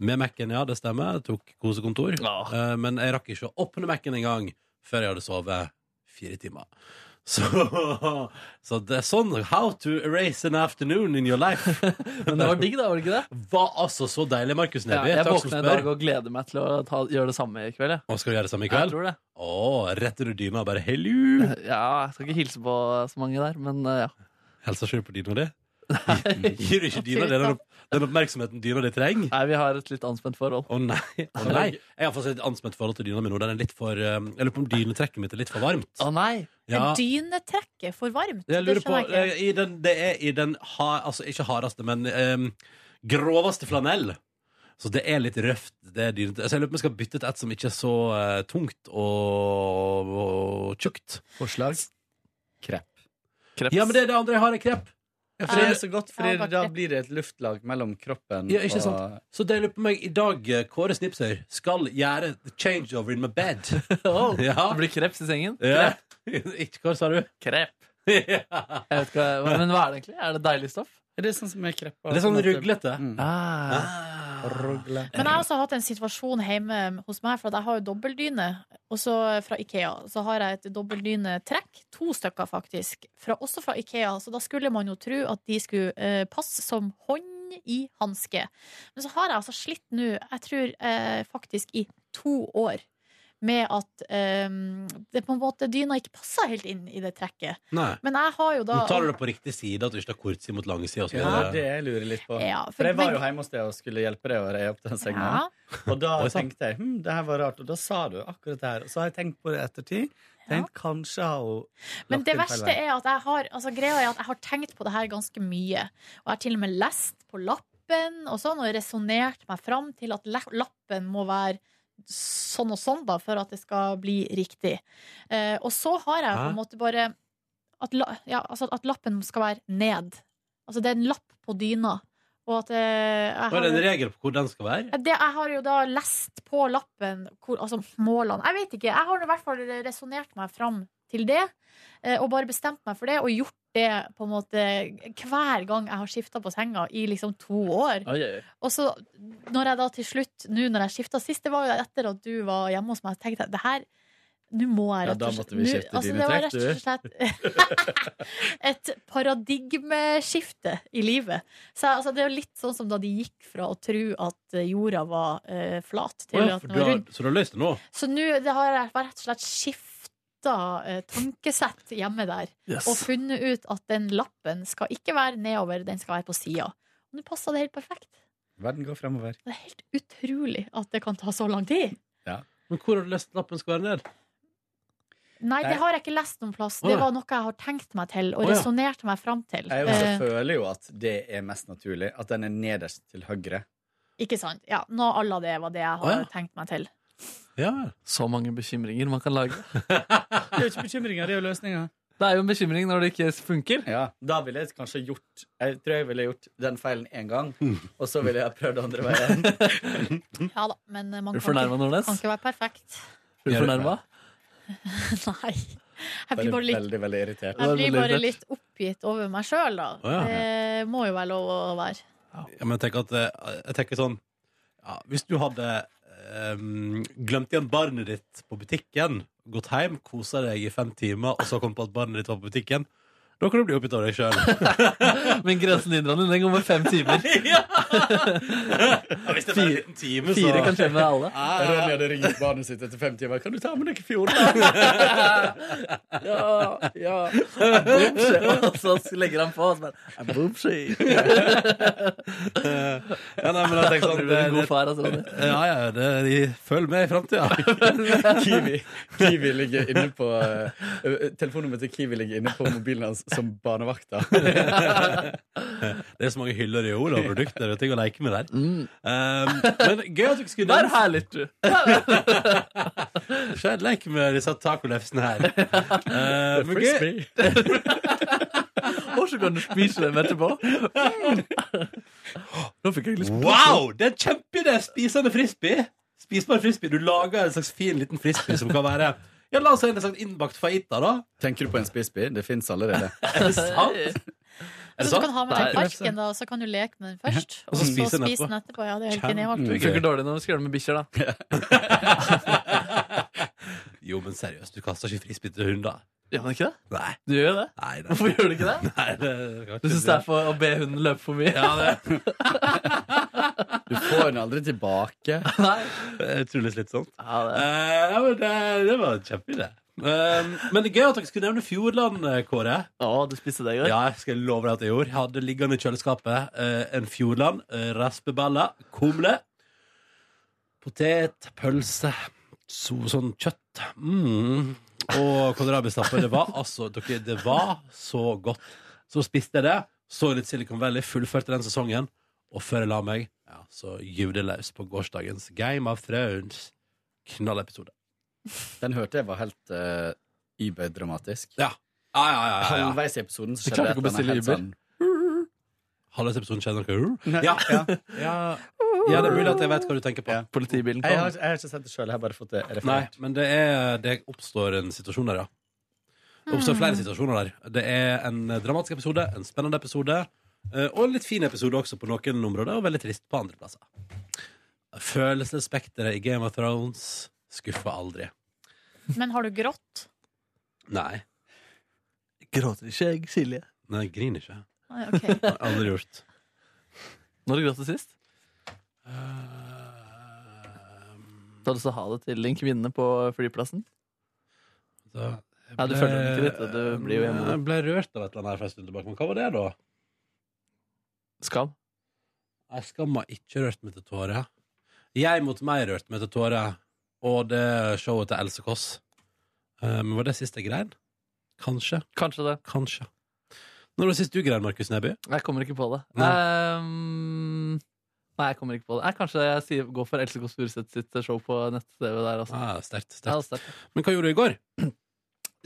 Speaker 1: Med Mac-en, ja, det stemmer. Jeg tok kosekontor. Eh, men jeg rakk ikke å åpne Mac-en engang før jeg hadde sovet fire timer. Så, så det er sånn How to erase an afternoon in your life.
Speaker 3: Men det var digg, da, var det ikke det?
Speaker 1: Var altså så deilig, Markus
Speaker 3: Ja,
Speaker 1: Neby.
Speaker 3: jeg
Speaker 1: Takk som
Speaker 3: våkna i
Speaker 1: spør.
Speaker 3: dag og gleder meg til å ta, gjøre det samme i kveld. jeg.
Speaker 1: Og skal du gjøre det samme i
Speaker 3: Jeg
Speaker 1: kveld?
Speaker 3: tror det.
Speaker 1: Å, rett under dyna og bare hello!
Speaker 3: Ja, jeg skal ikke hilse på så mange der, men eh, ja.
Speaker 1: Helsa skjul på dyna di? Gir du ikke dyna di den, opp, den oppmerksomheten dyna di trenger?
Speaker 3: Nei, vi har et litt anspent forhold.
Speaker 1: Å nei. Å nei. Jeg har fått et anspent forhold til dyna mi nå. Den er litt for eh, Jeg lurer på om dynetrekket mitt er litt for varmt.
Speaker 3: Å nei!
Speaker 1: Ja.
Speaker 2: Er dynetrekket for varmt?
Speaker 1: Jeg lurer
Speaker 2: det
Speaker 1: på
Speaker 2: skjønner jeg ikke.
Speaker 1: eh, i den, Det er i den ha, Altså ikke hardeste, men eh, groveste flanell. Så det er litt røft. Det er dynet- altså, jeg lurer på om jeg skal bytte til et som ikke er så eh, tungt og, og tjukt.
Speaker 11: Forslag? Krepp.
Speaker 3: Kreps.
Speaker 1: Ja, men det er det andre jeg har, er krepp. Jeg
Speaker 11: For det er så godt,
Speaker 2: Jeg
Speaker 11: for
Speaker 2: har bare
Speaker 11: da
Speaker 2: krepp.
Speaker 11: blir det et luftlag mellom kroppen
Speaker 1: Ja, ikke
Speaker 11: og
Speaker 1: sant? Så det jeg lurer på meg i dag, eh, Kåre Snipsøy, skal gjøre the changeover in my bed.
Speaker 3: Åh,
Speaker 1: Ja.
Speaker 3: Det blir kreps i sengen.
Speaker 1: Ja. Ikke hva sa du?
Speaker 3: Krepp.
Speaker 1: Ja.
Speaker 3: Jeg vet ikke hva, men hva er det egentlig? Er det deilig stoff?
Speaker 11: Er det sånn som er kreppa?
Speaker 1: Det er sånn ruglete.
Speaker 3: Ah.
Speaker 11: Rugle.
Speaker 2: Men jeg har også hatt en situasjon hjemme hos meg, for at jeg har jo dobbeldyne. Og så fra Ikea. Så har jeg et dobbeltdynetrekk, to stykker faktisk, fra, også fra Ikea. Så da skulle man jo tro at de skulle eh, passe som hånd i hanske. Men så har jeg altså slitt nå, jeg tror eh, faktisk i to år, med at eh, det på en måte dyna ikke passer helt inn i det trekket.
Speaker 1: Nei.
Speaker 2: Men jeg har jo da
Speaker 1: Nå tar du det på riktig side, at du ikke tar kortside mot langside.
Speaker 11: Ja, det
Speaker 1: Ja,
Speaker 11: jeg lurer litt på.
Speaker 2: Ja,
Speaker 11: for, jeg var
Speaker 2: men-
Speaker 11: jo hjemme hos deg og skulle hjelpe deg å re opp den senga.
Speaker 2: Ja.
Speaker 11: Og da
Speaker 1: Oi, sant.
Speaker 11: tenkte jeg hm, det her var rart, og da sa du akkurat det her. Og så har jeg tenkt på det i ettertid. Tenkt, Kanskje har hun lagt
Speaker 2: Men det
Speaker 11: inn feil
Speaker 2: verste
Speaker 11: vei.
Speaker 2: er at jeg har altså, Greia er at jeg har tenkt på det her ganske mye. Og jeg har til og med lest på lappen og sånn, og resonnert meg fram til at la- lappen må være sånn og sånn da, for at det skal bli riktig. Eh, og så har jeg på
Speaker 1: Hæ?
Speaker 2: en måte bare at, la, ja, altså, at lappen skal være ned. Altså det er en lapp på dyna. Og at eh, jeg
Speaker 1: Og er det en
Speaker 2: har,
Speaker 1: regel på hvor den skal være?
Speaker 2: Ja, det, jeg har jo da lest på lappen hvor, altså, målene Jeg vet ikke. Jeg har nå i hvert fall resonnert meg fram til det, eh, og bare bestemt meg for det, og gjort det på en måte hver gang jeg har skifta på senga i liksom to år.
Speaker 3: Oi, oi, oi.
Speaker 2: Og så når jeg da til slutt, nå når jeg skifta sist, det var jo etter at du var hjemme hos meg, så tenkte jeg det her nå må jeg
Speaker 11: Ja,
Speaker 2: rett
Speaker 11: da
Speaker 2: og slett
Speaker 11: måtte vi
Speaker 2: nå- altså,
Speaker 11: skifte dine
Speaker 2: det var
Speaker 11: trekk,
Speaker 2: rett og slett et paradigmeskifte i livet. Så jeg- altså, Det er jo litt sånn som da de gikk fra å tro at eh, jorda var eh, flat, til
Speaker 1: Å ja,
Speaker 2: at
Speaker 1: for
Speaker 2: den
Speaker 1: du
Speaker 2: var
Speaker 1: har,
Speaker 2: rund.
Speaker 1: så du har løst det nå?
Speaker 2: Så nå det har jeg rett og slett skifta eh, tankesett hjemme der
Speaker 3: Yes.
Speaker 2: og funnet ut at den lappen skal ikke være nedover, den skal være på sida. Og nå passer det helt perfekt.
Speaker 11: Verden går fremover.
Speaker 2: Det er helt utrolig at det kan ta så lang tid.
Speaker 1: Men hvor har du løst lappen skal være ned?
Speaker 2: Nei, det har jeg ikke lest noen plass.
Speaker 1: Å,
Speaker 2: Det
Speaker 1: ja.
Speaker 2: var noe jeg har tenkt meg til og
Speaker 1: Å, ja.
Speaker 2: resonnerte meg fram til.
Speaker 11: Jeg
Speaker 2: Eh,
Speaker 11: også føler jo at det er mest naturlig. At den er nederst til høyre.
Speaker 2: ikke sant? Ja, noe à la det var det jeg har
Speaker 1: Å, ja.
Speaker 2: tenkt meg til.
Speaker 1: Ja.
Speaker 3: Så mange bekymringer man kan lage.
Speaker 11: Det er jo ikke bekymringer, det er jo løsninger.
Speaker 3: Det er jo en bekymring når det ikke funker.
Speaker 11: Ja, da ville jeg kanskje gjort Jeg tror jeg ville gjort den feilen én gang, og så ville jeg prøvd andre veien.
Speaker 1: Mm.
Speaker 2: Ja da, men eh, man
Speaker 3: Er du
Speaker 2: kan
Speaker 3: fornærma,
Speaker 2: ikke,
Speaker 3: Nordnes?
Speaker 2: kan ikke være perfekt.
Speaker 3: Er du fornærma?
Speaker 2: Nei. Jeg
Speaker 11: Bare
Speaker 2: blir bare litt,
Speaker 11: veldig, veldig irritert.
Speaker 2: jeg blir
Speaker 3: veldig
Speaker 2: bare
Speaker 3: rett.
Speaker 2: litt oppgitt over meg sjøl, da.
Speaker 1: Å, ja.
Speaker 2: Det må jo være lov å være.
Speaker 1: ja, men jeg tenker at eh, Jeg tenker sånn ja, Hvis du hadde eh, glemt igjen barnet ditt på butikken, gått hjem, kosa deg i fem timer, og så kom på at barnet ditt var på butikken Da kan du bli oppgitt av deg sjøl.
Speaker 3: Men grensen din, den går med fem timer.
Speaker 1: Hvis det bare er en time, så
Speaker 3: Fire kan skje med alle.
Speaker 11: Ronny hadde ringt barnet sitt etter fem timer. Kan du ta med deg fjorden? ja, ja.
Speaker 3: Boomsy. Og så legger han på og så bare Boomsy.
Speaker 1: Ja, nei, men jeg tenker sånn
Speaker 3: Du blir en god far, altså, Ronny.
Speaker 1: Ja, ja, det, de følg med i framtida.
Speaker 11: Kiwi, Kiwi ligger inne på eh, Telefonnummeret til Kiwi ligger inne på mobilen hans som barnevakta.
Speaker 1: Det er så mange hyller i ord og produkter og ting å leke med der.
Speaker 3: Mm.
Speaker 1: Um, men gøy at dere skulle
Speaker 3: Vær herlig, du.
Speaker 1: Skjønn lek med disse tacolefsene her. Uh, men gøy,
Speaker 11: Frisbee.
Speaker 3: Og så kan du spise dem etterpå. Nå fikk jeg lyst på
Speaker 1: wow! Det er en kjempeidé! Spisende frisbee. Spisbar frisbee. Du lager en slags fin liten frisbee som kan være Ja, la oss si en slags innbakt fajita, da.
Speaker 11: Tenker du på en spisby? Det fins allerede.
Speaker 1: sant? Er det
Speaker 2: Så du kan
Speaker 1: sant?
Speaker 2: ha med deg
Speaker 3: Nei.
Speaker 2: parken, da, så kan du leke med den først.
Speaker 1: Og så spise den
Speaker 2: spise den etterpå. Ja, det er helt genialt.
Speaker 3: Det funker dårlig når vi skal gjøre det med bikkjer, da.
Speaker 1: Jo, men seriøst, du kaster ikke frisbee til hunder.
Speaker 3: Gjør man ikke det?
Speaker 1: Nei.
Speaker 3: Du gjør jo det.
Speaker 1: Nei, nei.
Speaker 3: Hvorfor gjør du ikke det?
Speaker 1: Nei, det kan jeg
Speaker 3: Du
Speaker 1: ikke
Speaker 3: syns
Speaker 1: si.
Speaker 3: det er for å be hunden løpe for mye? Ja, det.
Speaker 11: Du får den aldri tilbake.
Speaker 3: Nei.
Speaker 1: Det er utrolig slitsomt.
Speaker 3: Ja, det.
Speaker 1: Eh, ja, men det, det var en kjempeidé. Um, men det er gøy at dere skulle nevne Fjordland, eh, Kåre.
Speaker 3: Å, du spiste det i går?
Speaker 1: Ja, jeg skal love deg at jeg gjorde. Jeg hadde liggende i kjøleskapet eh, en Fjordland, eh, raspeballer, kumle, potet, pølse, so, sånn kjøtt. Mm. Og kålrabistappe. Det var altså dere, Det var så godt. Så spiste jeg det, så litt Silicon Valley, fullførte den sesongen, og før jeg la meg, ja, så gyvde jeg løs på gårsdagens Game of Thrones knallepisode.
Speaker 11: Den hørte jeg var helt uh, Uber-dramatisk.
Speaker 1: Ja. Ja, ja, ja, ja, ja.
Speaker 11: Halvveis i episoden så
Speaker 3: Du
Speaker 11: skjedde
Speaker 3: klarte ikke å bestille Uber?
Speaker 11: sånn-
Speaker 1: Halvveis episoden kjenner dere ja, ja. ja. ja, det er mulig at jeg vet hva du tenker på.
Speaker 3: Politibilen
Speaker 11: Jeg
Speaker 3: kom.
Speaker 11: har, jeg har ikke sett det sjøl, jeg har bare fått det
Speaker 1: Nei,
Speaker 11: referert.
Speaker 1: men det, er, det oppstår en situasjon der, ja. Det oppstår flere situasjoner der. Det er en dramatisk episode, en spennende episode, eh, og en litt fin episode også på noen områder, og veldig trist på andre plasser. Følelsesspekteret i Game of Thrones skuffer aldri.
Speaker 2: Men har du grått?
Speaker 1: Nei.
Speaker 3: Gråter ikke jeg, Silje?
Speaker 1: Nei, jeg griner ikke.
Speaker 2: Nei, ok.
Speaker 1: Det har jeg aldri gjort.
Speaker 3: Når du gråt sist? Da du sa ha det til en kvinne på flyplassen?
Speaker 1: Da,
Speaker 3: Nei, du følger den ikke litt, og du blir jo hjemme.
Speaker 1: Jeg ble rørt av et eller annet her for en stund tilbake, men hva var det, da?
Speaker 3: Skam?
Speaker 1: Jeg skamma ikke rørt meg til tårer. Jeg mot meg rørt meg til tårer. Og det showet til Else Kåss. Eh, Men var det sist jeg grein? Kanskje.
Speaker 3: Kanskje det.
Speaker 1: Kanskje. Når var det sist du grein, Markus Neby?
Speaker 3: Jeg kommer ikke på det.
Speaker 1: Nei.
Speaker 3: Ehm, nei, jeg kommer ikke på det. Nei, kanskje jeg sier, går for Else Kåss Furuseth sitt show på nett-TV der, altså.
Speaker 1: Ah, sterkt.
Speaker 3: Ja,
Speaker 1: sterkt.
Speaker 3: sterkt.
Speaker 1: Men hva gjorde du i går?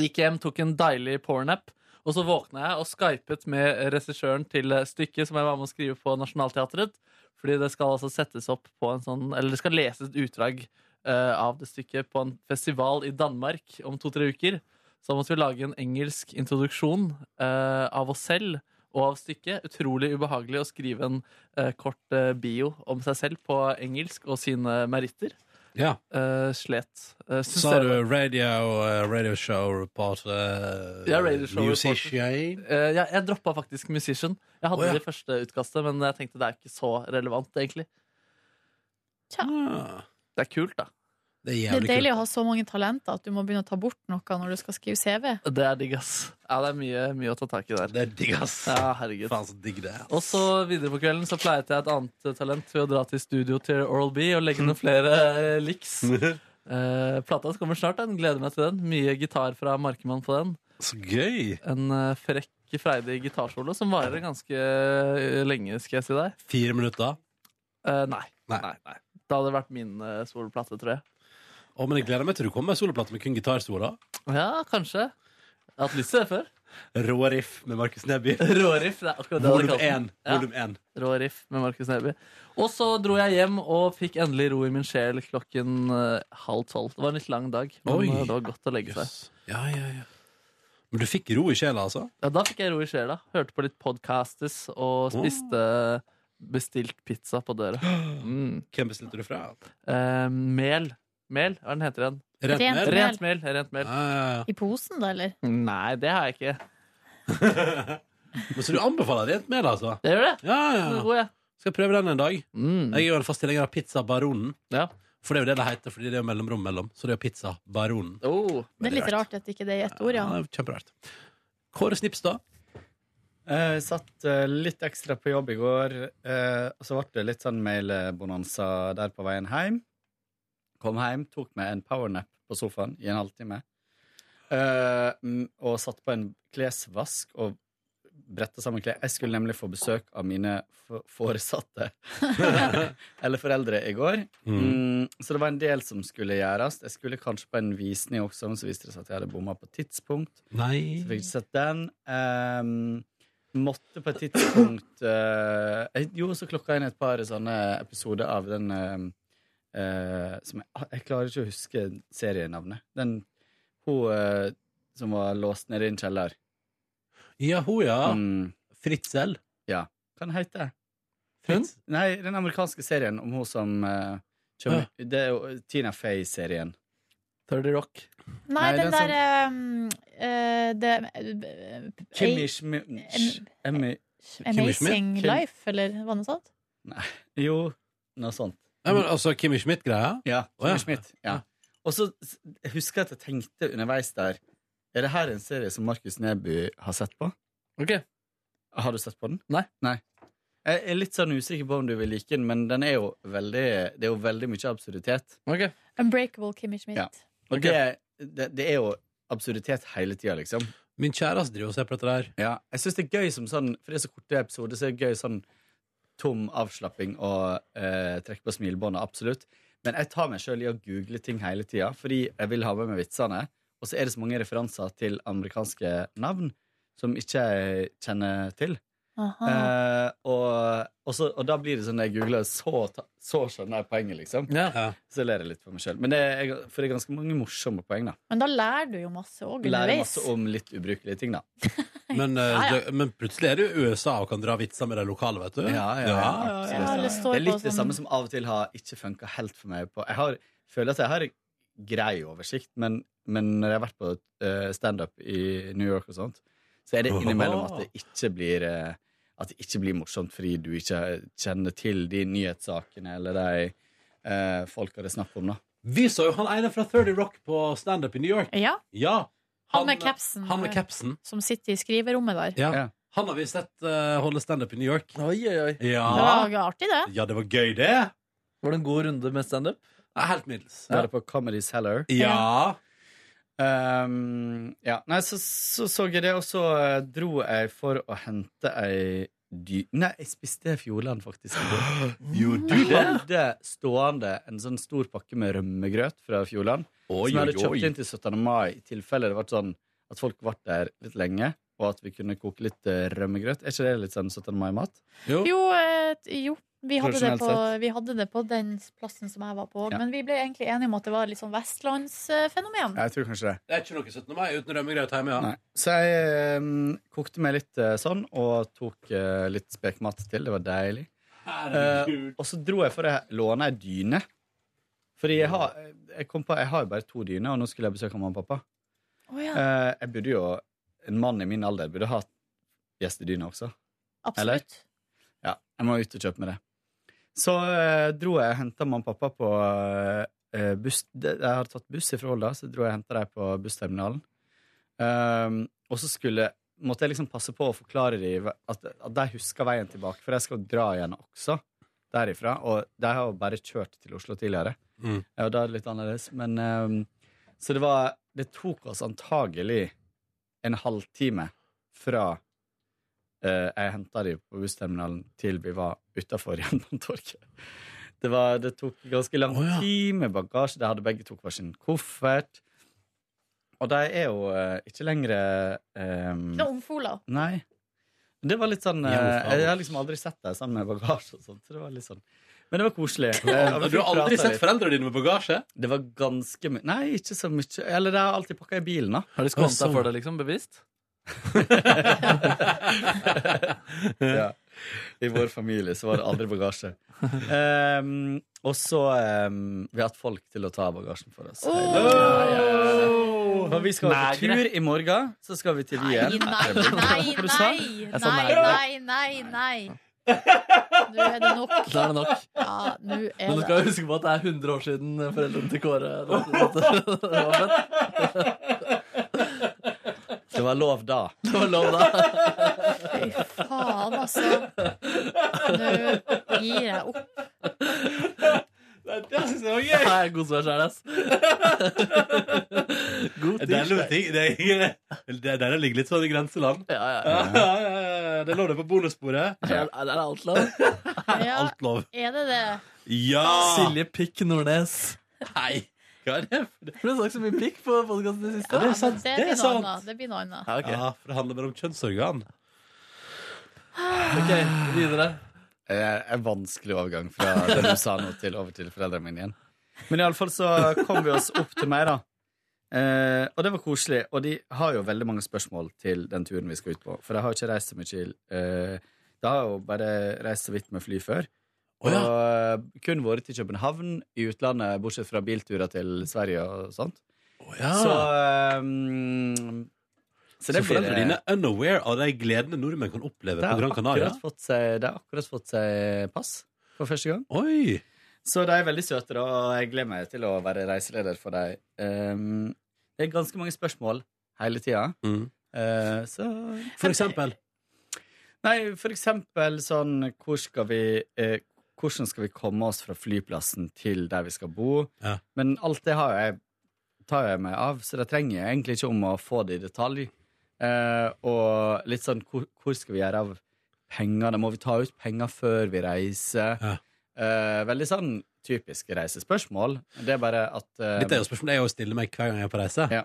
Speaker 3: Gikk hjem, tok en deilig powernap. Og så våkna jeg og skypet med regissøren til stykket som jeg var med å skrive på Nationaltheatret. Fordi det skal altså settes opp på en sånn Eller det skal leses et utdrag eh, av det stykket på en festival i Danmark om to-tre uker. Så da måtte vi lage en engelsk introduksjon eh, av oss selv og av stykket. Utrolig ubehagelig å skrive en eh, kort eh, bio om seg selv på engelsk og sine meritter.
Speaker 1: Ja,
Speaker 3: Eh, slet. Eh, synes
Speaker 1: Sa
Speaker 3: dere-
Speaker 1: du radio, eh, radio show reporter
Speaker 3: Ja, radio show
Speaker 1: Musician?
Speaker 3: Eh, jeg, jeg droppa faktisk Musician. Jeg hadde
Speaker 1: Å, ja.
Speaker 3: det i første utkastet, men jeg tenkte det er ikke så relevant, egentlig.
Speaker 1: Ah,
Speaker 3: Det er kult, da.
Speaker 1: det er
Speaker 2: Det er
Speaker 1: jævlig
Speaker 2: deilig å
Speaker 1: kult.
Speaker 2: ha så mange talenter at du må begynne å ta bort noe når du skal skrive CV.
Speaker 3: Det er digg, ass. Ja, det er mye, mye å ta tak i der.
Speaker 1: Det er digg, ass.
Speaker 3: Ja, herregud.
Speaker 1: Faen, så digg det er.
Speaker 3: Og så videre på kvelden så pleiet jeg et annet eh, talent ved å dra til studio til Oral B og legge noen flere eh, liks. Eh, plata kommer snart, den. Gleder meg til den. Mye gitar fra Markemann på den.
Speaker 1: Så gøy!
Speaker 3: En eh, frekk, freidig gitarsolo som varer ganske eh, lenge, skal jeg si deg.
Speaker 1: Fire minutter.
Speaker 3: Eh, nei.
Speaker 1: Nei.
Speaker 3: Nei, nei. Det hadde vært min eh, soloplate, tror jeg.
Speaker 1: Å, men jeg gleder meg til du kommer med soloplate med kun gitarsolo.
Speaker 3: Ja, kanskje. Jeg har hatt lyst til det før.
Speaker 1: Rå riff med Markus Neby.
Speaker 3: Råriff. det er akkurat det jeg hadde
Speaker 1: Volum
Speaker 3: kalt den.
Speaker 1: 1.
Speaker 3: Ja.
Speaker 1: Volum 1.
Speaker 3: Råriff med Markus Neby. Og så dro jeg hjem og fikk endelig ro i min sjel klokken eh, halv tolv. Det var en litt lang dag, men
Speaker 1: Oi.
Speaker 3: eh, det var godt å legge seg.
Speaker 1: Jøss. Ja, ja, ja. Men du fikk ro i sjela, altså?
Speaker 3: Ja, da fikk jeg ro i sjela. Hørte på litt podcastes og spiste bestilt pizza på døra. Mm.
Speaker 1: Hvem bestilte du fra?
Speaker 3: Eh, mel. Mel, hva er den heter den?
Speaker 1: Rent
Speaker 2: Rent.
Speaker 1: mel?
Speaker 3: Rent mel. Rent mel.
Speaker 1: Ja, ja, ja.
Speaker 2: I posen, da, eller?
Speaker 3: Nei, det har jeg ikke.
Speaker 1: Men så du anbefaler rent med det, altså?
Speaker 3: Jeg gjør det.
Speaker 1: Ja,
Speaker 3: Den
Speaker 1: ja.
Speaker 3: er god, jeg.
Speaker 1: Skal jeg prøve den en dag?
Speaker 3: Mm.
Speaker 1: Jeg er jo en fast tilhenger av Pizza Baronen.
Speaker 3: Ja.
Speaker 1: For det er jo det det heter, fordi det er mellomrom mellom. Så det er Pizza Baronen.
Speaker 3: Oh.
Speaker 2: Det er litt rart at ikke det er ett ord, ja.
Speaker 1: Ja, det er Kjemperart. Kåre Snipstad.
Speaker 11: Jeg satt eh, litt ekstra på jobb i går, eh, og så ble det litt sånn mailbonanza der på veien hjem. Kom hjem, tok meg en powernap på sofaen i en halvtime. eh, mm, og satt på en klesvask og bretta sammen klær. Jeg skulle nemlig få besøk av mine f- foresatte, eller foreldre, i går. Mm, så det var en del som skulle gjøres. Jeg skulle kanskje på en visning også, men så viste det seg at jeg hadde bomma på tidspunkt.
Speaker 1: Nei.
Speaker 11: Så fikk jeg ikke sett den. Ehm, måtte på et tidspunkt eh, Jeg gjorde så klokka inn et par sånne episoder av den eh, eh, som jeg, ah, jeg klarer ikke å huske serienavnet. Den hun eh, som var låst nede i en kjeller.
Speaker 1: Ja, hun, ja.
Speaker 11: Mm,
Speaker 1: Fritzel.
Speaker 11: ja. Hva den heter
Speaker 1: Hun?
Speaker 11: Nei, den amerikanske serien om hun som eh, kommer, Det er jo Tina Fey-serien.
Speaker 3: 30 Rock.
Speaker 2: Nei,
Speaker 11: Nei,
Speaker 2: den
Speaker 11: den
Speaker 2: der eh, eh, det, eh,
Speaker 11: Kimmy Schmidt Emmy Kimmy Schmidt?
Speaker 2: Amazing
Speaker 11: Kim-
Speaker 2: Life, eller var det noe sånt?
Speaker 11: Jo, noe sånt.
Speaker 1: Ja, men altså Kimmy Schmidt-greia?
Speaker 11: Ja,
Speaker 1: Å, ja.
Speaker 11: Kimmy Schmidt. Ja. Og så s- jeg husker jeg at jeg tenkte underveis der Er det her en serie som Markus Neby har sett på?
Speaker 3: Ok.
Speaker 11: Har du sett på den?
Speaker 3: Nei.
Speaker 11: Jeg er litt sånn usikker på om du vil like den, men den er jo veldig, det er jo veldig mye absurditet.
Speaker 3: ok.
Speaker 2: Unbreakable Kimmy Schmidt.
Speaker 11: Ja. Og det, det, det er jo absurditet hele tida, liksom.
Speaker 1: Min kjæreste driver og ser på dette der.
Speaker 11: Ja, jeg syns det er gøy som sånn For det er så korte episoder, så er det gøy sånn tom avslapping og eh, trekke på smilebåndet, absolutt. Men jeg tar meg sjøl i å google ting hele tida, fordi jeg vil ha med meg vitsene. Og så er det så mange referanser til amerikanske navn som ikke jeg kjenner til.
Speaker 2: Aha.
Speaker 11: Eh, og, og, så, og da blir det sånn når jeg googler, så, ta- så skjønner jeg poenget, liksom.
Speaker 3: Ja.
Speaker 1: Ja.
Speaker 11: Så ler jeg litt for meg sjøl. Men det er, for det er ganske mange morsomme poeng, da.
Speaker 2: Men da lærer du jo masse òg
Speaker 11: Lærer
Speaker 2: underveis.
Speaker 11: masse om litt ubrukelige ting, da.
Speaker 1: Men, eh,
Speaker 2: Ja, ja.
Speaker 1: Det, men plutselig er det jo USA og kan dra vitser med de lokale, vet du.
Speaker 11: Ja, ja, ja, absolutt.
Speaker 2: Ja, eller står
Speaker 11: Det er
Speaker 2: på
Speaker 11: litt det
Speaker 2: sånn-
Speaker 11: samme som av og til har ikke funka helt for meg. På. Jeg har, føler at jeg har grei oversikt, men, men når jeg har vært på eh, standup i New York og sånt, så er det innimellom at det ikke blir eh, At det ikke blir morsomt fordi du ikke kjenner til de nyhetssakene eller de uh, folka det er snakk om, da.
Speaker 1: Vi så jo han ene fra 30 Rock på standup i New York.
Speaker 2: Ja,
Speaker 1: Ja.
Speaker 2: Han med capsen. eh,
Speaker 1: Han med capsen.
Speaker 2: som sitter i skriverommet der.
Speaker 1: Ja.
Speaker 11: Ja.
Speaker 1: Han har vi sett eh, holde standup i New York.
Speaker 3: Oi, oi, oi.
Speaker 2: Det
Speaker 1: Ja.
Speaker 2: var artig, det.
Speaker 1: ja, det var gøy, det.
Speaker 3: Var det en god runde med standup?
Speaker 1: Nei, Helt middels.
Speaker 11: Da er det på Comedy Cellar.
Speaker 1: Ja.
Speaker 11: Ehm, ja, nei, så så, så jeg det, og så eh, dro jeg for å hente ei dy... Nei, jeg spiste Fjordland, faktisk. Gjorde du det? Hadde stående en sånn stor pakke med rømmegrøt fra Fjordland.
Speaker 1: Oi,
Speaker 11: som jeg hadde
Speaker 1: oi, oi.
Speaker 11: kjøpt inn til 17. mai, i tilfelle det ble sånn at folk ble der litt lenge, og at vi kunne koke litt eh, rømmegrøt. Er ikke det litt sånn 17. mai-mat?
Speaker 1: Jo.
Speaker 2: Jo, eh, t- jo. Vi hadde, det
Speaker 11: Tradisjonelt
Speaker 2: på,
Speaker 11: sett.
Speaker 2: vi hadde det på den plassen som jeg var på.
Speaker 11: Ja.
Speaker 2: Men vi ble egentlig enige om at det var litt sånn vestlandsfenomen.
Speaker 11: Jeg tror kanskje det.
Speaker 1: Det er ikke noe 17. mai uten rømmegrøt hjemme, ja.
Speaker 11: Nei. Så jeg eh, kokte meg litt eh, sånn, og tok eh, litt spekmat til. Det var deilig. Eh, og så dro jeg for å låne ei dyne. Fordi jeg har, jeg, kom på, jeg har jo bare to dyner, og nå skulle jeg besøke mamma og pappa.
Speaker 2: Å ja,
Speaker 11: Eh, jeg burde jo, En mann i min alder burde ha gjestedyne også. eller?
Speaker 2: absolutt.
Speaker 11: Ja, jeg må ut og kjøpe med det. Så eh, dro jeg og henta mamma og pappa på eh, buss. de- Jeg hadde tatt buss fra Volda, så dro jeg og henta dem på bussterminalen. Ehm, og så skulle, måtte jeg liksom passe på å forklare dem at, at de husker veien tilbake, for jeg skal dra igjen også derifra. Og de har jo bare kjørt til Oslo tidligere.
Speaker 1: Mm.
Speaker 11: Ja, og da er det litt annerledes. Men ehm, Så det var Det tok oss antagelig en halvtime fra Eh, jeg henta de på bussterminalen til vi var utafor Jernbanetorget. Det, var, det tok ganske lang
Speaker 1: Å, ja.
Speaker 11: tid med bagasje. De hadde begge to hver sin koffert. Og de er jo eh, ikke lenger
Speaker 2: Ikke
Speaker 11: eh,
Speaker 2: noe omfola.
Speaker 11: Nei. Men Det var litt sånn eh,
Speaker 1: Jo, faen.
Speaker 11: Jeg har liksom aldri sett dem sammen med bagasje og sånt. Så det var litt sånn. Men det var koselig. Eh, og vi
Speaker 1: Du har
Speaker 11: fikk
Speaker 1: aldri
Speaker 11: prata
Speaker 1: sett
Speaker 11: litt.
Speaker 1: foreldrene dine med bagasje?
Speaker 11: Det var ganske mye Nei, ikke så mye. Eller de har alltid pakka i bilen, da.
Speaker 3: Har de skvanta
Speaker 1: Sånn.
Speaker 3: for deg, liksom? Bevisst?
Speaker 11: ja. I vår familie så var det aldri bagasje. Ehm, og så ehm, Vi har hatt folk til å ta bagasjen for oss.
Speaker 2: Åh!
Speaker 11: Ja, ja, ja. For vi skal på
Speaker 3: Negre.
Speaker 11: tur i morgen, så skal vi til
Speaker 2: Nei,
Speaker 11: Wien.
Speaker 2: nei, nei,
Speaker 11: Hva du sa?
Speaker 2: nei,
Speaker 11: Jeg sa
Speaker 2: nei,
Speaker 11: negre.
Speaker 2: nei, nei, nei. Nå er det nok.
Speaker 3: Da er det nok.
Speaker 2: Ja, nå er
Speaker 3: Men du skal jo
Speaker 2: det
Speaker 3: huske på at det er 100 år siden foreldrene til Kåre var født.
Speaker 11: Det var lov da.
Speaker 3: Det var lov da.
Speaker 2: Faen, altså. Nå gir jeg opp.
Speaker 1: Det syns jeg var gøy.
Speaker 3: Det er god svar sjæl, ass. God
Speaker 1: Det er lov
Speaker 3: tirsdag.
Speaker 1: ting. Det er, det er der det ligger litt sånn i grenseland.
Speaker 3: ja.
Speaker 1: ja, ja, ja. Det lå det på bonussporet.
Speaker 3: Det er det er alt lov.
Speaker 2: Ja,
Speaker 1: Alt lov.
Speaker 2: er det det?
Speaker 1: Ja!
Speaker 3: Silje Pikk Nordnes.
Speaker 1: Nei. Hva er det? for
Speaker 3: Det ble sagt så mye pikk på podkasten i det siste.
Speaker 1: Ja, det er sant.
Speaker 2: Det
Speaker 1: Det er
Speaker 2: blir noe
Speaker 1: sant.
Speaker 2: annet. Det blir noe annet.
Speaker 3: Ja, ok.
Speaker 1: Ja, for det handler bare om kjønnsorgan.
Speaker 3: ok, videre.
Speaker 11: Det er Eh, en vanskelig overgang fra det du sa nå, til over til foreldrene mine igjen. Men iallfall så kom vi oss opp til meg, da. Eh, og det var koselig. Og de har jo veldig mange spørsmål til den turen vi skal ut på. For jeg har jo ikke reist så mye eh, Da har jeg jo bare reist så vidt med fly før.
Speaker 1: Å, ja.
Speaker 11: Og eh, kun vært i København i utlandet, bortsett fra bilturer til Sverige og sånt.
Speaker 1: Å, ja.
Speaker 11: Så, eh, mm,
Speaker 1: Ah. Så, foreldrene dine er unaware av de gledene nordmenn kan
Speaker 11: eh,
Speaker 1: oppleve
Speaker 11: det
Speaker 1: på
Speaker 11: har
Speaker 1: Gran Canaria?
Speaker 11: akkurat fått seg, det har akkurat fått seg pass for første gang.
Speaker 1: Oi!
Speaker 11: Så de er veldig søte, da, og jeg gleder meg til å være reiseleder for dem. Um, det er ganske mange spørsmål hele tida.
Speaker 1: Mm.
Speaker 11: Eh, så
Speaker 1: For eksempel.
Speaker 11: Nei, for eksempel sånn hvor skal vi, eh, Hvordan skal vi komme oss fra flyplassen til der vi skal bo?
Speaker 1: Ja.
Speaker 11: Men alt det har jeg, tar jeg meg av, så det trenger jeg egentlig ikke om å få det i detalj. Eh, og litt sånn hvor, hvor skal vi gjøre av pengene? Må vi ta ut penger før vi reiser?
Speaker 1: Ja.
Speaker 11: Eh, veldig sånn typiske reisespørsmål. Det er bare at eh,
Speaker 1: Dette er jo spørsmålet jeg jo stiller meg hver gang jeg er på reise.
Speaker 11: Ja.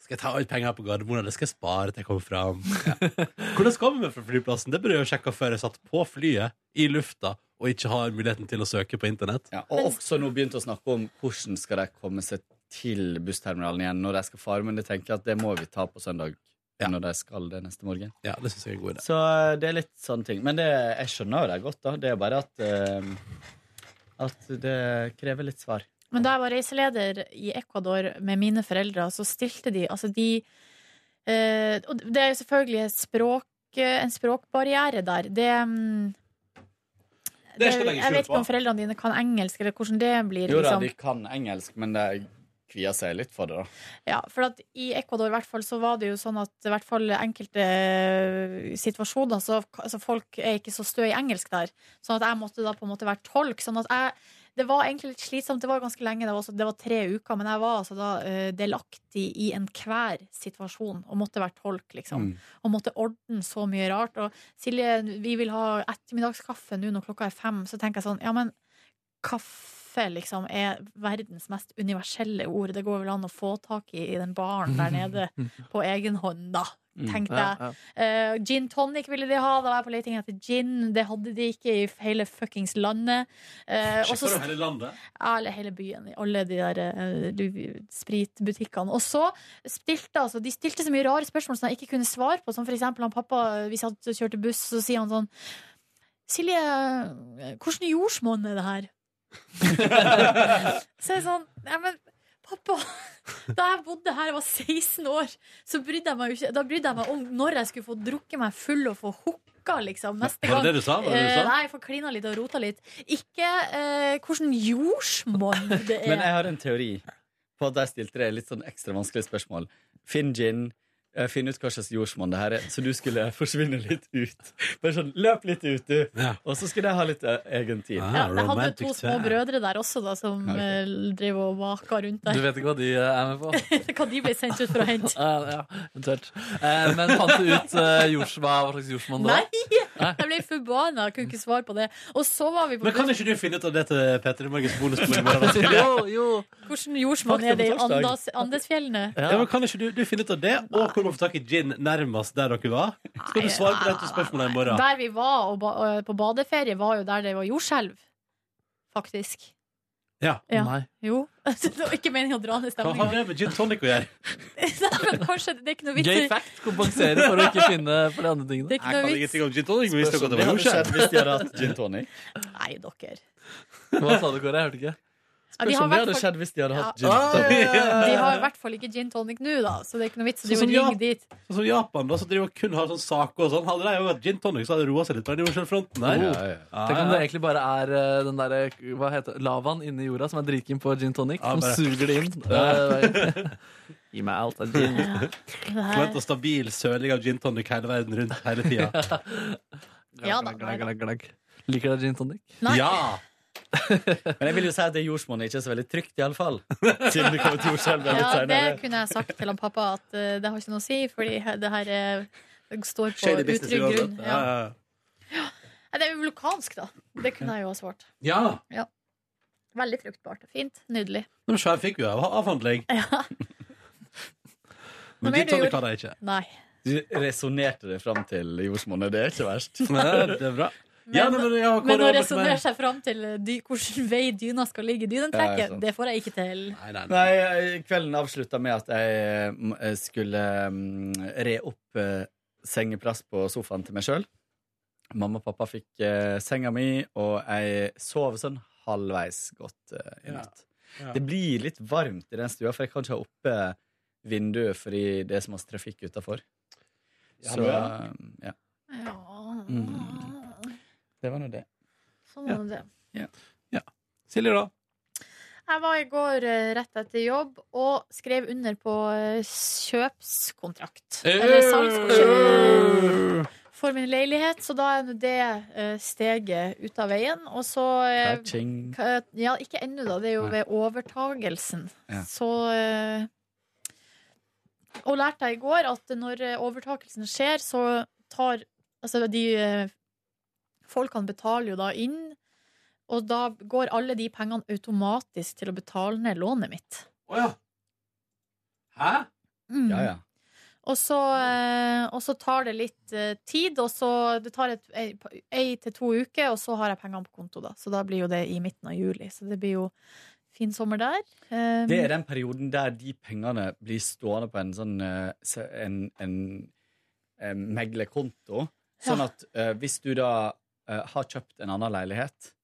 Speaker 1: Skal jeg ta ut penger på Gardermoen, eller skal jeg spare til jeg kommer fram? Hvordan kommer vi fra flyplassen? Det burde jeg jo sjekka før jeg satt på flyet, i lufta, og ikke har muligheten til å søke på internett.
Speaker 11: Ja, og også nå begynt å snakke om hvordan skal de komme seg til bussterminalen igjen når de skal fare, men jeg tenker at det må vi ta på søndag
Speaker 1: Ja.
Speaker 11: når de skal det neste morgen.
Speaker 1: Ja, det synes jeg er en god idé.
Speaker 11: Så eh, det er litt sånne ting. Men det, jeg skjønner jo det godt, da. Det er bare at eh, at det krever litt svar.
Speaker 2: Men da jeg var reiseleder i Ecuador med mine foreldre, så stilte de altså de eh, Og det er jo selvfølgelig et språk, eh, en språkbarriere der. Det, mm,
Speaker 1: Det skal jeg legge
Speaker 2: jeg
Speaker 1: skjul
Speaker 2: vet ikke
Speaker 1: på.
Speaker 2: om foreldrene dine kan engelsk, eller hvordan det blir.
Speaker 11: Jo da,
Speaker 2: liksom.
Speaker 11: de kan engelsk, men de kvier seg litt for det, da.
Speaker 2: Ja, for at i Ecuador i hvert fall, så var det jo sånn at i hvert fall enkelte eh, situasjoner så altså folk er ikke så stø i engelsk der. Sånn at jeg måtte da på en måte være tolk. Sånn at jeg Det var egentlig litt slitsomt. Det var ganske lenge, det var, også, det var tre uker. Men jeg var altså da eh, delaktig i enhver situasjon og måtte være tolk, liksom.
Speaker 3: Mm.
Speaker 2: Og måtte ordne så mye rart. Og Silje, vi vil ha ettermiddagskaffe nå når klokka er fem. Så tenker jeg sånn, ja, men kaffe liksom er verdens mest universelle ord. Det går vel an å få tak i i den baren der nede på egen hånd, da. Tenkte jeg.
Speaker 3: Mm. Ja, ja.
Speaker 2: Eh, gin tonic ville de ha. Da var jeg på leting etter gin. Det hadde de ikke i hele fuckings landet. Eh, og så
Speaker 1: Sjekker du hele landet?
Speaker 2: ja, eller hele byen, i alle de der eh, du- spritbutikkene. Og så stilte altså, de stilte så mye rare spørsmål som jeg ikke kunne svare på. Som for eksempel han pappa, hvis han kjørte buss, så sier han sånn Silje, hvordan jordsmonn er det her? så er jeg sånn Nei, men pappa, da jeg bodde her og var 16 år, så brydde jeg meg jo ikke Da brydde jeg meg om når jeg skulle få drukket meg full og få hooka, liksom. Neste
Speaker 1: Var
Speaker 2: gang.
Speaker 1: det det du sa? Var det det du
Speaker 2: Eh,
Speaker 1: sa?
Speaker 2: nei, jeg får klina litt og rota litt. Ikke eh, hvordan jordsmonn det er.
Speaker 11: Men jeg har en teori på at de stilte deg litt sånn ekstra vanskelige spørsmål. Finn gin. eh, Finn ut hva slags jordsmonn det her er, så du skulle forsvinne litt ut. Bare sånn, Løp litt ut, du!
Speaker 1: Ja.
Speaker 11: Og så skulle jeg ha litt eh, egen tid.
Speaker 1: Ah,
Speaker 2: ja, jeg hadde
Speaker 1: romantic
Speaker 2: to små
Speaker 1: time.
Speaker 2: brødre der også, da, som
Speaker 11: ok.
Speaker 2: eh, drev og vaka rundt
Speaker 3: Du
Speaker 2: der.
Speaker 3: vet ikke hva de eh, er med på?
Speaker 2: Hva de ble sendt ut for å hente.
Speaker 3: Ja, ja, eventuelt. Eh, men fant du ut eh, jords, hva, hva slags jordsmonn det
Speaker 2: Nei!
Speaker 3: var?
Speaker 2: Jeg ble forbanna, jeg kunne ikke svare på det. Og så var vi på
Speaker 1: Men kan ikke du finne ut av det til Peter i morgens bonusbord i morgen? da?
Speaker 3: Jo, jo.
Speaker 2: hvordan jordsmonn er det i
Speaker 11: Fakta på
Speaker 2: Andas, Andesfjellene.
Speaker 1: Ja, men kan ikke du, du finne ut av det, og hvor man får tak i gin nærmest der dere var? Så kan du svare på dette spørsmålet i morgen.
Speaker 2: Der vi var og ba og på badeferie, var jo der det var jordskjelv. Faktisk.
Speaker 1: Ja.
Speaker 2: Ja.
Speaker 3: Nei.
Speaker 2: Jo. Det var ikke meningen å dra ned
Speaker 1: Hva har
Speaker 2: stemninga.
Speaker 1: det med gin tonic å gjøre?
Speaker 2: Kanskje det er ikke noe vits
Speaker 3: Gay
Speaker 2: i
Speaker 3: fact kompenserer for å ikke finne for de andre
Speaker 2: Det er
Speaker 3: tingene.
Speaker 1: Jeg
Speaker 2: ikke noe
Speaker 1: kan
Speaker 2: vits.
Speaker 1: ingenting om gin tonic, men visste dere at det var
Speaker 11: hadde
Speaker 1: jordskjelv?
Speaker 11: skjedd hvis de hadde hatt gin tonic.
Speaker 2: Nei, dere.
Speaker 3: Hva sa du, Kåre? Jeg hørte ikke.
Speaker 2: Ja, de
Speaker 3: Spørs
Speaker 2: har
Speaker 11: sånn
Speaker 3: om det
Speaker 2: i hvert
Speaker 3: hadde
Speaker 2: fall-
Speaker 3: skjedd hvis de hadde hatt
Speaker 2: Ah, Ja.
Speaker 3: gin tonic.
Speaker 2: De har i hvert fall ikke gin tonic nå, da, så det er ikke noe vits å
Speaker 1: Sånn
Speaker 2: drive
Speaker 1: som
Speaker 2: og
Speaker 1: Jap-
Speaker 2: ringe dit.
Speaker 1: sånn som Japan, da, som driver og kun har sånn sake og sånn. Hadde de jo vært gin tonic, så hadde det roa seg litt på den jordskjelvfronten der.
Speaker 3: Oh. Tenk om det egentlig bare er eh, den der, hva heter det, lavaen inni jorda som er dritken på gin tonic,
Speaker 1: Ja,
Speaker 3: som
Speaker 1: bare-
Speaker 3: suger det inn. Eh, Gi meg alt av gin.
Speaker 2: her-
Speaker 1: Forvent og stabil søling av gin tonic hele verden rundt hele tida.
Speaker 2: Ja da.
Speaker 3: Glagg, glagg, glagg. Liker dere gin tonic?
Speaker 1: Ja!
Speaker 11: Men jeg vil jo si at det jordsmonnet ikke er så veldig trygt, iallfall. Siden det kommer til jordskjelvet litt
Speaker 2: Ja,
Speaker 11: senere.
Speaker 2: det kunne jeg sagt til han pappa, at eh, det har ikke noe å si, fordi he- det her eh, det står på
Speaker 1: Shady business
Speaker 2: utrygg grunn.
Speaker 1: uansett.
Speaker 2: Ja.
Speaker 1: Ja,
Speaker 2: Nei, Det er jo vulkansk, da. Det kunne jeg jo ha svart.
Speaker 1: ja. ja.
Speaker 2: Veldig fruktbart. Fint. Nydelig.
Speaker 1: Men Skjær fikk jo av- avhandling.
Speaker 2: Noe
Speaker 11: Men
Speaker 2: mer
Speaker 11: gin
Speaker 2: du
Speaker 11: tonic
Speaker 2: gjorde?
Speaker 11: hadde jeg ikke.
Speaker 2: Nei.
Speaker 11: Du resonnerte det fram til jordsmonnet. Det er ikke verst.
Speaker 1: Nei, eh, det er bra. Ja, nei, men, ja, Kåre,
Speaker 2: Men å
Speaker 1: hva med-
Speaker 2: resonnere seg fram til eh, dy, hvilken vei dyna skal ligge i
Speaker 11: Ja,
Speaker 2: dynentrekket,
Speaker 11: sant.
Speaker 2: det får jeg ikke til.
Speaker 11: Nei, jeg- kvelden avslutta med at jeg mm, eh, skulle mm, re opp eh, sengeplass på sofaen til meg sjøl. Mamma og pappa fikk eh, senga mi, og jeg sov sånn halvveis godt eh, i
Speaker 1: Ja.
Speaker 11: natt.
Speaker 1: Ja.
Speaker 11: Det blir litt varmt i den stua, for jeg kan ikke ha oppe vinduet fordi det er så masse trafikk utafor.
Speaker 1: Ja,
Speaker 11: Så eh,
Speaker 1: bra.
Speaker 11: ja.
Speaker 2: Ja,
Speaker 11: Mm. Det var nå det.
Speaker 2: sånn er det.
Speaker 1: Silje, da?
Speaker 2: Jeg var i går eh, rett etter jobb og skrev under på eh, kjøpskontrakt. Eller
Speaker 1: Eh.
Speaker 2: salgskontrakt. For min leilighet, så da er nå det eh, steget ut av veien. Og så eh,
Speaker 11: Ka-ching.
Speaker 2: ka- Ja, ikke ennå, da. Det er jo
Speaker 11: Nei.
Speaker 2: ved overtagelsen.
Speaker 11: Ja.
Speaker 2: Så eh, Og lærte jeg i går at når eh, overtakelsen skjer, så tar Altså, de eh, folkene betaler jo da inn og da går alle de pengene automatisk til å betale ned lånet mitt.
Speaker 1: Hæ?
Speaker 2: Mm.
Speaker 11: Ja, ja.
Speaker 2: Og, så, eh, og så tar det litt eh, tid, og så det tar et- ei ei til to uker, og så har jeg pengene på konto, da. Så da blir jo det i midten av juli. Så det blir jo fin sommer der. Um,
Speaker 11: Det er den perioden der de pengene blir stående på en sånn eh, se- en, en, en meglerkonto. Sånn
Speaker 2: Ja.
Speaker 11: at eh, hvis du da eh, har kjøpt en annen leilighet,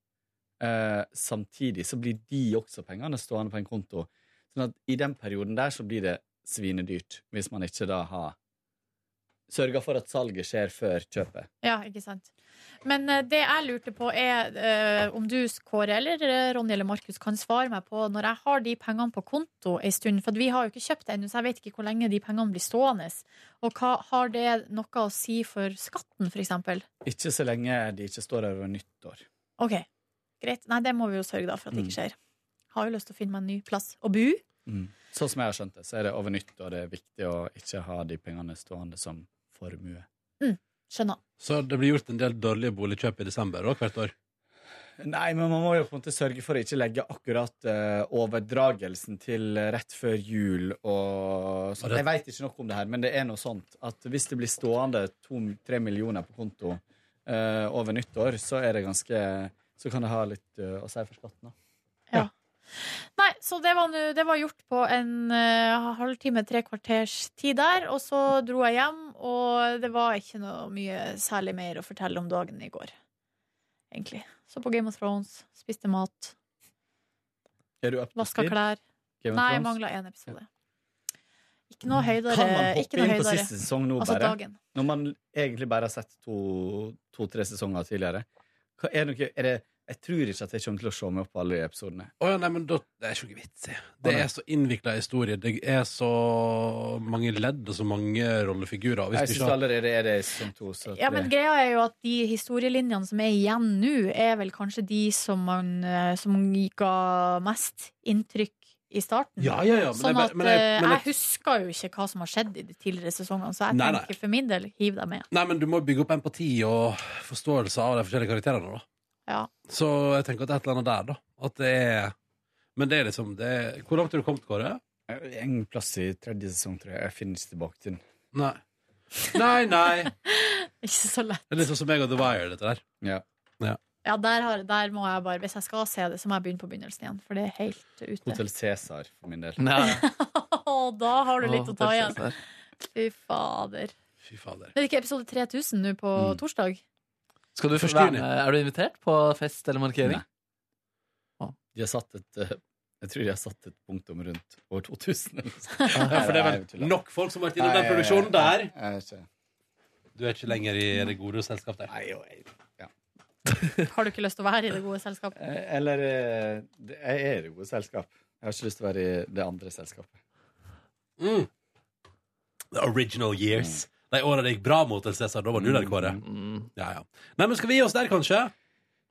Speaker 11: eh, samtidig så blir de også pengene stående på en konto. Sånn at i den perioden der så blir det svinedyrt, hvis man ikke da har sørga for at salget skjer før kjøpet.
Speaker 2: Ja, ikke sant. Men eh, det jeg lurte på, er eh, om du, Kåre eller eh, Ronny eller Markus, kan svare meg på når jeg har de pengene på konto ei stund, for at vi har jo ikke kjøpt ennå, så jeg vet ikke hvor lenge de pengene blir stående. Og hva, har det noe å si for skatten, for eksempel?
Speaker 11: Ikke så lenge de ikke står der over nyttår.
Speaker 2: OK, greit. Nei, det må vi jo sørge da for at det
Speaker 11: Mm.
Speaker 2: ikke skjer. Har jo lyst til å finne meg en ny plass å bo.
Speaker 11: Sånn som jeg har skjønt det, så er det over nyttår det er viktig å ikke ha de pengene stående som formue.
Speaker 2: Skjønner.
Speaker 1: Så det blir gjort en del dårlige boligkjøp i desember og hvert år.
Speaker 11: Nei, men man må jo på en måte sørge for å ikke legge akkurat eh, overdragelsen til rett før jul og sånn. Jeg veit ikke noe om det her, men det er noe sånt at hvis det blir stående to-tre millioner på konto eh, over nyttår, så er det ganske Så kan det ha litt eh, å si for skatten, da.
Speaker 2: Nei, så det var, nu- det var gjort på en eh, halvtime, tre kvarters tid der, og så dro jeg hjem, og det var ikke noe mye særlig mer å fortelle om dagen i går, egentlig. Så på Game of Thrones, spiste mat,
Speaker 11: Er du up to
Speaker 2: vaska
Speaker 11: speed?
Speaker 2: klær.
Speaker 11: Game of
Speaker 2: Nei,
Speaker 11: Thrones? Mm.
Speaker 2: mangla én episode. Ikke noe høydere.
Speaker 11: Kan man hoppe
Speaker 2: ikke noe
Speaker 11: inn på
Speaker 2: høydere.
Speaker 11: siste sesong nå,
Speaker 2: altså
Speaker 11: bare?
Speaker 2: dagen.
Speaker 11: Når man egentlig bare har sett to- to-tre sesonger tidligere. Hva er det, noe- er det, jeg tror ikke at jeg kommer til å se meg opp på alle episodene.
Speaker 1: Å ja, nei, men da, det er ikke noe vits i. Det
Speaker 11: Å, nei.
Speaker 1: er så innvikla historie. Det er så mange ledd og så mange rollefigurer. og Hvis
Speaker 11: Jeg
Speaker 1: du
Speaker 11: syns
Speaker 1: ikke har
Speaker 11: allerede er det som to, så
Speaker 2: Ja, men greia er jo at de historielinjene som er igjen nå, er vel kanskje de som, man, eh, som ga mest inntrykk i starten.
Speaker 1: Ja, ja, ja, men
Speaker 2: sånn
Speaker 1: jeg-
Speaker 2: at
Speaker 1: men jeg-
Speaker 2: eh,
Speaker 1: men
Speaker 2: jeg
Speaker 1: jeg-
Speaker 2: husker jo ikke hva som har skjedd i de tidligere sesongene, så jeg
Speaker 1: Nei, nei.
Speaker 2: tenker for min del hiv deg med.
Speaker 1: Nei, men du må bygge opp empati og forståelse av de forskjellige karakterene, da.
Speaker 2: Ja.
Speaker 1: Så jeg tenker at det er et eller annet der, da. At det er Men det er liksom det er... Hvor langt har du kommet, Kåre?
Speaker 11: En plass i tredje sesong, tror jeg. Jeg finner ikke tilbake til den.
Speaker 1: Nei. Nei, nei. Det
Speaker 2: Ikke så lett.
Speaker 1: er litt sånn som meg og The Wire, dette der.
Speaker 11: Ja.
Speaker 2: Ja, der, har, der må jeg bare Hvis jeg skal se det, så må jeg begynne på begynnelsen igjen, for det er helt ute.
Speaker 11: Hotell Cæsar, for min del.
Speaker 3: Nei.
Speaker 2: Og da har du litt å ta
Speaker 3: Hotell
Speaker 2: igjen.
Speaker 3: Cæsar.
Speaker 2: Fy fader.
Speaker 1: Fy fader.
Speaker 2: Det er ikke episode 3000 nå på
Speaker 11: Mm.
Speaker 2: torsdag?
Speaker 3: Skal du
Speaker 1: Første
Speaker 3: være
Speaker 1: juni.
Speaker 3: med? Er du invitert på fest eller markering?
Speaker 11: Nei. De har satt et eh, Jeg tror de har satt et punktum rundt år 2000. Eller
Speaker 1: Ja, for det er vel nok folk som har vært inne i den produksjonen der. Du er ikke lenger i det gode selskap der.
Speaker 2: Har du ikke lyst til å være i det gode selskapet?
Speaker 11: Eller eh, det- Jeg er i det gode selskap. Jeg har ikke lyst til å være i det andre selskapet.
Speaker 1: Mm. The original years. De åra det gikk bra mot LCSR. Da var du der, Kåre. Ja, ja. Nei, men skal vi gi oss der, kanskje?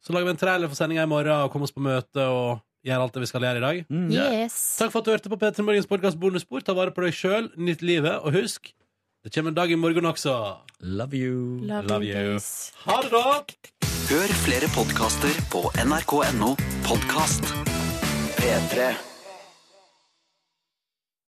Speaker 1: Så lager vi en trailer for sendinga i morgen og kommer oss på møte og gjør alt det vi skal gjøre i dag.
Speaker 2: Mm.
Speaker 1: Takk for at du hørte på P3 Morgens podkast Bonusspor. Ta vare på deg sjøl, nytt livet, og husk det kommer en dag i morgen også.
Speaker 11: Love you.
Speaker 1: Love, you. Ha det, da!
Speaker 12: Hør flere podkaster på nrk.no podkast. P3.